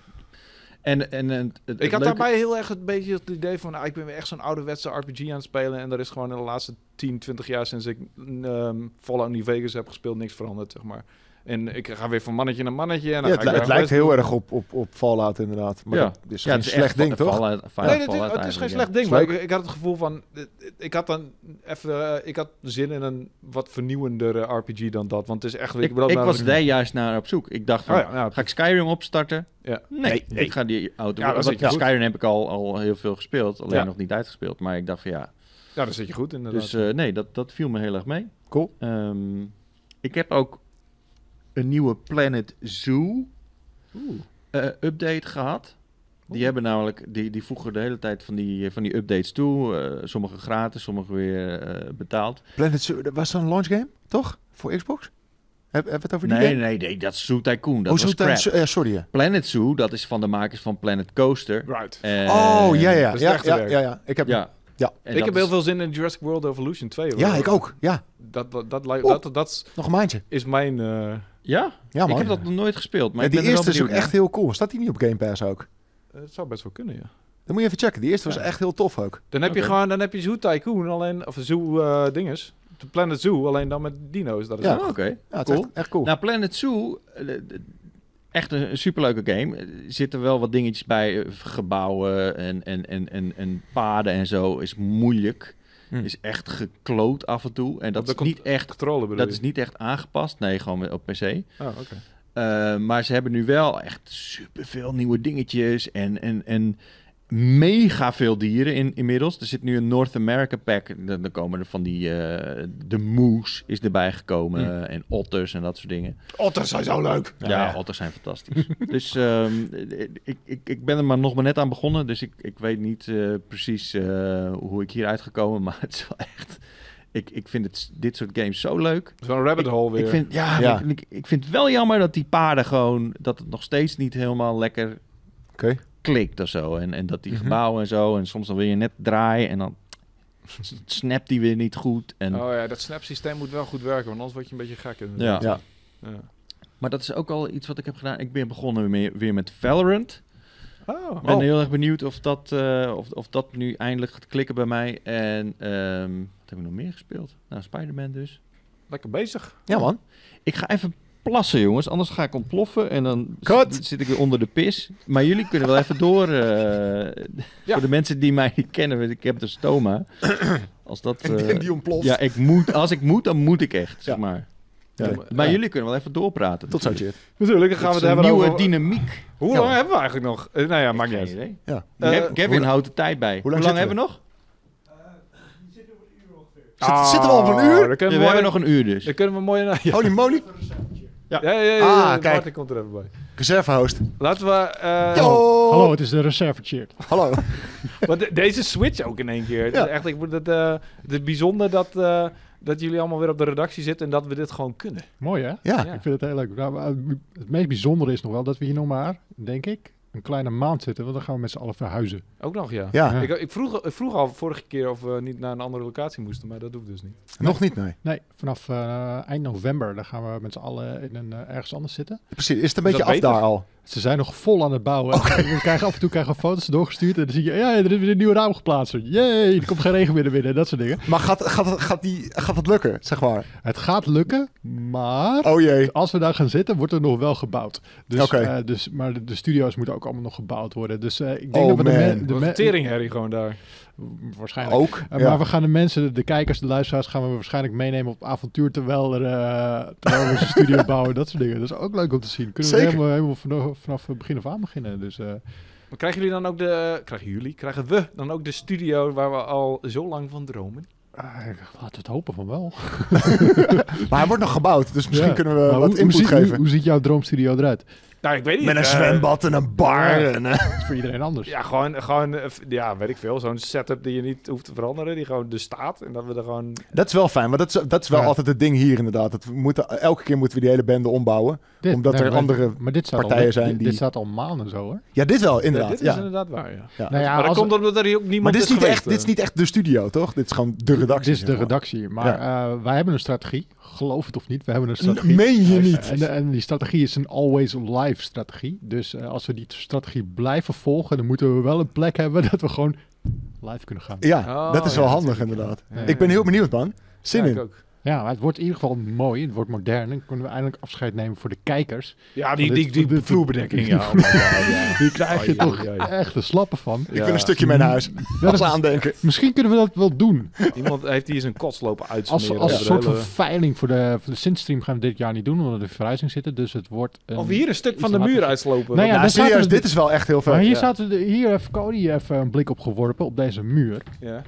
Speaker 3: En, en, en het- het
Speaker 1: Ik had
Speaker 3: leuke-
Speaker 1: daarbij heel erg het beetje het idee van... ah, ik ben weer echt zo'n ouderwetse RPG aan het spelen... en er is gewoon in de laatste 10, 20 jaar... sinds ik ehm, Fallout New Vegas heb gespeeld... niks veranderd, zeg maar. En ik ga weer van mannetje naar mannetje. En dan
Speaker 2: Ja, nou,
Speaker 1: ga
Speaker 2: het,
Speaker 1: ik
Speaker 2: li-
Speaker 1: weer
Speaker 2: het
Speaker 1: aan quest
Speaker 2: lijkt heel erg op, op, op Fallout inderdaad. Maar
Speaker 3: Ja.
Speaker 2: dat is
Speaker 3: Ja,
Speaker 2: geen
Speaker 3: het is
Speaker 2: slecht
Speaker 3: echt
Speaker 2: ding,
Speaker 3: va-
Speaker 2: toch?
Speaker 3: Fallout-
Speaker 1: Nee,
Speaker 3: Fallout
Speaker 1: het, is, het is geen
Speaker 3: eigenlijk, ja.
Speaker 1: slecht ding,
Speaker 2: Is
Speaker 1: maar ik,
Speaker 2: leuk.
Speaker 1: ik had het gevoel van... eh, Ik had dan even... eh, ik had zin in een wat vernieuwendere RPG dan dat. Want het is echt...
Speaker 3: Ik,
Speaker 1: bedoel,
Speaker 3: ik
Speaker 1: nou,
Speaker 3: was daar juist naar op zoek. Ik dacht van,
Speaker 1: Oh ja, ja.
Speaker 3: ga ik Skyrim opstarten?
Speaker 1: Ja.
Speaker 3: Nee,
Speaker 2: Nee, nee.
Speaker 3: ik ga die auto...
Speaker 1: Ja, dat
Speaker 3: want
Speaker 1: zit je goed.
Speaker 3: Skyrim heb ik al, al heel veel gespeeld, alleen
Speaker 1: Ja.
Speaker 3: nog niet uitgespeeld. Maar ik dacht van ja,
Speaker 1: Ja, daar Nou, zit je goed inderdaad.
Speaker 3: dus eh, nee, dat, dat viel me heel erg mee.
Speaker 2: Cool.
Speaker 3: Ehm, ik heb ook een nieuwe Planet Zoo
Speaker 1: Oeh.
Speaker 3: eh, update gehad. Die
Speaker 1: Oeh.
Speaker 3: hebben namelijk, die, die voegen de hele tijd van die, van die updates toe. eh, sommige gratis, sommige weer eh, betaald.
Speaker 2: Planet Zoo, dat was zo'n launch game, toch? Voor Xbox? Hebben heb we het over die
Speaker 3: Nee,
Speaker 2: game?
Speaker 3: nee, nee, dat is Zoo Tycoon. Dat
Speaker 2: oh,
Speaker 3: was
Speaker 2: zo
Speaker 3: crap.
Speaker 2: tijdens- eh, sorry. ja.
Speaker 3: Planet Zoo, dat is van de makers van Planet Coaster.
Speaker 1: Right.
Speaker 3: Eh,
Speaker 2: oh, ja, ja.
Speaker 1: dat is
Speaker 2: Ja,
Speaker 1: echte
Speaker 2: ja,
Speaker 1: werk.
Speaker 2: ja, ja. Ik heb, ja.
Speaker 3: Ja.
Speaker 2: Ja.
Speaker 3: En
Speaker 1: ik
Speaker 3: dat
Speaker 1: heb heel
Speaker 3: is-
Speaker 1: veel zin in Jurassic World Evolution 2. hoor.
Speaker 2: ik ook. Ja,
Speaker 1: Dat, dat, dat, lijkt-
Speaker 2: Oeh.
Speaker 1: dat, dat
Speaker 2: nog een maandje.
Speaker 1: is mijn... eh,
Speaker 3: Ja,
Speaker 2: Ja,
Speaker 3: ik
Speaker 2: man.
Speaker 3: heb dat nog nooit gespeeld. Maar
Speaker 2: Ja,
Speaker 3: ik
Speaker 2: die
Speaker 3: ben er
Speaker 2: eerste is
Speaker 3: wel
Speaker 2: ook
Speaker 3: benieuwd
Speaker 2: echt heel cool. Staat die niet op Game Pass ook?
Speaker 1: Het zou best wel kunnen, ja.
Speaker 2: Dan moet je even checken. Die eerste was
Speaker 1: Ja.
Speaker 2: echt heel tof ook.
Speaker 1: Dan heb je
Speaker 3: Oké.
Speaker 1: gewoon, dan heb je Zoo Tycoon alleen, of Zoo eh dinges. De Planet Zoo, alleen dan met dino's. Dat is
Speaker 2: Ja.
Speaker 1: wel-
Speaker 3: naar. Oh, Oké.
Speaker 2: Ja, het is
Speaker 3: Cool.
Speaker 2: echt, echt cool.
Speaker 3: Nou, Planet Zoo, eh, de- de- echt een, een superleuke game. Er zitten wel wat dingetjes bij, eh, gebouwen en, en, en, en, en paden en zo. Is moeilijk.
Speaker 2: Hm.
Speaker 3: Is echt gekloot af en toe. En dat
Speaker 1: de
Speaker 3: is niet echt,
Speaker 1: Controle bedoel
Speaker 3: dat is
Speaker 1: je?
Speaker 3: niet echt aangepast. Nee, gewoon met- op PC.
Speaker 1: Oh, oké.
Speaker 3: Eh, maar ze hebben nu wel echt superveel nieuwe dingetjes en, en, en mega veel dieren in, inmiddels. Er zit nu een North America pack. Dan dan komen er van die... eh, de moes is erbij gekomen
Speaker 1: Hmm.
Speaker 3: en otters en dat soort dingen.
Speaker 1: Otters zijn zo leuk!
Speaker 3: Ja,
Speaker 2: ja.
Speaker 3: otters zijn fantastisch. dus ehm, ik, ik, ik ben er maar nog maar net aan begonnen. Dus ik, ik weet niet eh, precies eh, hoe ik hier uitgekomen. Maar het is wel echt... Ik, ik vind het, dit soort games zo leuk.
Speaker 1: Zo'n rabbit hole weer.
Speaker 3: Ik vind, ja,
Speaker 2: Ja.
Speaker 3: Ik, ik- ik vind het wel jammer dat die paarden gewoon... dat het nog steeds niet helemaal lekker
Speaker 2: Oké.
Speaker 3: klikt of zo. En, en dat die
Speaker 2: Mhm.
Speaker 3: gebouwen en zo. En soms dan wil je net draaien en dan s- snapt die weer niet goed. En,
Speaker 1: Oh ja, dat snap systeem moet wel goed werken, want anders word je een beetje gek. in.
Speaker 3: ja.
Speaker 2: Ja.
Speaker 1: Ja.
Speaker 3: Maar dat is ook al iets wat ik heb gedaan. Ik ben begonnen weer, weer met Valorant.
Speaker 1: Oh,
Speaker 3: Ik ben heel erg benieuwd of dat, eh, of, of dat nu eindelijk gaat klikken bij mij. En ehm, wat heb ik nog meer gespeeld? Nou, Spider-Man dus.
Speaker 1: lekker bezig.
Speaker 2: Ja, man.
Speaker 3: Ik ga even plassen, jongens. Anders ga ik ontploffen en dan
Speaker 2: Kut.
Speaker 3: zit, zit ik weer onder de pis. Maar jullie kunnen wel even door. eh, Voor de mensen die mij niet kennen, want ik heb de stoma. Als dat... eh,
Speaker 2: die ontploft.
Speaker 3: ja, ik moet, als ik moet, dan moet ik echt, zeg
Speaker 2: Ja.
Speaker 3: maar.
Speaker 2: Ja.
Speaker 1: Ja,
Speaker 3: Maar jullie kunnen wel even doorpraten.
Speaker 2: Tot zo,
Speaker 3: natuurlijk.
Speaker 2: Jit.
Speaker 1: Natuurlijk, dan gaan we
Speaker 3: Het
Speaker 1: het
Speaker 3: is een
Speaker 1: hebben
Speaker 3: nieuwe
Speaker 1: over...
Speaker 3: dynamiek.
Speaker 1: Hoe
Speaker 2: Ja,
Speaker 1: lang
Speaker 2: man.
Speaker 1: hebben we eigenlijk nog? Eh, nou ja, maakt niet
Speaker 3: Geen
Speaker 1: uit.
Speaker 3: idee.
Speaker 2: Ja.
Speaker 1: Eh,
Speaker 3: Kev- Kevin houdt de tijd bij. Hoe lang,
Speaker 2: lang
Speaker 3: hebben we
Speaker 2: zitten
Speaker 3: nog?
Speaker 2: Zit- zitten we al op een uur?
Speaker 1: Dan Ah, kunnen
Speaker 3: we
Speaker 1: we, mooi,
Speaker 3: hebben nog een uur dus.
Speaker 1: dan kunnen we mooi naar... Ja,
Speaker 2: Holy moly.
Speaker 1: ja, ja, ja,
Speaker 2: Ah,
Speaker 1: ja,
Speaker 2: kijk.
Speaker 1: Martin komt er even bij.
Speaker 2: Reservehost.
Speaker 1: Laten we... eh,
Speaker 2: Yo.
Speaker 4: Hallo, het is de reserve cheered.
Speaker 2: Hallo.
Speaker 1: Want de- deze switch ook in één keer. Het
Speaker 2: Ja.
Speaker 1: is echt, ik moet het, eh, het is bijzonder dat, eh, dat jullie allemaal weer op de redactie zitten en dat we dit gewoon kunnen.
Speaker 4: Mooi hè?
Speaker 2: Ja.
Speaker 1: Ja.
Speaker 4: Ik vind het heel leuk. Nou, maar het meest bijzondere is nog wel dat we hier nog maar, denk ik, een kleine maand zitten. Want dan gaan we met z'n allen verhuizen.
Speaker 1: Ook nog, ja.
Speaker 2: Ja.
Speaker 4: Ja.
Speaker 1: Ik, ik, vroeg, ik vroeg al vorige keer of we niet naar een andere locatie moesten, maar dat doe ik dus niet.
Speaker 2: Nog niet, nee.
Speaker 4: Nee, vanaf eh, eind november dan gaan we met z'n allen in een, eh, ergens anders zitten.
Speaker 2: Precies. Is het een
Speaker 1: Is
Speaker 2: beetje
Speaker 1: dat
Speaker 2: af
Speaker 1: beter?
Speaker 2: daar al?
Speaker 4: Ze zijn nog vol aan het bouwen. We krijgen af en toe krijgen we foto's doorgestuurd. En dan zie je, ja, er is weer een nieuwe raam geplaatst. Jee, er komt geen regen meer naar binnen. Dat soort dingen.
Speaker 2: Maar gaat, gaat, gaat, die, gaat dat lukken, zeg maar?
Speaker 4: Het gaat lukken, maar...
Speaker 2: Oh jee.
Speaker 4: Als we daar gaan zitten, wordt er nog wel gebouwd. Dus,
Speaker 2: Oké.
Speaker 4: eh, dus, maar de- de studio's moeten ook allemaal nog gebouwd worden. Dus eh, ik denk
Speaker 2: Oh,
Speaker 4: dat we de,
Speaker 2: man.
Speaker 4: men- de
Speaker 1: De
Speaker 4: men-
Speaker 1: een teringherrie gewoon daar.
Speaker 4: Waarschijnlijk.
Speaker 2: Ook.
Speaker 4: Eh,
Speaker 2: ja.
Speaker 4: Maar we gaan de mensen, de kijkers, de luisteraars, gaan we waarschijnlijk meenemen op avontuur terwijl, er, eh, terwijl we onze studio bouwen, dat soort dingen. Dat is ook leuk om te zien. Kunnen
Speaker 2: Zeker.
Speaker 4: we helemaal, helemaal vanaf, vanaf het begin af aan beginnen. Dus eh,
Speaker 1: Maar krijgen jullie dan ook de... Krijgen jullie? Krijgen we dan ook de studio waar we al zo lang van dromen?
Speaker 4: ah, ik- laten we het hopen van wel.
Speaker 2: Maar hij wordt nog gebouwd, dus misschien
Speaker 4: Ja.
Speaker 2: kunnen we
Speaker 4: Maar
Speaker 2: wat
Speaker 4: hoe,
Speaker 2: input
Speaker 4: hoe ziet,
Speaker 2: geven.
Speaker 4: Hoe, hoe ziet jouw droomstudio eruit?
Speaker 1: Nou, ik weet niet.
Speaker 2: Met een
Speaker 1: eh,
Speaker 2: zwembad en een bar.
Speaker 4: ja.
Speaker 2: En, eh,
Speaker 4: Dat is voor iedereen anders.
Speaker 1: Ja, gewoon, gewoon eh, f- ja, weet ik veel. Zo'n setup die je niet hoeft te veranderen. Die gewoon er staat. En dat we er gewoon...
Speaker 2: dat is wel fijn, maar dat is, dat is wel
Speaker 4: Ja.
Speaker 2: altijd het ding hier inderdaad. Dat we moeten, elke keer moeten we die hele bende ombouwen.
Speaker 4: Dit-
Speaker 2: omdat er
Speaker 4: maar-
Speaker 2: andere
Speaker 4: maar dit staat al-
Speaker 2: partijen
Speaker 4: dit-
Speaker 2: zijn
Speaker 4: dit-
Speaker 2: die-
Speaker 4: Dit staat al maanden zo hoor.
Speaker 2: Ja, dit wel,
Speaker 1: Ja,
Speaker 2: inderdaad.
Speaker 1: dit
Speaker 2: Ja,
Speaker 1: is inderdaad waar, ja.
Speaker 4: Nou ja,
Speaker 1: maar dat
Speaker 4: als-
Speaker 1: komt omdat er hier ook niemand
Speaker 2: Maar dit is niet
Speaker 1: geweest,
Speaker 2: echt, dit is
Speaker 1: eh.
Speaker 2: niet echt de studio, toch? Dit is gewoon de redactie.
Speaker 4: Dit is de redactie. Maar eh, wij hebben een strategie. Geloof het of niet, we hebben een
Speaker 2: N-
Speaker 4: strategie.
Speaker 2: Meen je niet?
Speaker 4: En, en die strategie is een always live strategie. Dus eh, als we die strategie blijven volgen, dan moeten we wel een plek hebben dat we gewoon live kunnen gaan.
Speaker 2: Ja,
Speaker 1: Oh,
Speaker 2: dat is wel
Speaker 1: ja,
Speaker 2: handig
Speaker 1: natuurlijk,
Speaker 2: inderdaad.
Speaker 1: ja. Ja.
Speaker 2: Ik ben heel benieuwd, man. Zin
Speaker 1: Ja,
Speaker 2: in.
Speaker 1: ik ook.
Speaker 4: Ja, maar het wordt in ieder geval mooi. Het wordt modern. Dan kunnen we eindelijk afscheid nemen voor de kijkers.
Speaker 1: Ja, die,
Speaker 4: Dit-
Speaker 1: die, die,
Speaker 4: dit-
Speaker 1: vloerbedekking. Ja, oh my god, ja.
Speaker 4: Hier krijg je
Speaker 1: Oh, jee,
Speaker 4: toch
Speaker 1: jee.
Speaker 4: echt de slappen van.
Speaker 2: Ik wil
Speaker 1: Ja.
Speaker 2: een stukje mee naar huis.
Speaker 4: Dat
Speaker 2: Als
Speaker 4: is-
Speaker 2: we aandenken.
Speaker 4: Misschien kunnen we dat wel doen.
Speaker 1: Iemand heeft hier zijn kots lopen
Speaker 4: Als,
Speaker 1: uitsmeren. eh,
Speaker 4: als
Speaker 1: over
Speaker 4: een
Speaker 1: de
Speaker 4: soort van
Speaker 1: hele-
Speaker 4: veiling voor de, voor de Sint-stream gaan we dit jaar niet doen, omdat we in de verhuizing zitten. Dus het wordt... Een...
Speaker 1: Of hier een stuk van de
Speaker 4: laten
Speaker 1: muur
Speaker 4: we-
Speaker 1: uitslopen.
Speaker 4: Nou ja,
Speaker 1: Dat-
Speaker 2: Ja,
Speaker 4: daar zaten
Speaker 2: serieus,
Speaker 4: we-
Speaker 2: dit is wel echt heel
Speaker 4: Maar
Speaker 2: vet.
Speaker 4: hier,
Speaker 1: Ja.
Speaker 4: zaten de, hier heeft Cody even een blik op geworpen, op deze muur.
Speaker 1: ja.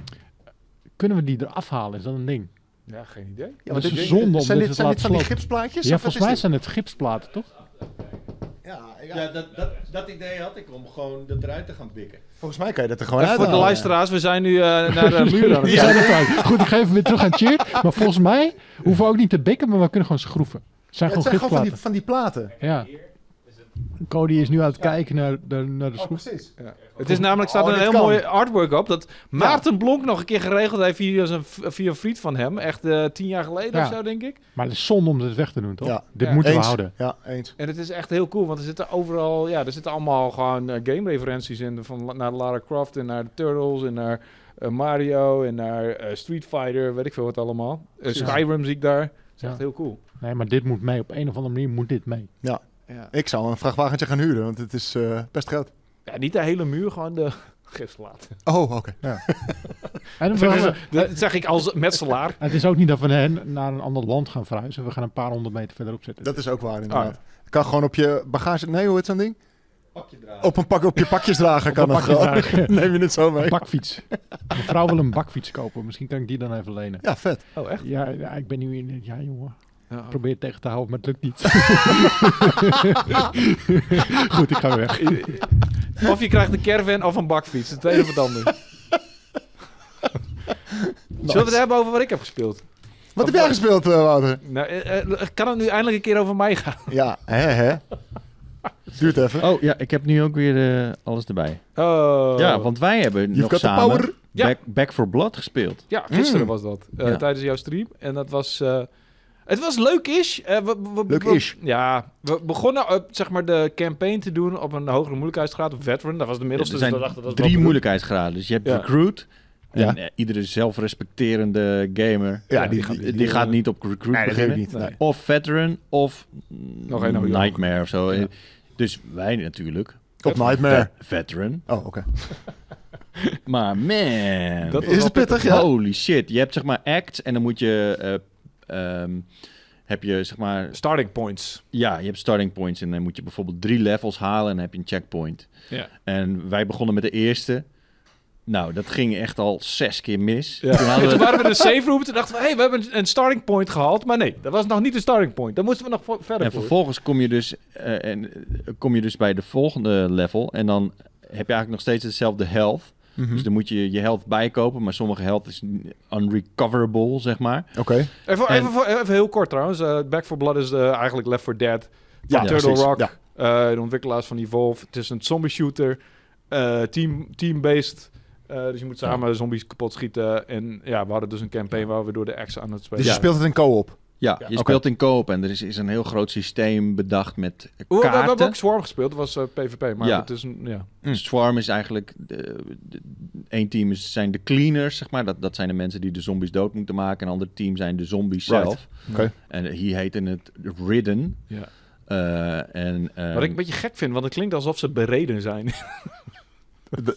Speaker 4: Kunnen we die eraf halen? Is dat een ding?
Speaker 1: Ja, geen idee.
Speaker 4: Ja, dat is zonde om
Speaker 2: zijn
Speaker 4: dit
Speaker 2: dit,
Speaker 4: te
Speaker 2: zijn dit
Speaker 4: laten
Speaker 2: van die
Speaker 4: slopen.
Speaker 2: gipsplaatjes?
Speaker 4: Ja,
Speaker 2: Of wat
Speaker 4: volgens mij
Speaker 2: is
Speaker 4: zijn het gipsplaten, toch?
Speaker 2: dit? Ja, ja,
Speaker 3: Ja, dat, dat, dat idee had ik om gewoon dat eruit te gaan bikken.
Speaker 2: volgens mij kan je dat er gewoon
Speaker 1: Even
Speaker 2: uit
Speaker 1: voor de luisteraars, we zijn nu eh, naar de muur aan het
Speaker 4: We zijn er kwijt. Goed, ik geef hem weer terug aan Cheer. Maar volgens mij hoeven we ook niet te bikken, maar we kunnen gewoon schroeven. Het zijn
Speaker 2: Het
Speaker 4: gewoon
Speaker 2: zijn gewoon van die,
Speaker 4: gipsplaten.
Speaker 2: van die platen.
Speaker 4: Ja. Cody is nu aan het kijken naar de, naar de
Speaker 2: Oh,
Speaker 4: schroef.
Speaker 2: precies.
Speaker 1: Het is namelijk, staat
Speaker 2: Oh,
Speaker 1: er een
Speaker 2: dit
Speaker 1: heel
Speaker 2: kan.
Speaker 1: mooi artwork op. Dat Maarten Blonk nog een keer geregeld heeft via, zijn, via een vriend van hem. Echt eh, tien jaar geleden
Speaker 4: Ja.
Speaker 1: of zo, denk ik.
Speaker 4: Maar het is zonde om dit weg te doen, toch?
Speaker 2: Oh. Ja.
Speaker 4: Dit
Speaker 1: Ja.
Speaker 4: moeten we
Speaker 2: Eens.
Speaker 4: houden.
Speaker 2: Ja, eens.
Speaker 1: En het is echt heel cool, want er zitten overal, ja, er zitten allemaal gewoon eh, game-referenties in. Van la- naar Lara Croft en naar de Turtles en naar eh, Mario en naar eh, Street Fighter, weet ik veel wat allemaal. Eh,
Speaker 4: Ja.
Speaker 1: Skyrim zie ik daar. Dat is
Speaker 4: Ja.
Speaker 1: echt heel cool.
Speaker 4: Nee, maar dit moet mee. Op een of andere manier moet dit mee.
Speaker 1: Ja.
Speaker 2: Ik zou een vrachtwagentje gaan huren, want het is eh, best groot.
Speaker 1: niet de hele muur, gewoon de gif laten.
Speaker 2: Oh, oké.
Speaker 4: En we-
Speaker 1: Dat, zeg ik als metselaar.
Speaker 4: het is ook niet dat we naar- naar een ander land gaan verhuizen. We gaan een paar honderd meter verderop zitten.
Speaker 2: Dat is ook waar inderdaad. Kan gewoon op je bagage... Nee, hoe heet zo'n ding?
Speaker 3: Pak je draad.
Speaker 2: Op, een pak, op je pakjesdrager
Speaker 4: Op
Speaker 2: kan
Speaker 4: een
Speaker 2: het gewoon.
Speaker 4: pakjesdrager.
Speaker 2: Neem je het zo mee.
Speaker 4: Een bakfiets. Mijn vrouw wil een bakfiets kopen. Misschien kan ik die dan even lenen.
Speaker 2: Ja, vet.
Speaker 1: Oh, echt?
Speaker 4: Ja, ja, ik ben nu in... Ja, jongen.
Speaker 1: Ja.
Speaker 4: Ik probeer het tegen te houden, maar het lukt niet. Goed, ik ga weg.
Speaker 1: Of je krijgt een caravan of een bakfiets. Het tweede of het ander. Zullen we het hebben over wat ik heb gespeeld?
Speaker 2: Wat heb jij gespeeld, eh, Wouter?
Speaker 1: Nou, eh, eh, kan het nu eindelijk een keer over mij gaan?
Speaker 2: Ja, hè, hè. Duurt even.
Speaker 3: Oh ja, ik heb nu ook weer eh, alles erbij.
Speaker 1: Oh.
Speaker 3: Ja, want wij hebben
Speaker 2: You've
Speaker 3: nog
Speaker 2: got the
Speaker 3: samen
Speaker 2: power.
Speaker 1: Ja.
Speaker 3: Back, Back for Blood gespeeld.
Speaker 1: Ja, gisteren
Speaker 2: Mm.
Speaker 1: was dat. eh,
Speaker 3: Hmm. Ja.
Speaker 1: Tijdens jouw stream. En dat was... eh, het was eh, leuk is.
Speaker 2: Leuk is.
Speaker 1: Ja, we begonnen eh, zeg maar de campaign te doen op een hogere moeilijkheidsgraad. Op Veteran, dat was de middelste.
Speaker 3: er
Speaker 1: dus
Speaker 3: zijn
Speaker 1: we dachten, dat is
Speaker 3: drie
Speaker 1: wel-
Speaker 3: moeilijkheidsgraden. Dus je hebt
Speaker 1: Ja.
Speaker 3: Recruit. En
Speaker 2: Ja.
Speaker 3: eh, iedere zelfrespecterende gamer...
Speaker 1: Ja,
Speaker 2: Ja, die,
Speaker 1: die gaat-
Speaker 2: die-
Speaker 3: Die,
Speaker 1: Die,
Speaker 3: gaat
Speaker 1: eh,
Speaker 3: niet op Recruit
Speaker 2: nee, dat geef ik
Speaker 3: beginnen.
Speaker 2: niet. Nee.
Speaker 1: Nee.
Speaker 3: Of Veteran of mm,
Speaker 1: Nog een hoger.
Speaker 3: Nightmare of zo.
Speaker 1: Ja.
Speaker 3: Dus wij natuurlijk.
Speaker 2: Op Nightmare.
Speaker 3: Ve- veteran.
Speaker 2: Oh, oké.
Speaker 3: Maar man.
Speaker 1: Dat was
Speaker 2: Is
Speaker 1: wel
Speaker 2: het pittig, ja?
Speaker 3: Holy shit. Je hebt zeg maar acts en dan moet je... eh, ehm, heb je zeg maar...
Speaker 1: Starting points.
Speaker 3: Ja, je hebt starting points en dan moet je bijvoorbeeld drie levels halen en dan heb je een checkpoint.
Speaker 1: Ja.
Speaker 3: En wij begonnen met de eerste. Nou, dat ging echt al zes keer mis.
Speaker 1: Ja.
Speaker 3: Toen hadden
Speaker 1: En
Speaker 3: we-
Speaker 1: toen waren we in de safe room. Toen dachten we, hey, we hebben een- een starting point gehaald. Maar nee, dat was nog niet de starting point. Daar moesten we nog vo- verder
Speaker 3: En
Speaker 1: voor.
Speaker 3: vervolgens kom je, dus, eh, en, eh, kom je dus bij de volgende level. En dan heb je eigenlijk nog steeds hetzelfde health.
Speaker 2: Mhm.
Speaker 3: Dus dan moet je je health bijkopen. Maar sommige health is n- unrecoverable, zeg maar.
Speaker 2: Oké.
Speaker 1: Even,
Speaker 3: En-
Speaker 1: even, voor- even heel kort trouwens. eh, Back for Blood is eh, eigenlijk Left 4 Dead.
Speaker 2: Ja,
Speaker 1: Van Turtle
Speaker 2: precies,
Speaker 1: Rock.
Speaker 2: ja.
Speaker 1: eh, de ontwikkelaars van Evolve. Het is een zombie shooter. eh, team, team-based. eh, dus je moet samen zombies kapot schieten. En ja, we hadden dus een campaign waar we door de ex aan het spelen
Speaker 2: Dus je
Speaker 3: Ja.
Speaker 2: speelt het in co-op.
Speaker 3: Ja,
Speaker 1: Ja.
Speaker 3: je
Speaker 2: Oké.
Speaker 3: speelt in koop. En er is, is een heel groot systeem bedacht met
Speaker 1: We, we- we hebben
Speaker 3: kaarten.
Speaker 1: ook Swarm gespeeld. Dat was eh, PvP. Maar
Speaker 3: Ja.
Speaker 1: het is een... Ja.
Speaker 2: Mm.
Speaker 3: Swarm is eigenlijk... de- de- Eén team is, zijn de cleaners, zeg maar. Dat, dat zijn de mensen die de zombies dood moeten maken. En een ander team zijn de zombies
Speaker 2: Right.
Speaker 3: zelf.
Speaker 2: Oké.
Speaker 3: En hier heette het Ridden.
Speaker 1: Ja.
Speaker 3: Eh, en, ehm,
Speaker 1: Wat ik een beetje gek vind, want het klinkt alsof ze bereden zijn.
Speaker 2: De-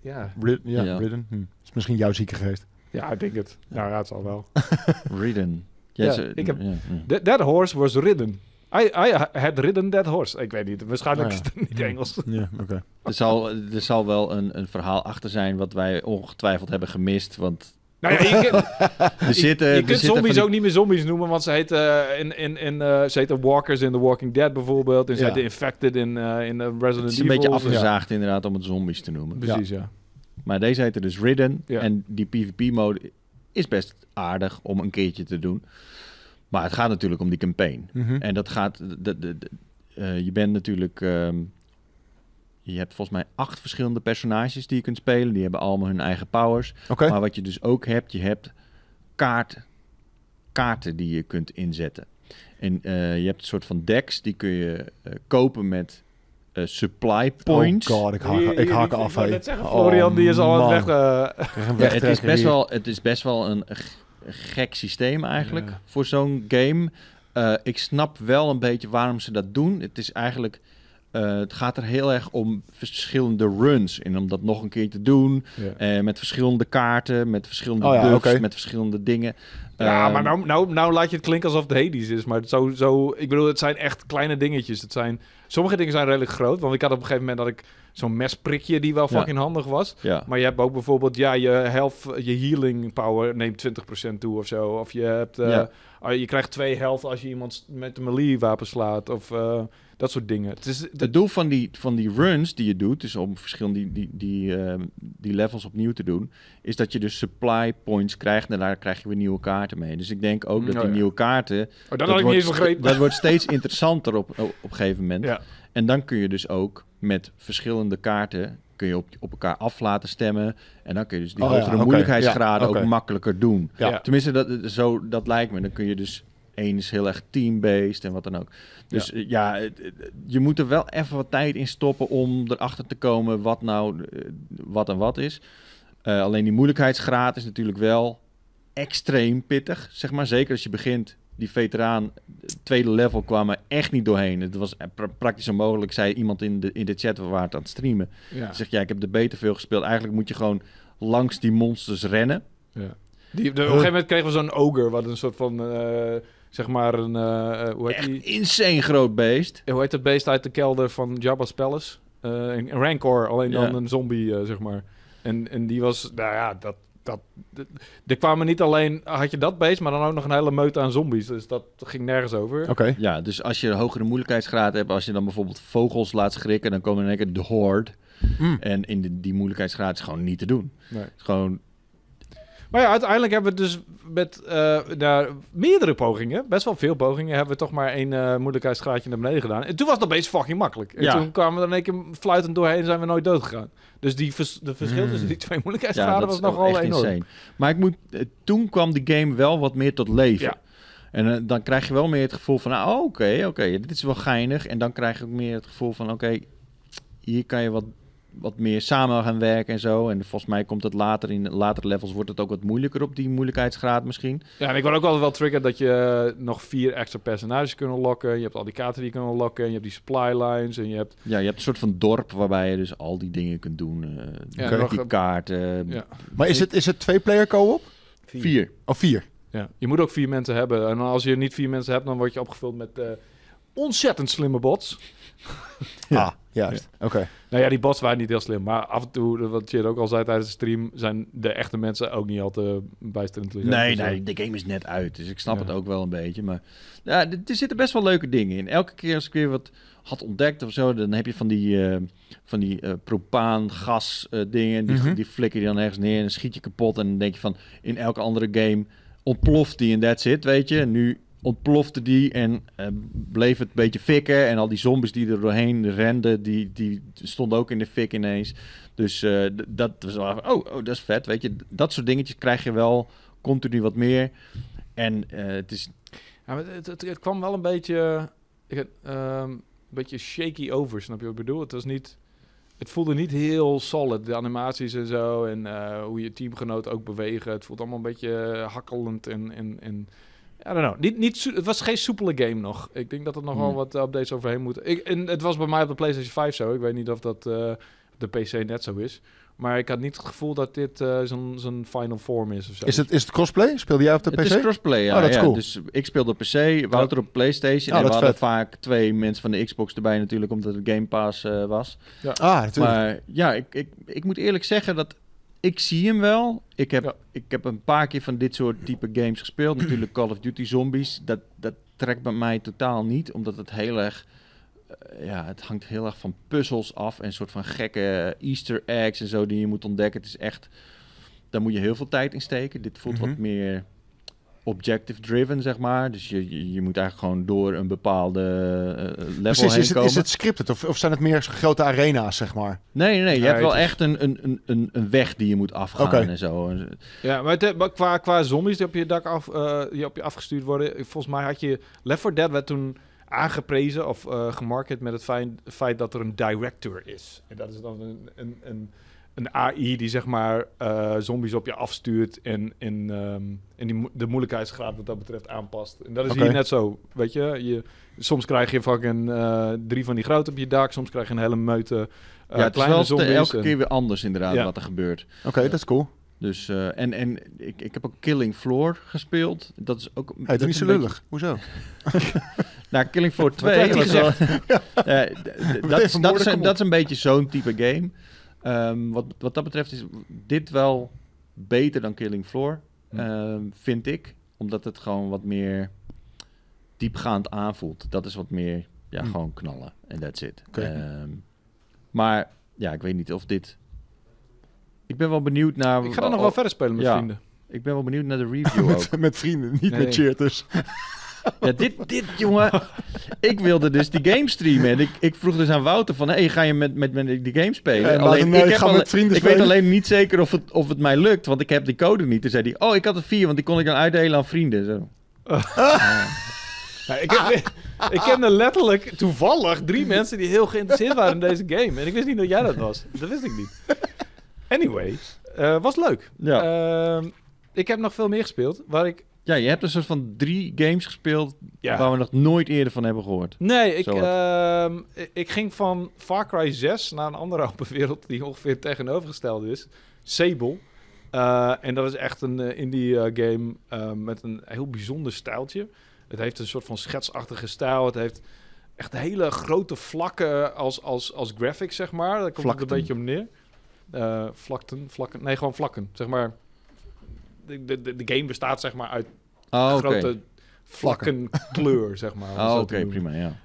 Speaker 1: ja.
Speaker 2: Rid- Ja,
Speaker 3: Ja.
Speaker 2: Ridden. Hm. Is misschien jouw zieke geest.
Speaker 1: ja, ik denk het. Nou ja, het zal wel.
Speaker 3: Ridden.
Speaker 1: Ja,
Speaker 3: ze-
Speaker 1: ik heb-
Speaker 3: ja, ja.
Speaker 1: Th- that horse was ridden. I, I had ridden that horse. Ik weet niet. Waarschijnlijk
Speaker 2: Ah, ja.
Speaker 1: is het niet Engels.
Speaker 2: Ja, oké.
Speaker 3: Er zal, er zal wel een, een verhaal achter zijn wat wij ongetwijfeld hebben gemist. Want
Speaker 1: Nou ja, je, kunt-
Speaker 3: Er zitten,
Speaker 1: je
Speaker 3: er
Speaker 1: kunt
Speaker 3: zitten van
Speaker 1: zombies
Speaker 3: die-
Speaker 1: ook niet meer zombies noemen, want ze heten, eh, in, in, in, eh, ze heten Walkers in The Walking Dead bijvoorbeeld. En ze
Speaker 2: Ja.
Speaker 1: heten Infected in, eh, in eh, Resident Evil.
Speaker 3: Het is een beetje
Speaker 1: of-
Speaker 3: afgezaagd inderdaad om het zombies te noemen.
Speaker 1: Precies, ja.
Speaker 3: Maar deze heette dus Ridden.
Speaker 1: Ja.
Speaker 3: En die PvP-mode is best aardig om een keertje te doen. Maar het gaat natuurlijk om die campaign.
Speaker 2: Mhm.
Speaker 3: En dat gaat. de- de- de- eh, je bent natuurlijk. ehm, je hebt volgens mij acht verschillende personages die je kunt spelen. Die hebben allemaal hun eigen powers.
Speaker 2: Oké.
Speaker 3: Maar wat je dus ook hebt, je hebt kaart, kaarten die je kunt inzetten. En eh, je hebt een soort van decks, die kun je eh, kopen met eh, supply points.
Speaker 2: Oh god, ik haak,
Speaker 1: Hier-
Speaker 2: ik
Speaker 1: hier-
Speaker 2: haak
Speaker 1: die-
Speaker 2: af.
Speaker 1: Ik wou
Speaker 2: hé.
Speaker 1: net zeggen, Florian die is al aan
Speaker 2: Oh,
Speaker 1: het
Speaker 2: man.
Speaker 1: weg. eh,
Speaker 2: Ik krijg een
Speaker 3: Ja, het, is
Speaker 2: wegtrekker
Speaker 3: best
Speaker 2: hier.
Speaker 3: wel, het is best wel een g- gek systeem eigenlijk
Speaker 1: Ja.
Speaker 3: voor zo'n game. Eh, ik snap wel een beetje waarom ze dat doen. Het is eigenlijk. eh, het gaat er heel erg om verschillende runs. En om dat nog een keer te doen. eh, met verschillende kaarten, met verschillende
Speaker 2: Oh ja,
Speaker 3: buffs,
Speaker 2: oké.
Speaker 3: met verschillende dingen.
Speaker 1: Ja,
Speaker 3: Ehm,
Speaker 1: maar nou, nou, nou laat je het klinken alsof het Hades is. Maar het zo, zo, ik bedoel, het zijn echt kleine dingetjes. Het zijn, sommige dingen zijn redelijk groot. Want ik had op een gegeven moment dat ik zo'n mesprikje die wel
Speaker 3: Ja.
Speaker 1: fucking handig was.
Speaker 3: Ja.
Speaker 1: Maar je hebt ook bijvoorbeeld, ja, je health, je healing power neemt 20% toe of zo. Of je hebt, eh,
Speaker 3: Ja.
Speaker 1: ah, je krijgt twee health als je iemand met een melee wapen slaat. Of eh, dat soort dingen. Het is,
Speaker 3: Het doel van die, van die runs die je doet, dus om verschillende die, die, die, ehm, die levels opnieuw te doen, is dat je dus supply points krijgt en daar krijg je weer nieuwe kaarten mee. Dus ik denk ook dat
Speaker 1: Oh
Speaker 3: die
Speaker 1: ja.
Speaker 3: nieuwe kaarten
Speaker 1: oh, dat had ik niet eens begrepen.
Speaker 3: dat wordt steeds interessanter op, op een gegeven moment.
Speaker 1: Ja.
Speaker 3: En dan kun je dus ook met verschillende kaarten kun je op, op elkaar af laten stemmen. En dan kun je dus die
Speaker 2: Oh ja,
Speaker 3: hogere
Speaker 2: oké.
Speaker 3: moeilijkheidsgraden
Speaker 2: Ja, oké.
Speaker 3: ook makkelijker doen.
Speaker 1: Ja.
Speaker 2: Ja.
Speaker 3: Tenminste, dat, zo, dat lijkt me. Dan kun je dus één is heel erg team-based en wat dan ook. Dus eh, ja, het- het- je moet er wel even wat tijd in stoppen om erachter te komen wat nou eh, wat en wat is. Eh, alleen die moeilijkheidsgraad is natuurlijk wel extreem pittig. Zeg maar, zeker als je begint. Die veteraan, het tweede level, kwamen echt niet doorheen. Het was eh, pra- praktisch onmogelijk, zei iemand in de, in de chat, we waren het aan het streamen.
Speaker 1: Ja.
Speaker 3: Zegt, ja, ik heb er beter veel gespeeld. Eigenlijk moet je gewoon langs die monsters rennen.
Speaker 1: Die, de- op een gegeven moment kregen we zo'n ogre, wat een soort van, eh, zeg maar, een, eh, eh, hoe heet
Speaker 3: Echt
Speaker 1: die?
Speaker 3: insane groot beest.
Speaker 1: Eh, Hoe heet dat beest uit de kelder van Jabba's Palace? Eh, een, een Rancor, alleen dan
Speaker 3: Ja.
Speaker 1: een zombie, eh, zeg maar. En, en die was, nou ja, dat... dat d- er kwamen niet alleen, had je dat beest, maar dan ook nog een hele meute aan zombies. Dus dat ging nergens over.
Speaker 2: Oké.
Speaker 3: Ja, dus als je een hogere moeilijkheidsgraad hebt, als je dan bijvoorbeeld vogels laat schrikken, dan komen in één keer de horde.
Speaker 2: Mm.
Speaker 3: En in de, die moeilijkheidsgraad is gewoon niet te doen.
Speaker 1: Nee.
Speaker 3: Het is Gewoon,
Speaker 1: Maar ja, uiteindelijk hebben we het dus met eh, nou, meerdere pogingen, best wel veel pogingen, hebben we toch maar één eh, moeilijkheidsgraadje naar beneden gedaan. En toen was dat beest fucking makkelijk. En
Speaker 3: Ja.
Speaker 1: toen kwamen we er in één keer fluitend doorheen en zijn we nooit dood gegaan. Dus die vers- de verschil
Speaker 2: Mm.
Speaker 1: tussen die twee
Speaker 3: Hmm. ja,
Speaker 1: moeilijkheidsgraden
Speaker 3: dat is
Speaker 1: was
Speaker 3: nogal
Speaker 1: nogal
Speaker 3: echt
Speaker 1: enorm.
Speaker 3: insane. Maar ik moet, eh, toen kwam de game wel wat meer tot leven.
Speaker 1: Ja.
Speaker 3: En eh, dan krijg je wel meer het gevoel van, ah, oké, oké, dit is wel geinig. En dan krijg je ook meer het gevoel van, oké, hier kan je wat, wat meer samen gaan werken en zo. En volgens mij komt het later in latere levels, wordt het ook wat moeilijker op die moeilijkheidsgraad misschien.
Speaker 1: Ja, en ik word ook altijd wel triggerd dat je eh, nog vier extra personages kunt lokken. Je hebt al die kaarten die je kunt lokken. Je hebt die supply lines en je hebt...
Speaker 3: Ja, je hebt een soort van dorp waarbij je dus al die dingen kunt doen. eh
Speaker 1: Ja,
Speaker 3: die
Speaker 1: nog, eh,
Speaker 3: kaarten.
Speaker 1: ja.
Speaker 2: Maar is het, is het twee-player co-op?
Speaker 3: Vier.
Speaker 2: Of vier?
Speaker 1: Ja, je moet ook vier mensen hebben. En als je niet vier mensen hebt, dan word je opgevuld met eh, ontzettend slimme bots.
Speaker 2: Ja. Ah, juist. Oké.
Speaker 1: Nou ja, die bots waren niet heel slim. Maar af en toe, wat je ook al zei tijdens de stream, zijn de echte mensen ook niet al te bijster intelligent.
Speaker 3: Nee,
Speaker 1: Dus,
Speaker 3: nee,
Speaker 1: eh,
Speaker 3: de game is net uit, dus ik snap
Speaker 1: Ja.
Speaker 3: het ook wel een beetje. Maar ja, d- er zitten best wel leuke dingen in. Elke keer als ik weer wat had ontdekt of zo, dan heb je van die, eh, van die eh, propaan, gas eh, dingen. Die,
Speaker 2: Mhm.
Speaker 3: die flikker je dan ergens neer en dan schiet je kapot. En dan denk je van, in elke andere game ontploft die en that's it, weet je. En nu ontplofte die en eh, bleef het een beetje fikken. En al die zombies die er doorheen renden, die, die stonden ook in de fik ineens. Dus eh, d- dat was wel even, oh, oh, dat is vet, weet je. Dat soort dingetjes krijg je wel continu wat meer. En eh, het is...
Speaker 1: ja, maar het, het, het kwam wel een beetje, ik, had, ehm, een beetje shaky over, snap je wat ik bedoel? Het was niet... Het voelde niet heel solid, de animaties en zo. En eh, hoe je teamgenoten ook bewegen. Het voelt allemaal een beetje eh, hakkelend en... en, en I don't know. Niet, niet soe- het was geen soepele game nog. Ik denk dat er nog wel
Speaker 3: Hmm.
Speaker 1: wat updates overheen moeten. Ik, en het was bij mij op de PlayStation 5 zo. Ik weet niet of dat eh, op de PC net zo is. Maar ik had niet het gevoel dat dit eh zo'n zo'n final form is of zo.
Speaker 2: Is het, is het crossplay? Speelde jij op de
Speaker 3: Het is
Speaker 2: PC?
Speaker 3: crossplay, ja.
Speaker 2: Oh, dat is
Speaker 3: ja.
Speaker 2: cool.
Speaker 3: Dus ik speelde op PC, Wouter op PlayStation.
Speaker 2: Oh,
Speaker 3: en we
Speaker 2: dat is
Speaker 3: hadden
Speaker 2: vet.
Speaker 3: vaak twee mensen van de Xbox erbij natuurlijk, omdat het Game Pass eh, was.
Speaker 2: Ah, natuurlijk.
Speaker 3: Maar ja, ik, ik, ik moet eerlijk zeggen dat ik zie hem wel. Ik heb,
Speaker 1: Ja.
Speaker 3: ik heb een paar keer van dit soort type games gespeeld. Natuurlijk Call of Duty Zombies. Dat, dat trekt bij mij totaal niet, omdat het heel erg... eh, Ja, het hangt heel erg van puzzels af en een soort van gekke easter eggs en zo die je moet ontdekken. Het is echt, daar moet je heel veel tijd in steken. Dit voelt wat
Speaker 2: Mhm.
Speaker 3: meer objective driven, zeg maar. Dus je, je, je moet eigenlijk gewoon door een bepaalde eh, level
Speaker 2: Precies,
Speaker 3: heen
Speaker 2: is het,
Speaker 3: komen.
Speaker 2: is het scripted of, of zijn het meer grote arena's, zeg maar?
Speaker 3: Nee, nee, nee. Je
Speaker 1: Ja,
Speaker 3: hebt wel
Speaker 1: het is-
Speaker 3: echt een, een, een- een, een weg die je moet afgaan
Speaker 2: Oké.
Speaker 3: en eh, zo.
Speaker 1: Ja, maar, het- eh, maar qua, qua zombies die op je dak af, eh, die op je afgestuurd worden, eh, volgens mij had je Left 4 Dead werd toen aangeprezen of eh gemarket met het feit, feit dat er een director is. En dat is dan een, een, een, een AI die zeg maar eh, zombies op je afstuurt en, en, ehm, en die, mo- de moeilijkheidsgraad wat dat betreft aanpast. En dat is
Speaker 2: Oké.
Speaker 1: hier net zo, weet je? je. Soms krijg je fucking eh, drie van die grote op je dak, soms krijg je een hele meute eh,
Speaker 3: ja, het is
Speaker 1: kleine
Speaker 3: wel
Speaker 1: zombies.
Speaker 3: te- elke
Speaker 1: en-
Speaker 3: keer weer anders inderdaad
Speaker 1: Ja.
Speaker 3: wat er gebeurt.
Speaker 2: Oké, dat is cool.
Speaker 3: Dus, eh, en en ik, ik heb ook Killing Floor gespeeld. Dat is ook...
Speaker 2: Hey,
Speaker 3: dat
Speaker 2: doe niet
Speaker 3: is
Speaker 2: zo
Speaker 3: een
Speaker 2: lullig. Hoezo?
Speaker 3: beetje- Nou, Killing Floor 2
Speaker 1: werd er
Speaker 3: was wel... Eh, d- d- dat, is, dat,
Speaker 2: vermoorden,
Speaker 3: is een,
Speaker 2: kom
Speaker 3: dat is een beetje zo'n type game. Ehm, wat, wat dat betreft is dit wel beter dan Killing Floor,
Speaker 1: Hm.
Speaker 3: ehm, vind ik. Omdat het gewoon wat meer diepgaand aanvoelt. Dat is wat meer, ja,
Speaker 2: Hm.
Speaker 3: gewoon knallen. En that's it.
Speaker 2: Oké.
Speaker 3: Ehm, maar ja, ik weet niet of dit... Ik ben wel benieuwd naar...
Speaker 1: Ik ga dan nog wel verder spelen met
Speaker 3: Ja.
Speaker 1: vrienden.
Speaker 3: Ik ben wel benieuwd naar de review ook.
Speaker 2: Met, met vrienden, niet
Speaker 1: Nee.
Speaker 2: met cheaters.
Speaker 3: Ja, dit, dit, jongen. Ik wilde dus die game streamen. En ik, ik vroeg dus aan Wouter van... hey, ga je met, met, met die game spelen?
Speaker 2: Eh, Wouter,
Speaker 3: alleen,
Speaker 2: nee,
Speaker 3: ik
Speaker 2: ik
Speaker 3: heb
Speaker 2: ga
Speaker 3: alle-
Speaker 2: met vrienden
Speaker 3: Ik weet
Speaker 2: spelen.
Speaker 3: alleen niet zeker of het, of het mij lukt. Want ik heb die code niet. Toen zei hij... Oh, ik had er vier. Want die kon ik dan uitdelen aan vrienden. Zo.
Speaker 1: Ja, Nou, ik, heb, ik kende letterlijk toevallig drie mensen die heel geïnteresseerd waren in deze game. En ik wist niet dat jij dat was. Dat wist ik niet. Anyway, eh, was leuk.
Speaker 3: Ja.
Speaker 1: Ehm, ik heb nog veel meer gespeeld. Waar ik.
Speaker 3: ja, je hebt een soort van drie games gespeeld...
Speaker 1: Ja.
Speaker 3: waar we nog nooit eerder van hebben gehoord.
Speaker 1: Nee, ik,
Speaker 3: Zo wat.
Speaker 1: ehm, ik- ik ging van Far Cry 6 naar een andere open wereld die ongeveer het tegenovergestelde is. Sable. Eh, en dat is echt een eh, indie eh, game eh, met een heel bijzonder stijltje. Het heeft een soort van schetsachtige stijl. Het heeft echt hele grote vlakken als, als, als graphic, zeg maar. Daar komt het
Speaker 3: Vlakten.
Speaker 1: een beetje om neer. Eh, vlakten, vlakken. Nee, gewoon vlakken. Zeg maar, de, de, de de game bestaat zeg maar uit
Speaker 3: Oh, oké.
Speaker 1: grote vlakken kleur, zeg maar. om het
Speaker 3: Oh,
Speaker 1: zo
Speaker 3: oké.
Speaker 1: te noemen.
Speaker 3: prima, ja.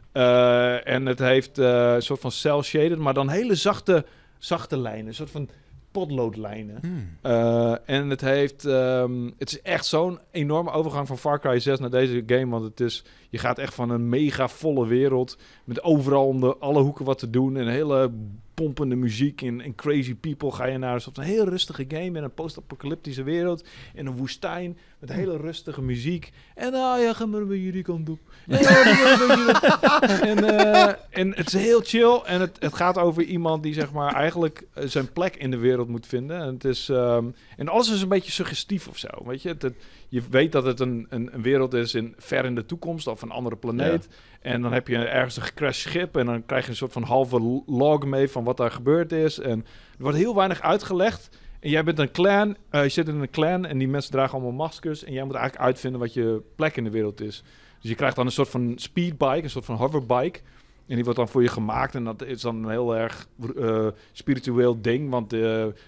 Speaker 1: Eh, en het heeft eh, een soort van cel-shaded, maar dan hele zachte, zachte lijnen. Een soort van potloodlijnen.
Speaker 2: Hmm.
Speaker 1: Eh, en het heeft... ehm, het is echt zo'n enorme overgang van Far Cry 6 naar deze game. Want het is... Je gaat echt van een mega volle wereld... met overal om de, alle hoeken wat te doen... en hele pompende muziek en, en crazy people... ga je naar een soort van heel rustige game... in een post-apocalyptische wereld... in een woestijn met hele rustige muziek. En ah ja, ga maar bij jullie kant op. En, ah, doe maar bij jullie- en, eh, en het is heel chill. En het, het gaat over iemand die zeg maar eigenlijk eh, zijn plek in de wereld moet vinden. En, het is, ehm, en alles is een beetje suggestief of zo. Weet je? Het, het- je weet dat het een, een, een wereld is in, ver in de toekomst of een andere planeet. En dan heb je ergens een gecrashed schip. En dan krijg je een soort van halve log mee van wat daar gebeurd is. En er wordt heel weinig uitgelegd. En jij bent een clan, eh, je zit in een clan en die mensen dragen allemaal maskers. En jij moet eigenlijk uitvinden wat je plek in de wereld is. Dus je krijgt dan een soort van speedbike, een soort van hoverbike. En die wordt dan voor je gemaakt. En dat is dan een heel erg eh, spiritueel ding. Want eh,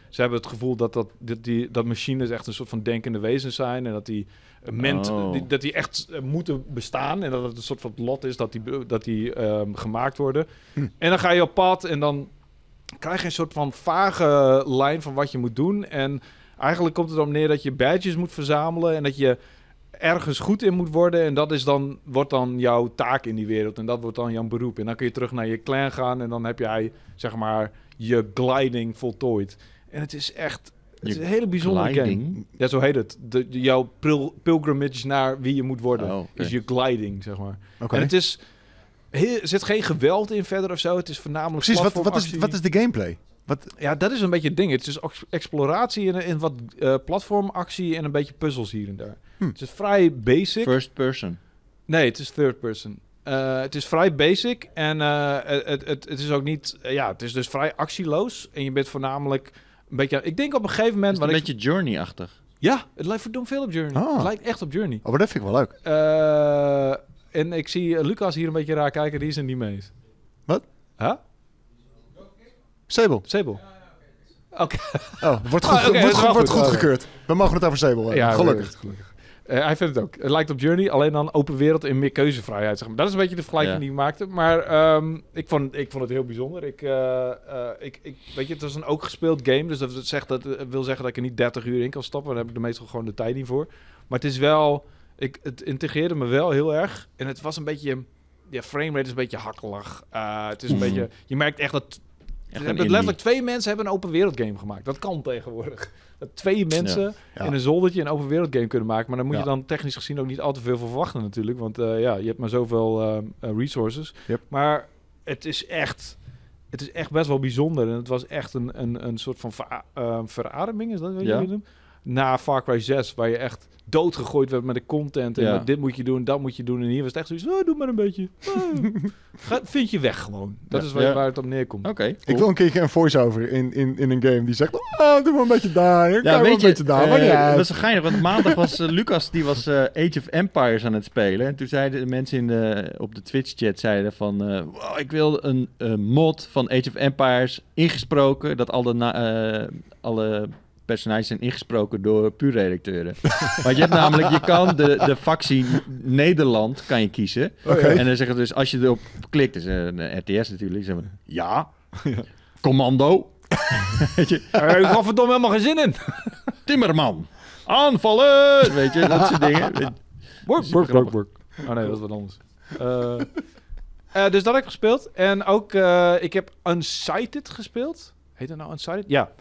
Speaker 1: ze hebben het gevoel dat, dat, dat, die, dat machines echt een soort van denkende wezens zijn. En dat die, ment,
Speaker 3: Oh.
Speaker 1: die- dat die echt eh, moeten bestaan. En dat het een soort van lot is dat die, be- dat die ehm, gemaakt worden. En dan ga je op pad en dan krijg je een soort van vage lijn van wat je moet doen. En eigenlijk komt het erop neer dat je badges moet verzamelen en dat je ergens goed in moet worden. En dat is dan, wordt dan jouw taak in die wereld. En dat wordt dan jouw beroep. En dan kun je terug naar je clan gaan en dan heb jij, zeg maar, je gliding voltooid. En het is echt... Het is
Speaker 3: Je
Speaker 1: een hele bijzondere game.
Speaker 3: Gliding?
Speaker 1: Ja, zo heet het. De, de- jouw pil- pilgrimage naar wie je moet worden.
Speaker 3: Oh, oké.
Speaker 1: Is je gliding, zeg maar.
Speaker 2: Oké.
Speaker 1: En het is... Heel, er zit geen geweld in verder of zo. Het is voornamelijk
Speaker 2: Precies, wat, wat, is,
Speaker 1: platformactie.
Speaker 2: wat is de gameplay? Wat,
Speaker 1: Ja, dat is een beetje het ding. Het is dus ex- exploratie en, en wat eh, platformactie en een beetje puzzels hier en daar.
Speaker 2: Hm.
Speaker 1: Het is vrij basic.
Speaker 3: First person.
Speaker 1: Nee, het is third person. Eh, het is vrij basic en eh, het, het, het is ook niet... eh, ja, het is dus vrij actieloos. En je bent voornamelijk een beetje... Ik denk op een gegeven
Speaker 3: Is
Speaker 1: moment...
Speaker 3: het een
Speaker 1: wat ik-
Speaker 3: beetje Journey-achtig.
Speaker 1: Ja, het lijkt verdomd veel op Journey.
Speaker 2: Ah.
Speaker 1: Het lijkt echt op Journey.
Speaker 2: oh, maar dat vind ik wel leuk.
Speaker 1: Eh, en ik zie eh, Lucas hier een beetje raar kijken. Die is er niet mee eens.
Speaker 2: Wat?
Speaker 1: Huh?
Speaker 2: Sable.
Speaker 1: Sable. Ja, Oké.
Speaker 2: Oh, wordt
Speaker 1: Ah,
Speaker 2: goed,
Speaker 1: oké, dat
Speaker 2: wordt,
Speaker 1: is wel
Speaker 2: wordt
Speaker 1: goed.
Speaker 2: goedgekeurd. We mogen het over Sable hebben.
Speaker 1: Ja,
Speaker 2: Gelukkig.
Speaker 1: Eh, hij vindt het ook. Het lijkt op Journey, alleen dan open wereld en meer keuzevrijheid. Zeg maar. Dat is een beetje de vergelijking
Speaker 3: Ja.
Speaker 1: die hij maakte. Maar ehm, ik, vond, ik vond het heel bijzonder. Ik, eh, eh, ik, ik, weet je, het was een ook gespeeld game. Dus dat, zegt, dat eh, wil zeggen dat ik er niet 30 uur in kan stappen. Daar heb ik de meestal gewoon de tijd niet voor. Maar het is wel... Ik, het integreerde me wel heel erg. En het was een beetje... Ja, framerate is een beetje hakkelig. Eh, het is een
Speaker 3: Mhm.
Speaker 1: beetje... Je merkt echt dat
Speaker 3: Echt
Speaker 1: ze
Speaker 3: een
Speaker 1: hebben
Speaker 3: indie.
Speaker 1: letterlijk twee mensen hebben een open wereld game gemaakt. Dat kan tegenwoordig. Dat twee mensen
Speaker 2: Ja.
Speaker 1: in een zoldertje een open wereld game kunnen maken. Maar daar moet
Speaker 2: Ja.
Speaker 1: je dan technisch gezien ook niet al te veel van verwachten natuurlijk. Want eh, ja, je hebt maar zoveel ehm, eh, resources.
Speaker 2: Yep.
Speaker 1: Maar het is echt... Het is echt best wel bijzonder. En het was echt een, een, een soort van ver, eh, verademing, is dat wat je
Speaker 3: Ja.
Speaker 1: wil noemen? Na Far Cry 6, waar je echt doodgegooid werd met de content. En
Speaker 3: Ja.
Speaker 1: met dit moet je doen, dat moet je doen. En hier was het echt zoiets, oh, doe maar een beetje. Oh. Ga- vind je weg gewoon. Dat
Speaker 3: Ja.
Speaker 1: is waar,
Speaker 3: Ja.
Speaker 1: waar het op neerkomt.
Speaker 3: Oké.
Speaker 2: Ik wil een keertje een voice-over in, in, in een game die zegt... Ah, doe maar een beetje daar. Ja,
Speaker 3: Ja,
Speaker 2: maar
Speaker 3: weet
Speaker 2: een
Speaker 3: je,
Speaker 2: beetje daar.
Speaker 3: eh,
Speaker 2: maar niet
Speaker 3: dat
Speaker 2: uit.
Speaker 3: is geinig, want maandag was eh, Lucas, die was eh, Age of Empires aan het spelen. En toen zeiden de mensen in de, op de Twitch-chat, zeiden van, eh, wow, ik wil een eh, mod van Age of Empires ingesproken, dat alle, na- eh, alle personages zijn ingesproken door puur-redacteuren. Want je hebt namelijk, je kan de, de factie Nederland kan je kiezen.
Speaker 2: Oké.
Speaker 3: En dan zeggen ze dus, als je erop klikt, is een eh, RTS natuurlijk, zeggen we, ja, commando. Weet je,
Speaker 1: Daar heb Eh, ik had verdomme helemaal geen zin in.
Speaker 3: Timmerman. Aanvallen! Weet je, dat soort dingen.
Speaker 1: Ehm, Work,
Speaker 3: Super
Speaker 1: work, work, work. Oh nee, dat is wat anders. Eh, eh, dus dat heb ik gespeeld. En ook, eh, ik heb Unsighted gespeeld. Heet dat nou Unsighted? Ja.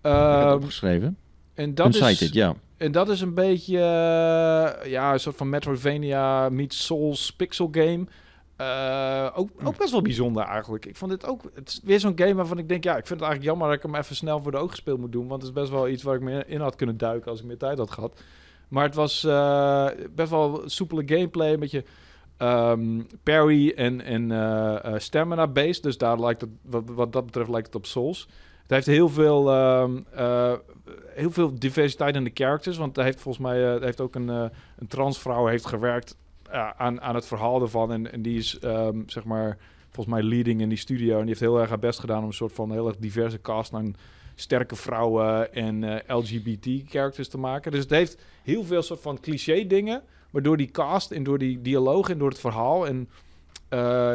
Speaker 1: Ehm,
Speaker 3: opgeschreven.
Speaker 1: en, dat
Speaker 3: Dat
Speaker 1: is,
Speaker 3: ja.
Speaker 1: en dat is een beetje eh, ja, een soort van Metroidvania meets Souls pixel game. Eh, ook, ook best wel bijzonder eigenlijk. Ik vond dit ook... Het is weer zo'n game waarvan ik denk... Ja, ik vind het eigenlijk jammer dat ik hem even snel voor de oog gespeeld moet doen. Want het is best wel iets waar ik me in had kunnen duiken als ik meer tijd had gehad. Maar het was eh, best wel soepele gameplay. Een beetje ehm, parry en, en eh, eh, stamina-based. Dus daar lijkt het, wat, wat dat betreft lijkt het op Souls. Het heeft heel veel, ehm, eh, heel veel diversiteit in de characters. Want hij heeft volgens mij eh, hij heeft ook een, eh, een transvrouw heeft gewerkt eh, aan, aan het verhaal ervan. En, en die is ehm, zeg maar volgens mij leading in die studio. En die heeft heel erg haar best gedaan om een soort van heel erg diverse cast aan sterke vrouwen en eh, LGBT-characters te maken. Dus het heeft heel veel soort van cliché dingen. Maar door die cast en door die dialoog en door het verhaal. En eh,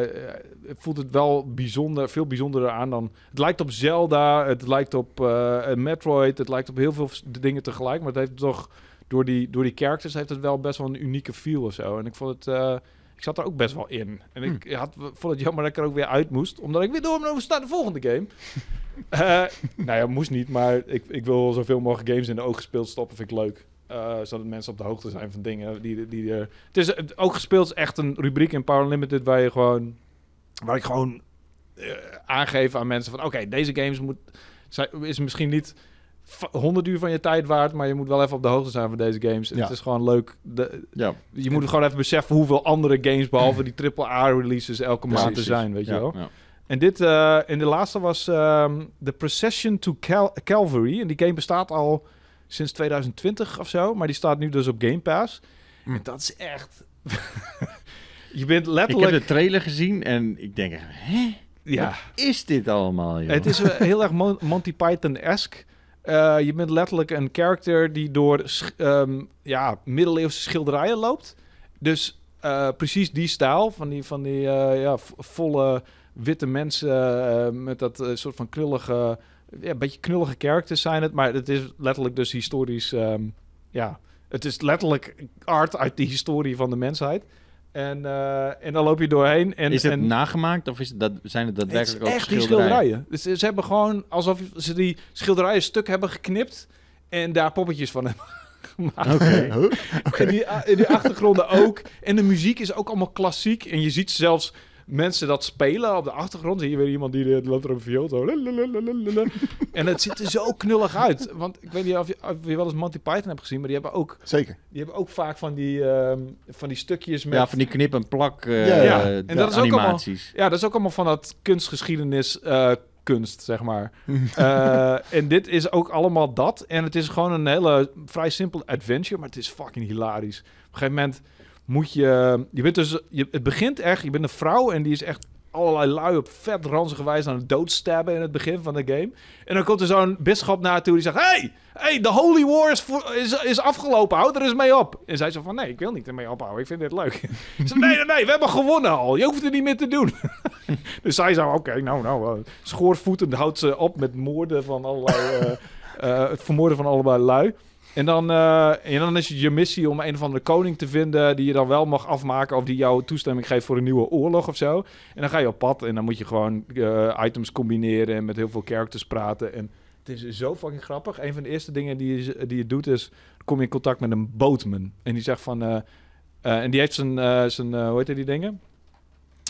Speaker 1: voelt het wel bijzonder, veel bijzonderder aan dan. Het lijkt op Zelda, het lijkt op eh, een Metroid, het lijkt op heel veel s- dingen tegelijk. Maar het heeft toch door die, door die characters heeft het wel best wel een unieke feel of zo. En ik vond het. eh, ik zat er ook best wel in. En ik had, vond het jammer dat ik er ook weer uit moest. Omdat ik weer door moest naar de volgende game. Eh, nou ja, moest niet. Maar ik, ik wil zoveel mogelijk games in de oog gespeeld stoppen. Vind ik leuk. Eh, zodat mensen op de hoogte zijn van dingen. Die, die, er- het is het ook gespeeld is echt een rubriek in Power Limited waar je gewoon. Waar ik gewoon eh, aangeef aan mensen van oké, deze games moet, zijn, is misschien niet fa- 100 uur van je tijd waard, maar je moet wel even op de hoogte zijn van deze games. En
Speaker 2: Ja.
Speaker 1: Het is gewoon leuk. De,
Speaker 3: ja.
Speaker 1: je moet gewoon even beseffen hoeveel andere games, behalve die AAA-releases, elke maand er
Speaker 3: Precies.
Speaker 1: zijn, weet
Speaker 3: ja,
Speaker 1: je wel.
Speaker 3: ja.
Speaker 1: En, dit, eh, en de laatste was ehm The Procession to Cal- Calvary. En die game bestaat al sinds 2020 of zo, maar die staat nu dus op Game Pass.
Speaker 2: Mm.
Speaker 1: En dat is echt... je bent
Speaker 3: Ik heb
Speaker 1: letterlijk...
Speaker 3: de trailer gezien en ik denk, echt, hè?
Speaker 1: ja.
Speaker 3: Is dit allemaal, joh?
Speaker 1: Het is eh, heel erg Mon- Monty Python-esque. Eh, je bent letterlijk een character die door sch- ehm, ja, middeleeuwse schilderijen loopt. Dus eh, precies die stijl van die, van die eh, ja, vo- volle witte mensen eh, met dat eh, soort van knullige... Ja, een beetje knullige characters zijn het, maar het is letterlijk dus historisch... ehm, ja, het is letterlijk art uit de historie van de mensheid. En, eh, en dan loop je doorheen. En,
Speaker 3: Is het
Speaker 1: en,
Speaker 3: nagemaakt of is het dat, zijn het
Speaker 1: het is
Speaker 3: daadwerkelijk ook
Speaker 1: echt die
Speaker 3: schilderijen?
Speaker 1: schilderijen. Dus ze hebben gewoon alsof ze die schilderijen stuk hebben geknipt en daar poppetjes van hebben gemaakt.
Speaker 2: Huh?
Speaker 1: En die, en die achtergronden ook. En de muziek is ook allemaal klassiek. En je ziet zelfs mensen dat spelen op de achtergrond. Hier weer iemand die eh, loopt er een viool. zo. Lalalala. En het ziet er zo knullig uit. Want ik weet niet of je, of je wel eens Monty Python hebt gezien, maar die hebben ook,
Speaker 2: Zeker.
Speaker 1: die hebben ook vaak van die, ehm, van die stukjes met
Speaker 3: Ja, van die knip- en plak eh,
Speaker 2: Ja, ja.
Speaker 3: eh,
Speaker 1: En dat is ook
Speaker 3: animaties.
Speaker 1: Ja, dat is ook allemaal van dat kunstgeschiedenis eh, kunst, zeg maar. Eh, en dit is ook allemaal dat. En het is gewoon een hele vrij simpel adventure, maar het is fucking hilarisch. Op een gegeven moment moet je... je bent dus, je, het begint echt, je bent een vrouw en die is echt allerlei lui op vet ranzige wijze aan het doodstabben in het begin van de game. En dan komt er zo'n bisschop naartoe die zegt... Hey, hey, de Holy War is, voor- is, is afgelopen. Houd er eens mee op. En zij zo van... Nee, ik wil niet ermee ophouden. Ik vind dit leuk. Ze zei, nee, nee, nee. We hebben gewonnen al. Je hoeft er niet meer te doen. dus zij zo... Oké, nou, nou. eh, schoorvoetend houdt ze op met moorden van allerlei... eh, eh, het vermoorden van allebei lui. En dan, eh, en dan is het je missie om een of andere koning te vinden die je dan wel mag afmaken of die jou toestemming geeft voor een nieuwe oorlog of zo. En dan ga je op pad en dan moet je gewoon eh, items combineren en met heel veel characters praten. En het is zo fucking grappig. Een van de eerste dingen die je, die je doet is, kom je in contact met een bootman. En die zegt van, eh, eh, en die heeft zijn, eh, zijn eh, hoe heet die dingen?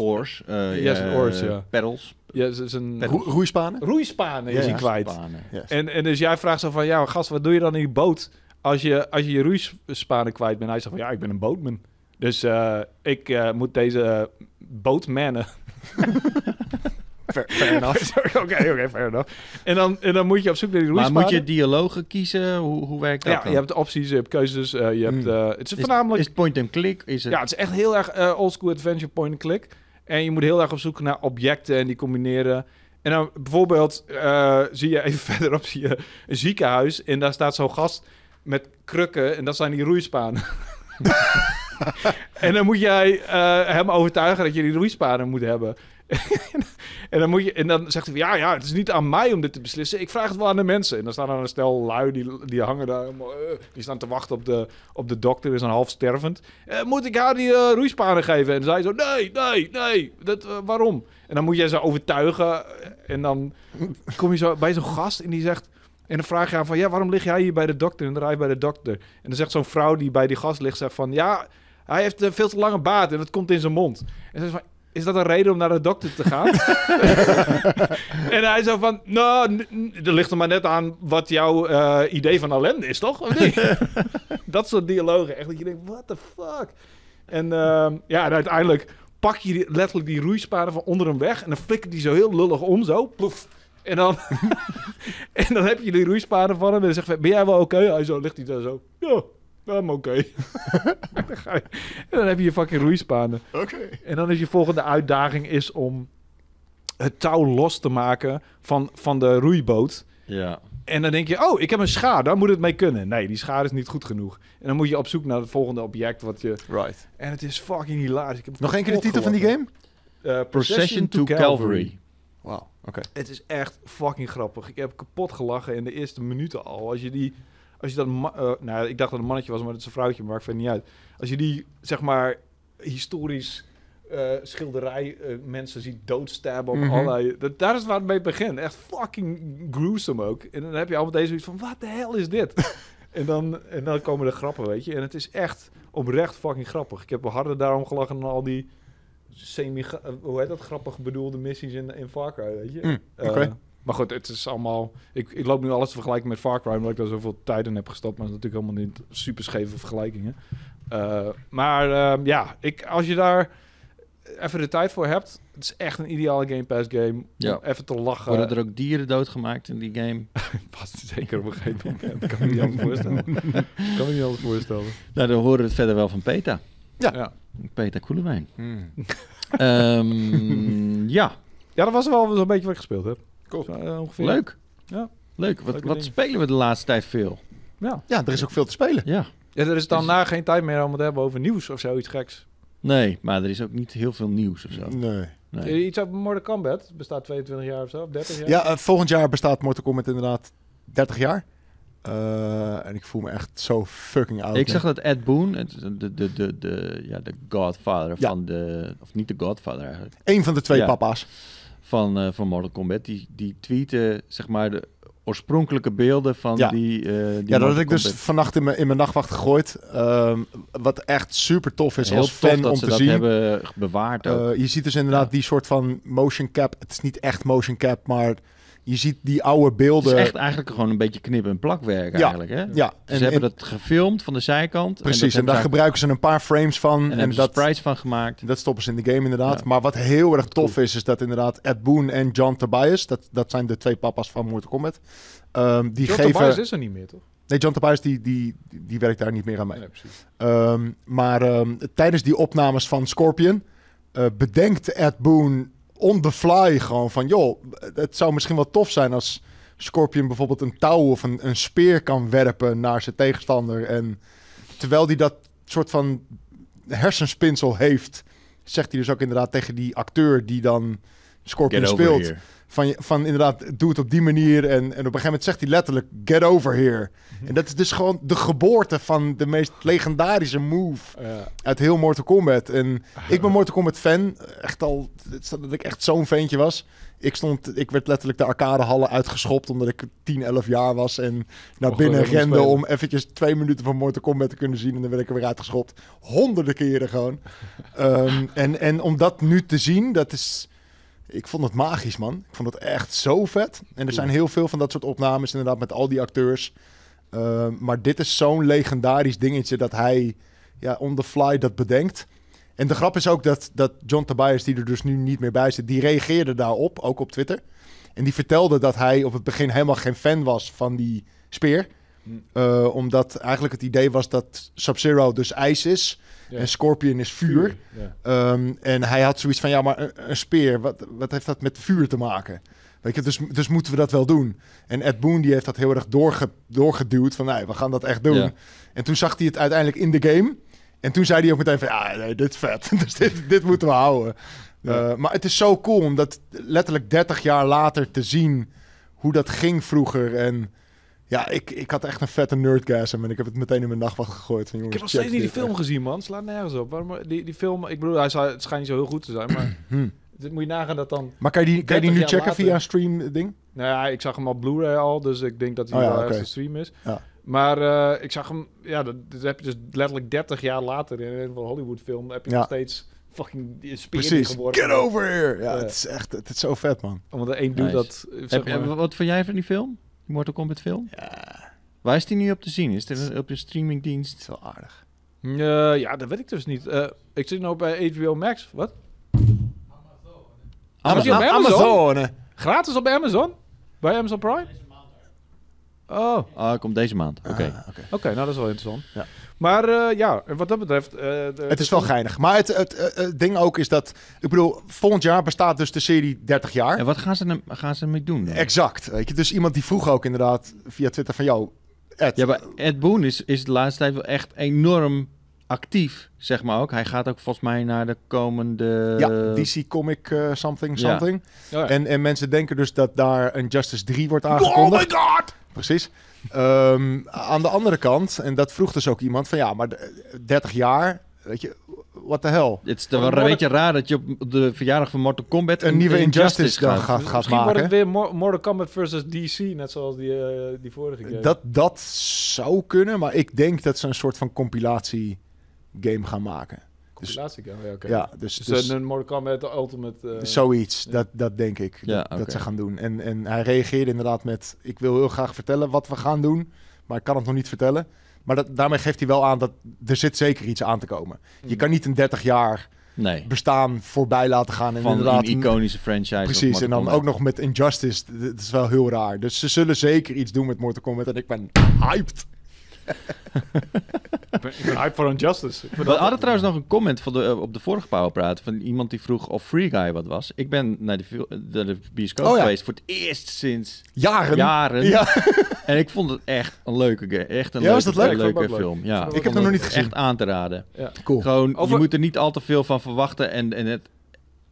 Speaker 3: Oors. eh
Speaker 1: Ja, zijn
Speaker 3: eh,
Speaker 1: oors, ja.
Speaker 3: Pedals.
Speaker 1: Ja, z- zijn
Speaker 2: Roe- roeispanen?
Speaker 1: roeispanen is
Speaker 2: Ja,
Speaker 1: hij
Speaker 2: ja.
Speaker 1: kwijt.
Speaker 3: Spanen.
Speaker 2: Yes.
Speaker 1: En, en dus jij vraagt zo van, ja, gast, wat doe je dan in je boot als je als je, je roeispanen kwijt bent? Hij zegt van, ja, ik ben een bootman. Dus eh, ik eh, moet deze eh, bootmannen.
Speaker 2: Fair, fair enough.
Speaker 1: Oké, oké, fair enough. En dan, en dan moet je op zoek naar die
Speaker 3: Maar
Speaker 1: roeispanen.
Speaker 3: moet je dialogen kiezen? Hoe, hoe werkt dat
Speaker 1: ja,
Speaker 3: dan?
Speaker 1: je hebt opties, je hebt keuzes, eh, je hebt...
Speaker 2: Hmm.
Speaker 1: eh, het is
Speaker 3: Is-
Speaker 1: voornamelijk...
Speaker 3: Is het point and click? Is het...
Speaker 1: Ja, het is echt heel erg eh, oldschool adventure point-and-click. En je moet heel erg op zoek naar objecten en die combineren. En dan bijvoorbeeld eh, zie je even verderop zie je een ziekenhuis en daar staat zo'n gast met krukken en dat zijn die roeispanen. en dan moet jij eh, hem overtuigen dat je die roeispanen moet hebben. en, dan moet je, en dan zegt hij van, ja, ja, het is niet aan mij om dit te beslissen. Ik vraag het wel aan de mensen. En dan staan er een stel lui, die, die hangen daar helemaal, eh, die staan te wachten op de, op de dokter, is dan half stervend. Eh, moet ik haar die eh, roeispanen geven? En zij zo, nee, nee, nee, dat, eh, waarom? En dan moet jij ze overtuigen. eh, En dan kom je zo bij zo'n gast en die zegt... En dan vraag je haar van, ja, waarom lig jij hier bij de dokter? En dan rij je bij de dokter. En dan zegt zo'n vrouw die bij die gast ligt, zegt van... Ja, hij heeft een veel te lange baard en dat komt in zijn mond. En ze zegt van, is dat een reden om naar de dokter te gaan? en hij zo van, nou, n- n- dat ligt er maar net aan wat jouw eh, idee van ellende is, toch? Of niet? dat soort dialogen. Echt dat je denkt, what the fuck? En ehm, ja, en uiteindelijk pak je die- letterlijk die roeisparen van onder hem weg. En dan flikker die zo heel lullig om, zo. Ploef. En dan, en dan heb je die roeisparen van hem. En dan zegt hij, ben jij wel oké? Hij zo, ligt hij daar zo. Ja, I'm oké. En dan ga je- en dan heb je je fucking roeispanen.
Speaker 2: Oké.
Speaker 1: En dan is je volgende uitdaging is om het touw los te maken van, van de roeiboot.
Speaker 3: Ja.
Speaker 1: En dan denk je, oh, ik heb een schaar, daar moet het mee kunnen. Nee, die schaar is niet goed genoeg. En dan moet je op zoek naar het volgende object wat je...
Speaker 2: Right.
Speaker 1: En het is fucking hilarisch. Ik heb Eh,
Speaker 2: Nog één keer de titel van die game?
Speaker 1: game?
Speaker 3: Procession to Calvary.
Speaker 2: Wauw, oké.
Speaker 1: Het is echt fucking grappig. Ik heb kapot gelachen in de eerste minuten al. Als je die... Als je dat... ma- eh, nou, ja, ik dacht dat het een mannetje was, maar het is een vrouwtje. Maakt verder niet uit. Als je die, zeg maar, historisch... eh, schilderij eh, mensen ziet doodstabben op
Speaker 2: Mhm.
Speaker 1: allerlei... Dat, daar is waar het mee begint. Echt fucking gruesome ook. En dan heb je allemaal deze zoiets van... Wat de hel is dit? en, dan, en dan komen de grappen, weet je. En het is echt oprecht fucking grappig. Ik heb harder daarom gelachen dan al die... Semi, eh, hoe heet dat? Grappig bedoelde missies in, in Far Cry, weet je.
Speaker 2: Mm,
Speaker 1: Eh,
Speaker 2: Oké.
Speaker 1: maar goed, het is allemaal... Ik, ik loop nu alles te vergelijken met Far Cry... omdat ik daar zoveel tijd in heb gestopt. Maar dat is natuurlijk helemaal niet super scheve vergelijkingen. Eh, maar ehm, ja, ik, als je daar even de tijd voor hebt... het is echt een ideale Game Pass game.
Speaker 3: Ja.
Speaker 1: Om even te lachen.
Speaker 3: Worden er ook dieren doodgemaakt in die game?
Speaker 1: Vast zeker op een gegeven moment. kan me niet anders voorstellen. kan me niet anders voorstellen.
Speaker 3: Nou, dan horen we het verder wel van PETA.
Speaker 2: Ja.
Speaker 1: Ja.
Speaker 3: PETA Koelewijn.
Speaker 2: Hmm.
Speaker 3: Ehm, ja,
Speaker 1: Ja, dat was wel zo'n beetje wat ik gespeeld heb.
Speaker 2: Cool.
Speaker 1: Zo, eh, ongeveer.
Speaker 3: leuk.
Speaker 1: Ja.
Speaker 3: Leuk. Wat,
Speaker 1: Leuke
Speaker 3: wat
Speaker 1: dingen.
Speaker 3: spelen we de laatste tijd veel?
Speaker 1: Ja. Dus-
Speaker 2: Ja, er is ook veel te spelen.
Speaker 3: Ja.
Speaker 1: ja, er is dan na geen tijd meer om het te hebben over nieuws of zoiets geks.
Speaker 3: Nee, maar er is ook niet heel veel nieuws of zo.
Speaker 2: Nee.
Speaker 3: Nee.
Speaker 1: Eh, Iets over Mortal Kombat. Bestaat 22 jaar of zo, of 30 jaar.
Speaker 2: Ja, eh, volgend jaar bestaat Mortal Kombat inderdaad 30 jaar. Eh, en ik voel me echt zo fucking oud.
Speaker 3: Ik zag dat Ed Boon, het- de, de, de, de, ja, de godfather
Speaker 2: Ja.
Speaker 3: van de... Of niet de godfather eigenlijk.
Speaker 2: Eén van de twee
Speaker 3: Ja.
Speaker 2: papa's.
Speaker 3: Van, eh, van Mortal Kombat. Die, die tweeten, zeg maar, de oorspronkelijke beelden van
Speaker 2: Ja.
Speaker 3: die, eh, die
Speaker 2: Ja, dat had
Speaker 3: Mortal
Speaker 2: ik dus
Speaker 3: Kombat.
Speaker 2: vannacht in mijn, in mijn nachtwacht gegooid. Ehm, wat echt super tof is
Speaker 3: Heel
Speaker 2: als
Speaker 3: tof
Speaker 2: fan
Speaker 3: dat
Speaker 2: om
Speaker 3: ze
Speaker 2: te
Speaker 3: dat
Speaker 2: zien.
Speaker 3: hebben bewaard ook.
Speaker 2: Eh, je ziet dus inderdaad
Speaker 3: Ja.
Speaker 2: die soort van motion cap. Het is niet echt motion cap, maar je ziet die oude
Speaker 3: het is
Speaker 2: beelden.
Speaker 3: echt eigenlijk gewoon een beetje knip- en plakwerk
Speaker 2: Ja.
Speaker 3: eigenlijk, hè?
Speaker 2: ja, en,
Speaker 3: ze hebben
Speaker 2: en-
Speaker 3: dat gefilmd van de zijkant.
Speaker 2: precies. En,
Speaker 3: dat
Speaker 2: daar
Speaker 3: hebben ze
Speaker 2: gebruiken ze een paar frames van.
Speaker 3: eigenlijk- en
Speaker 2: En,
Speaker 3: hebben ze
Speaker 2: dat,
Speaker 3: sprites van gemaakt.
Speaker 2: dat stoppen ze in de game inderdaad.
Speaker 3: Ja.
Speaker 2: Maar wat heel erg tof is, is dat inderdaad Ed Boon en John Tobias, dat, dat zijn de twee papa's van Mortal Kombat. Ehm, die
Speaker 1: John
Speaker 2: geven.
Speaker 1: Tobias is er niet meer, toch?
Speaker 2: Nee, John Tobias die, die, die werkt daar niet meer aan mee.
Speaker 1: Nee, precies.
Speaker 2: Ehm, maar ehm, tijdens die opnames van Scorpion eh, bedenkt Ed Boon on the fly gewoon van... joh, het zou misschien wel tof zijn als Scorpion bijvoorbeeld een touw of een, een speer kan werpen naar zijn tegenstander. En terwijl hij dat soort van hersenspinsel heeft... zegt hij dus ook inderdaad tegen die acteur die dan Scorpion
Speaker 3: Get over
Speaker 2: speelt...
Speaker 3: here.
Speaker 2: Van, je- van inderdaad, doe het op die manier. En, en op een gegeven moment zegt hij letterlijk: Get over here. En dat is dus gewoon de geboorte van de meest legendarische move uit heel Mortal Kombat. En ik
Speaker 1: Ah,
Speaker 2: ben Mortal Kombat fan. Echt al, het staat dat ik echt zo'n ventje was. Ik, stond, ik werd letterlijk de arcadehallen uitgeschopt omdat ik 10, 11 jaar was. En naar
Speaker 1: Mocht
Speaker 2: binnen
Speaker 1: wel even
Speaker 2: rende
Speaker 1: spelen.
Speaker 2: om eventjes twee minuten van Mortal Kombat te kunnen zien. En dan werd ik er weer uitgeschopt. Honderden keren gewoon. Ehm, en, en om dat nu te zien, dat is... Ik vond het magisch, man. Ik vond het echt zo vet. En er zijn heel veel van dat soort opnames, inderdaad, met al die acteurs. Ehm, maar dit is zo'n legendarisch dingetje dat hij ja, on the fly dat bedenkt. En de grap is ook dat, dat John Tobias, die er dus nu niet meer bij zit, die reageerde daarop, ook op Twitter. En die vertelde dat hij op het begin helemaal geen fan was van die speer.
Speaker 1: Hm.
Speaker 2: Eh, omdat eigenlijk het idee was dat Sub-Zero dus ijs is
Speaker 1: Ja.
Speaker 2: en Scorpion is vuur.
Speaker 1: Ja.
Speaker 2: Ehm, en hij had zoiets van, ja, maar een, een speer, wat, wat heeft dat met vuur te maken? Weet je, dus, dus moeten we dat wel doen. En Ed Boon die heeft dat heel erg doorge, doorgeduwd van, nee, we gaan dat echt doen.
Speaker 3: Ja.
Speaker 2: En toen zag hij het uiteindelijk in de game. En toen zei hij ook meteen van, ja, nee, dit is vet. dus dit, dit moeten we houden.
Speaker 1: Ja.
Speaker 2: Eh, maar het is zo cool om dat letterlijk 30 jaar later te zien hoe dat ging vroeger. En ja, ik, ik had echt een vette nerdgasm en ik heb het meteen in mijn nachtwacht gegooid. Van,
Speaker 1: Ik
Speaker 2: jongens,
Speaker 1: heb nog steeds
Speaker 2: check
Speaker 1: niet die
Speaker 2: dit,
Speaker 1: film gezien, man. Slaat nergens op. Waarom, die, die film, ik bedoel, hij zou, het schijnt niet zo heel goed te zijn, maar
Speaker 2: Hmm.
Speaker 1: dit moet je nagaan dat dan...
Speaker 2: Maar kan je die, kan je die nu
Speaker 1: 30
Speaker 2: checken
Speaker 1: jaar
Speaker 2: via
Speaker 1: later.
Speaker 2: een stream ding?
Speaker 1: Nou ja, ik zag hem op Blu-ray al, dus ik denk dat hij
Speaker 2: Oh ja,
Speaker 1: wel echt
Speaker 2: oké.
Speaker 1: een stream is.
Speaker 2: Ja.
Speaker 1: Maar eh, ik zag hem, ja, dat, dat heb je dus letterlijk 30 jaar later in een Hollywood film, heb je
Speaker 2: Ja.
Speaker 1: nog steeds fucking die speer
Speaker 2: Precies.
Speaker 1: geworden.
Speaker 2: Get over here! Ja,
Speaker 1: Ja.
Speaker 2: het is echt, het is zo vet, man.
Speaker 1: Want de een doet
Speaker 3: Nice.
Speaker 1: dat, eh, zeg
Speaker 3: Heb,
Speaker 1: maar,
Speaker 3: eh, Wat vond jij van die film? Die Mortal Kombat film? Waar is die nu op te zien? Is het op je streamingdienst?
Speaker 2: is wel aardig.
Speaker 1: Eh, ja, dat weet ik dus niet. Eh, ik zit nou bij HBO Max. Wat?
Speaker 3: Amazon.
Speaker 1: Amazon.
Speaker 2: Amazon! hè?
Speaker 1: Gratis op Amazon? Bij Amazon Prime? Oh, oké.
Speaker 3: Ah, komt deze maand. Oké.
Speaker 2: Ah, oké.
Speaker 1: nou, dat is wel interessant.
Speaker 2: Ja.
Speaker 1: Maar eh, ja, wat dat betreft... eh, de-
Speaker 2: Het is wel geinig. Maar het, het, eh, eh, ding ook is dat... Ik bedoel, volgend jaar bestaat dus de serie 30 jaar.
Speaker 3: En wat gaan ze, hem- gaan ze ermee doen? dan?
Speaker 2: Exact. Weet je? Dus iemand die vroeg ook inderdaad via Twitter van... jou, Ed,
Speaker 3: Ja, maar Ed Boon is, is de laatste tijd wel echt enorm actief, zeg maar ook. Hij gaat ook volgens mij naar de komende...
Speaker 2: ja, DC Comic eh, something,
Speaker 3: Ja.
Speaker 2: something.
Speaker 1: Oh ja.
Speaker 2: En, en mensen denken dus dat daar een Justice 3 wordt aangekondigd.
Speaker 1: Oh my god!
Speaker 2: Precies. Ehm, aan de andere kant, en dat vroeg dus ook iemand van ja, maar d- 30 jaar, weet je, what the hell?
Speaker 3: Het is toch
Speaker 1: Maar
Speaker 3: wel een
Speaker 1: Mortal-
Speaker 3: beetje raar dat je op de verjaardag van Mortal Kombat
Speaker 2: Een nieuwe Injustice dan
Speaker 3: gaat.
Speaker 2: gaat,
Speaker 1: Dus
Speaker 2: gaat
Speaker 1: misschien wordt het
Speaker 2: maken.
Speaker 1: weer Mo- Mortal Kombat versus DC, net zoals die, eh, die vorige keer.
Speaker 2: Dat, dat zou kunnen, maar ik denk dat ze een soort van compilatie game gaan maken.
Speaker 1: Compilatie, ja, oké.
Speaker 2: Ja, dus,
Speaker 1: Dus,
Speaker 2: dus
Speaker 1: eh, een Mortal Kombat Ultimate... eh,
Speaker 2: zoiets,
Speaker 1: ja.
Speaker 2: dat, dat denk ik,
Speaker 3: Ja,
Speaker 2: dat, dat
Speaker 3: oké.
Speaker 2: ze gaan doen. En, en hij reageerde inderdaad met, ik wil heel graag vertellen wat we gaan doen, maar ik kan het nog niet vertellen. Maar dat, daarmee geeft hij wel aan dat er zit zeker iets aan te komen. Je
Speaker 1: Mm.
Speaker 2: kan niet in 30 jaar
Speaker 3: Nee,
Speaker 2: bestaan voorbij laten gaan. En
Speaker 3: van
Speaker 2: inderdaad,
Speaker 3: een iconische franchise. als
Speaker 2: precies.
Speaker 3: Mortal
Speaker 2: En dan
Speaker 3: Kombat.
Speaker 2: ook nog met Injustice. D- Dat is wel heel raar. Dus ze zullen zeker iets doen met Mortal Kombat. En ik ben hyped.
Speaker 1: Ik ben, ik ben hype voor Injustice. Ik vind
Speaker 3: We
Speaker 1: dat-
Speaker 3: hadden trouwens nog een comment van de, eh, op de vorige Powerpraat van iemand die vroeg of Free Guy wat was. Ik ben naar de, fil- eh, naar de bioscoop
Speaker 2: Oh ja.
Speaker 3: geweest voor het eerst sinds
Speaker 2: Jaren.
Speaker 3: jaren.
Speaker 2: Ja.
Speaker 3: En ik vond het echt een leuke, ge- echt een
Speaker 2: Ja, was
Speaker 3: leuke,
Speaker 2: dat leuk?
Speaker 3: een
Speaker 1: Ik vond
Speaker 3: leuke
Speaker 1: het ook leuk.
Speaker 3: film. Ja.
Speaker 1: Ik
Speaker 2: heb
Speaker 3: vond
Speaker 2: hem nog
Speaker 3: het
Speaker 2: niet gezien.
Speaker 3: Echt aan te raden.
Speaker 1: Ja.
Speaker 2: Cool.
Speaker 3: Gewoon,
Speaker 1: Over-
Speaker 3: je moet er niet al te veel van verwachten. En, en het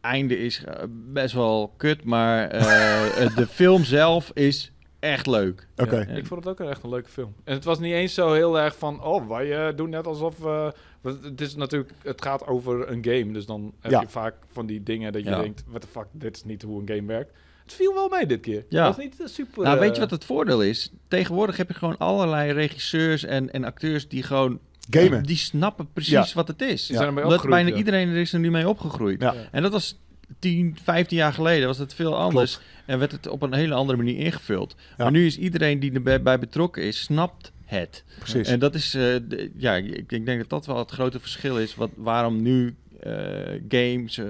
Speaker 3: einde is eh, best wel kut, maar eh, eh, de film zelf is echt leuk.
Speaker 2: Oké.
Speaker 1: Ja, ik vond het ook een- echt een leuke film. En het was niet eens zo heel erg van, oh, wij eh, doen net alsof... eh, want het is natuurlijk, het gaat over een game, dus dan heb
Speaker 2: Ja.
Speaker 1: je vaak van die dingen dat je
Speaker 3: Ja.
Speaker 1: denkt, what the fuck, dit is niet hoe een game werkt. Het viel wel mee dit keer.
Speaker 3: Ja.
Speaker 1: Het was niet eh, super...
Speaker 3: Nou,
Speaker 1: eh,
Speaker 3: weet je wat het voordeel is? Tegenwoordig heb je gewoon allerlei regisseurs en, en acteurs die gewoon...
Speaker 2: Gamen.
Speaker 3: Die snappen precies
Speaker 2: Ja.
Speaker 3: wat het is.
Speaker 1: Ze zijn ermee
Speaker 3: Omdat
Speaker 1: opgegroeid,
Speaker 3: bijna
Speaker 1: ja.
Speaker 3: iedereen er is er nu mee opgegroeid.
Speaker 2: Ja.
Speaker 1: Ja.
Speaker 3: En dat was 10, 15 jaar geleden, was het veel anders. En werd het op een hele andere manier ingevuld.
Speaker 2: Ja.
Speaker 3: Maar nu is iedereen die erbij bij betrokken is, snapt het.
Speaker 2: Precies.
Speaker 3: En dat is, eh, de- ja, ik, ik denk dat dat wel het grote verschil is. Wat, waarom nu eh, games, eh,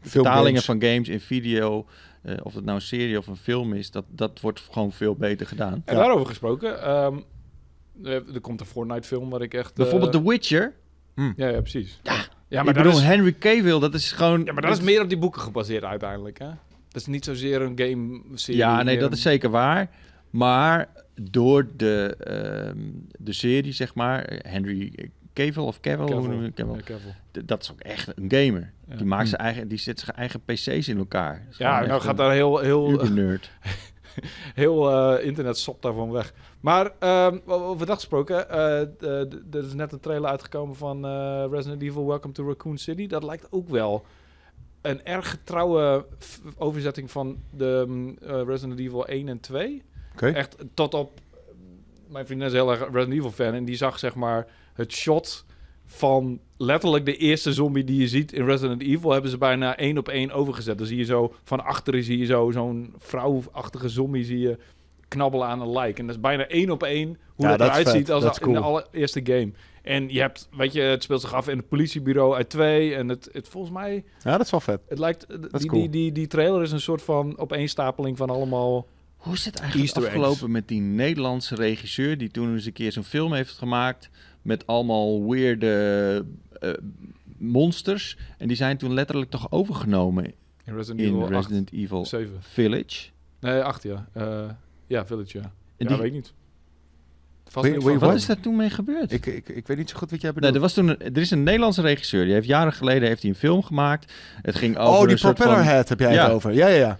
Speaker 3: vertalingen
Speaker 2: games.
Speaker 3: van games in video, eh, of het nou een serie of een film is, dat, dat wordt gewoon veel beter gedaan.
Speaker 1: En
Speaker 2: Ja.
Speaker 1: daarover gesproken, ehm, eh, er komt een Fortnite film waar ik echt... eh,
Speaker 3: Bijvoorbeeld The Witcher.
Speaker 1: Ja, ja, precies. Ja. Ja,
Speaker 3: ik
Speaker 1: maar, dat
Speaker 3: bedoel,
Speaker 1: is,
Speaker 3: Henry Cavill, dat is gewoon...
Speaker 1: ja, maar dat is meer op die boeken gebaseerd uiteindelijk, hè? Dat is niet zozeer een game-serie.
Speaker 3: Ja, nee,
Speaker 1: meer
Speaker 3: dat
Speaker 1: een-
Speaker 3: is zeker waar. Maar door de, ehm, de serie, zeg maar, Henry Cavill of Cavill, hoe noem
Speaker 1: Cavill.
Speaker 3: je hem? Cavill.
Speaker 1: Ja, Cavill.
Speaker 3: D- dat is ook echt een gamer.
Speaker 1: Ja.
Speaker 3: Die, maakt
Speaker 2: Hm.
Speaker 3: zijn eigen, die zet zijn eigen PC's in elkaar. Is
Speaker 1: Ja,
Speaker 3: gewoon
Speaker 1: nou
Speaker 3: echt
Speaker 1: gaat
Speaker 3: een
Speaker 1: daar heel, heel,
Speaker 3: ubernerd.
Speaker 1: heel eh, internet sopt daarvan weg. Maar ehm, o- over dat gesproken, eh, d- d- er is net een trailer uitgekomen van eh, Resident Evil Welcome to Raccoon City. Dat lijkt ook wel een erg getrouwe f- overzetting van de mm, eh, Resident Evil 1 en 2.
Speaker 2: Oké.
Speaker 1: Echt tot op... Mijn vriendin is heel erg Resident Evil fan en die zag zeg maar het shot van letterlijk de eerste zombie die je ziet in Resident Evil hebben ze bijna één op één overgezet. Dan zie je zo van achteren zie je zo zo'n vrouwachtige zombie zie je knabbelen aan een lijk. En dat is bijna één op één hoe
Speaker 2: Ja,
Speaker 1: dat,
Speaker 2: dat is
Speaker 1: eruit
Speaker 2: vet.
Speaker 1: ziet als
Speaker 2: Dat is
Speaker 1: in de
Speaker 2: cool.
Speaker 1: allereerste game. En je hebt, weet je, het speelt zich af in het politiebureau uit twee. En het, het volgens mij,
Speaker 2: Ja, dat is wel vet.
Speaker 1: het lijkt, eh,
Speaker 2: is
Speaker 1: die,
Speaker 2: cool.
Speaker 1: die, die, die trailer is een soort van opeenstapeling van allemaal...
Speaker 3: Hoe is het eigenlijk
Speaker 1: Easter eggs.
Speaker 3: afgelopen met die Nederlandse regisseur... die toen eens een keer zo'n film heeft gemaakt... met allemaal weirde eh, monsters. En die zijn toen letterlijk toch overgenomen
Speaker 1: In Resident
Speaker 3: in
Speaker 1: Evil 8,
Speaker 3: Resident Evil
Speaker 1: 7.
Speaker 3: Village.
Speaker 1: Nee, 8 ja. Eh, ja, Village ja.
Speaker 3: En
Speaker 1: Ja,
Speaker 3: die-
Speaker 1: weet ik niet. Vast
Speaker 2: Wait,
Speaker 1: niet van-
Speaker 2: wait, what?
Speaker 3: wat is daar toen mee gebeurd?
Speaker 2: Ik, ik, ik weet niet zo goed wat jij
Speaker 3: Nee,
Speaker 2: bedoelt.
Speaker 3: er, was toen een- er is een Nederlandse regisseur. Die heeft jaren geleden heeft hij een film gemaakt. Het ging over
Speaker 2: oh, die
Speaker 3: een soort van...
Speaker 2: propellerhead heb jij
Speaker 3: Ja.
Speaker 2: het over. Ja, ja, ja.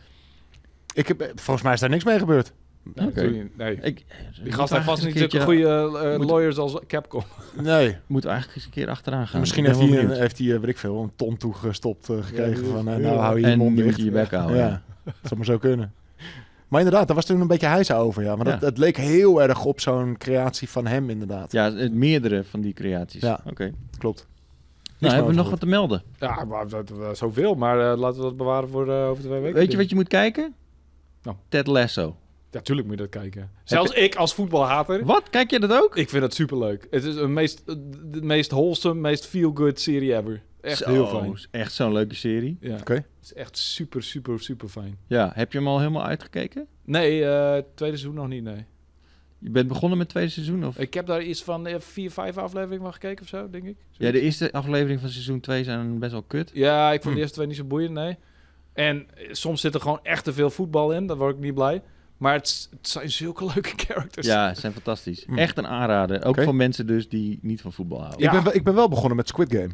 Speaker 2: Ik heb, eh, volgens mij is daar niks mee gebeurd.
Speaker 1: Nee,
Speaker 3: Oké.
Speaker 1: natuurlijk- nee.
Speaker 3: Ik,
Speaker 1: Die gast heeft vast niet
Speaker 3: een
Speaker 1: zulke goede eh,
Speaker 3: moet-
Speaker 1: lawyers als Capcom.
Speaker 2: Nee.
Speaker 3: Moet eigenlijk eens een keer achteraan gaan.
Speaker 2: Misschien
Speaker 3: Ik ben
Speaker 2: heeft hij,
Speaker 3: wel
Speaker 2: een,
Speaker 3: benieuwd.
Speaker 2: heeft hij, eh, weet ik veel, een ton toegestopt eh, gekregen
Speaker 1: die-
Speaker 2: van, eh,
Speaker 1: ja.
Speaker 2: nou hou je je
Speaker 3: En
Speaker 2: mond
Speaker 3: nu
Speaker 2: dicht.
Speaker 3: moet je je bek houden.
Speaker 2: Ja, dat zou maar zo kunnen. Maar inderdaad, daar was toen een beetje heisa over, ja. Maar dat,
Speaker 3: Ja.
Speaker 2: het leek heel erg op zo'n creatie van hem, inderdaad.
Speaker 3: Ja, het meerdere van die creaties.
Speaker 2: Ja.
Speaker 3: Oké.
Speaker 2: Klopt.
Speaker 3: Nou, hebben we nog wat
Speaker 2: wat
Speaker 3: te melden.
Speaker 1: Ja, maar dat, dat- zoveel. Maar eh, laten we dat bewaren voor eh, over twee weken.
Speaker 3: Weet je wat je moet kijken?
Speaker 1: Nou.
Speaker 3: Ted Lasso.
Speaker 1: Ja, tuurlijk moet je dat kijken. Zelfs ik als voetbalhater,
Speaker 3: Wat? Kijk je dat ook?
Speaker 1: ik vind dat superleuk. Het is een meest, eh, de meest wholesome, meest feel-good serie ever. Echt
Speaker 3: Zo,
Speaker 1: heel fijn.
Speaker 3: Echt zo'n leuke serie.
Speaker 1: Ja.
Speaker 2: Oké.
Speaker 1: Het is echt super, super, super fijn.
Speaker 3: Ja, heb je hem al helemaal uitgekeken?
Speaker 1: Nee, eh, tweede seizoen nog niet, nee.
Speaker 3: Je bent begonnen met het tweede seizoen? Of?
Speaker 1: Ik heb daar iets van eh, vier, vijf afleveringen van gekeken of zo, denk ik.
Speaker 3: Ja, de eerste aflevering van seizoen 2 zijn best wel kut.
Speaker 1: Ja, ik vond
Speaker 2: Hm.
Speaker 1: de eerste twee niet zo boeiend, nee. En eh, soms zit er gewoon echt te veel voetbal in. Daar word ik niet blij. Maar het, s- het zijn zulke leuke characters.
Speaker 3: Ja, ze zijn fantastisch.
Speaker 2: Hm.
Speaker 3: Echt een aanrader. Ook
Speaker 2: Oké.
Speaker 3: voor mensen dus die niet van voetbal houden.
Speaker 1: Ja.
Speaker 2: Ik, ben, wel- ik ben wel begonnen met Squid Game.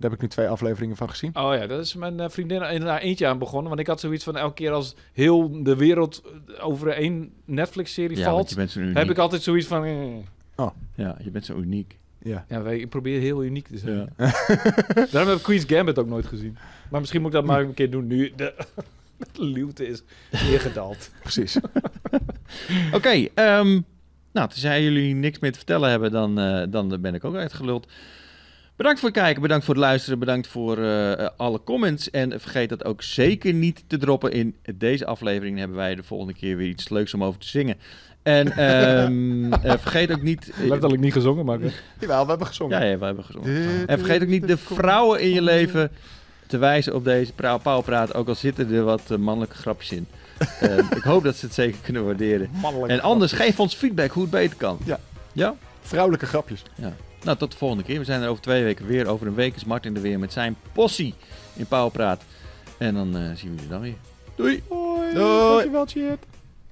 Speaker 2: Daar heb ik nu twee afleveringen van gezien.
Speaker 1: Oh ja, dat is mijn eh, vriendin in haar eentje aan begonnen. Want ik had zoiets van elke keer als heel de wereld eh, over één Netflix-serie
Speaker 3: Ja, want
Speaker 1: valt...
Speaker 3: je bent zo uniek.
Speaker 1: heb ik altijd zoiets van... eh.
Speaker 3: Ja, je bent zo uniek.
Speaker 2: Ja.
Speaker 1: Ja, weet je, ik probeer heel uniek te zijn.
Speaker 3: Ja.
Speaker 1: Daarom heb ik Queen's Gambit ook nooit gezien. Maar misschien moet ik dat maar een keer doen nu de luwte is neergedaald.
Speaker 2: Precies.
Speaker 3: Oké, ehm, nou, tenzij jullie niks meer te vertellen hebben, dan, eh, dan ben ik ook uitgeluld. Bedankt voor het kijken, bedankt voor het luisteren, bedankt voor eh, eh, alle comments. En vergeet dat ook zeker niet te droppen. In deze aflevering hebben wij de volgende keer weer iets leuks om over te zingen. En ehm, eh, vergeet ook niet...
Speaker 1: Letterlijk niet gezongen, maar...
Speaker 2: Jawel, we hebben gezongen.
Speaker 3: Ja, ja, we hebben gezongen.
Speaker 2: Dit
Speaker 3: En vergeet ook niet
Speaker 2: is
Speaker 3: de vrouwen in je leven te wijzen op deze pra- pauwpraat. Ook al zitten er wat eh, mannelijke grapjes in. Ehm, ik hoop dat ze het zeker kunnen waarderen.
Speaker 1: Mannelijk.
Speaker 3: En anders, geef ons feedback hoe het beter kan.
Speaker 2: Ja.
Speaker 3: Ja?
Speaker 2: Vrouwelijke grapjes.
Speaker 3: Nou, tot de volgende keer. We zijn er over twee weken weer. Over een week is Martin er weer met zijn possie in pauwpraat. En dan eh, zien we jullie dan weer. Doei!
Speaker 1: Doei.
Speaker 2: Doei.
Speaker 1: Dankjewel, Chip.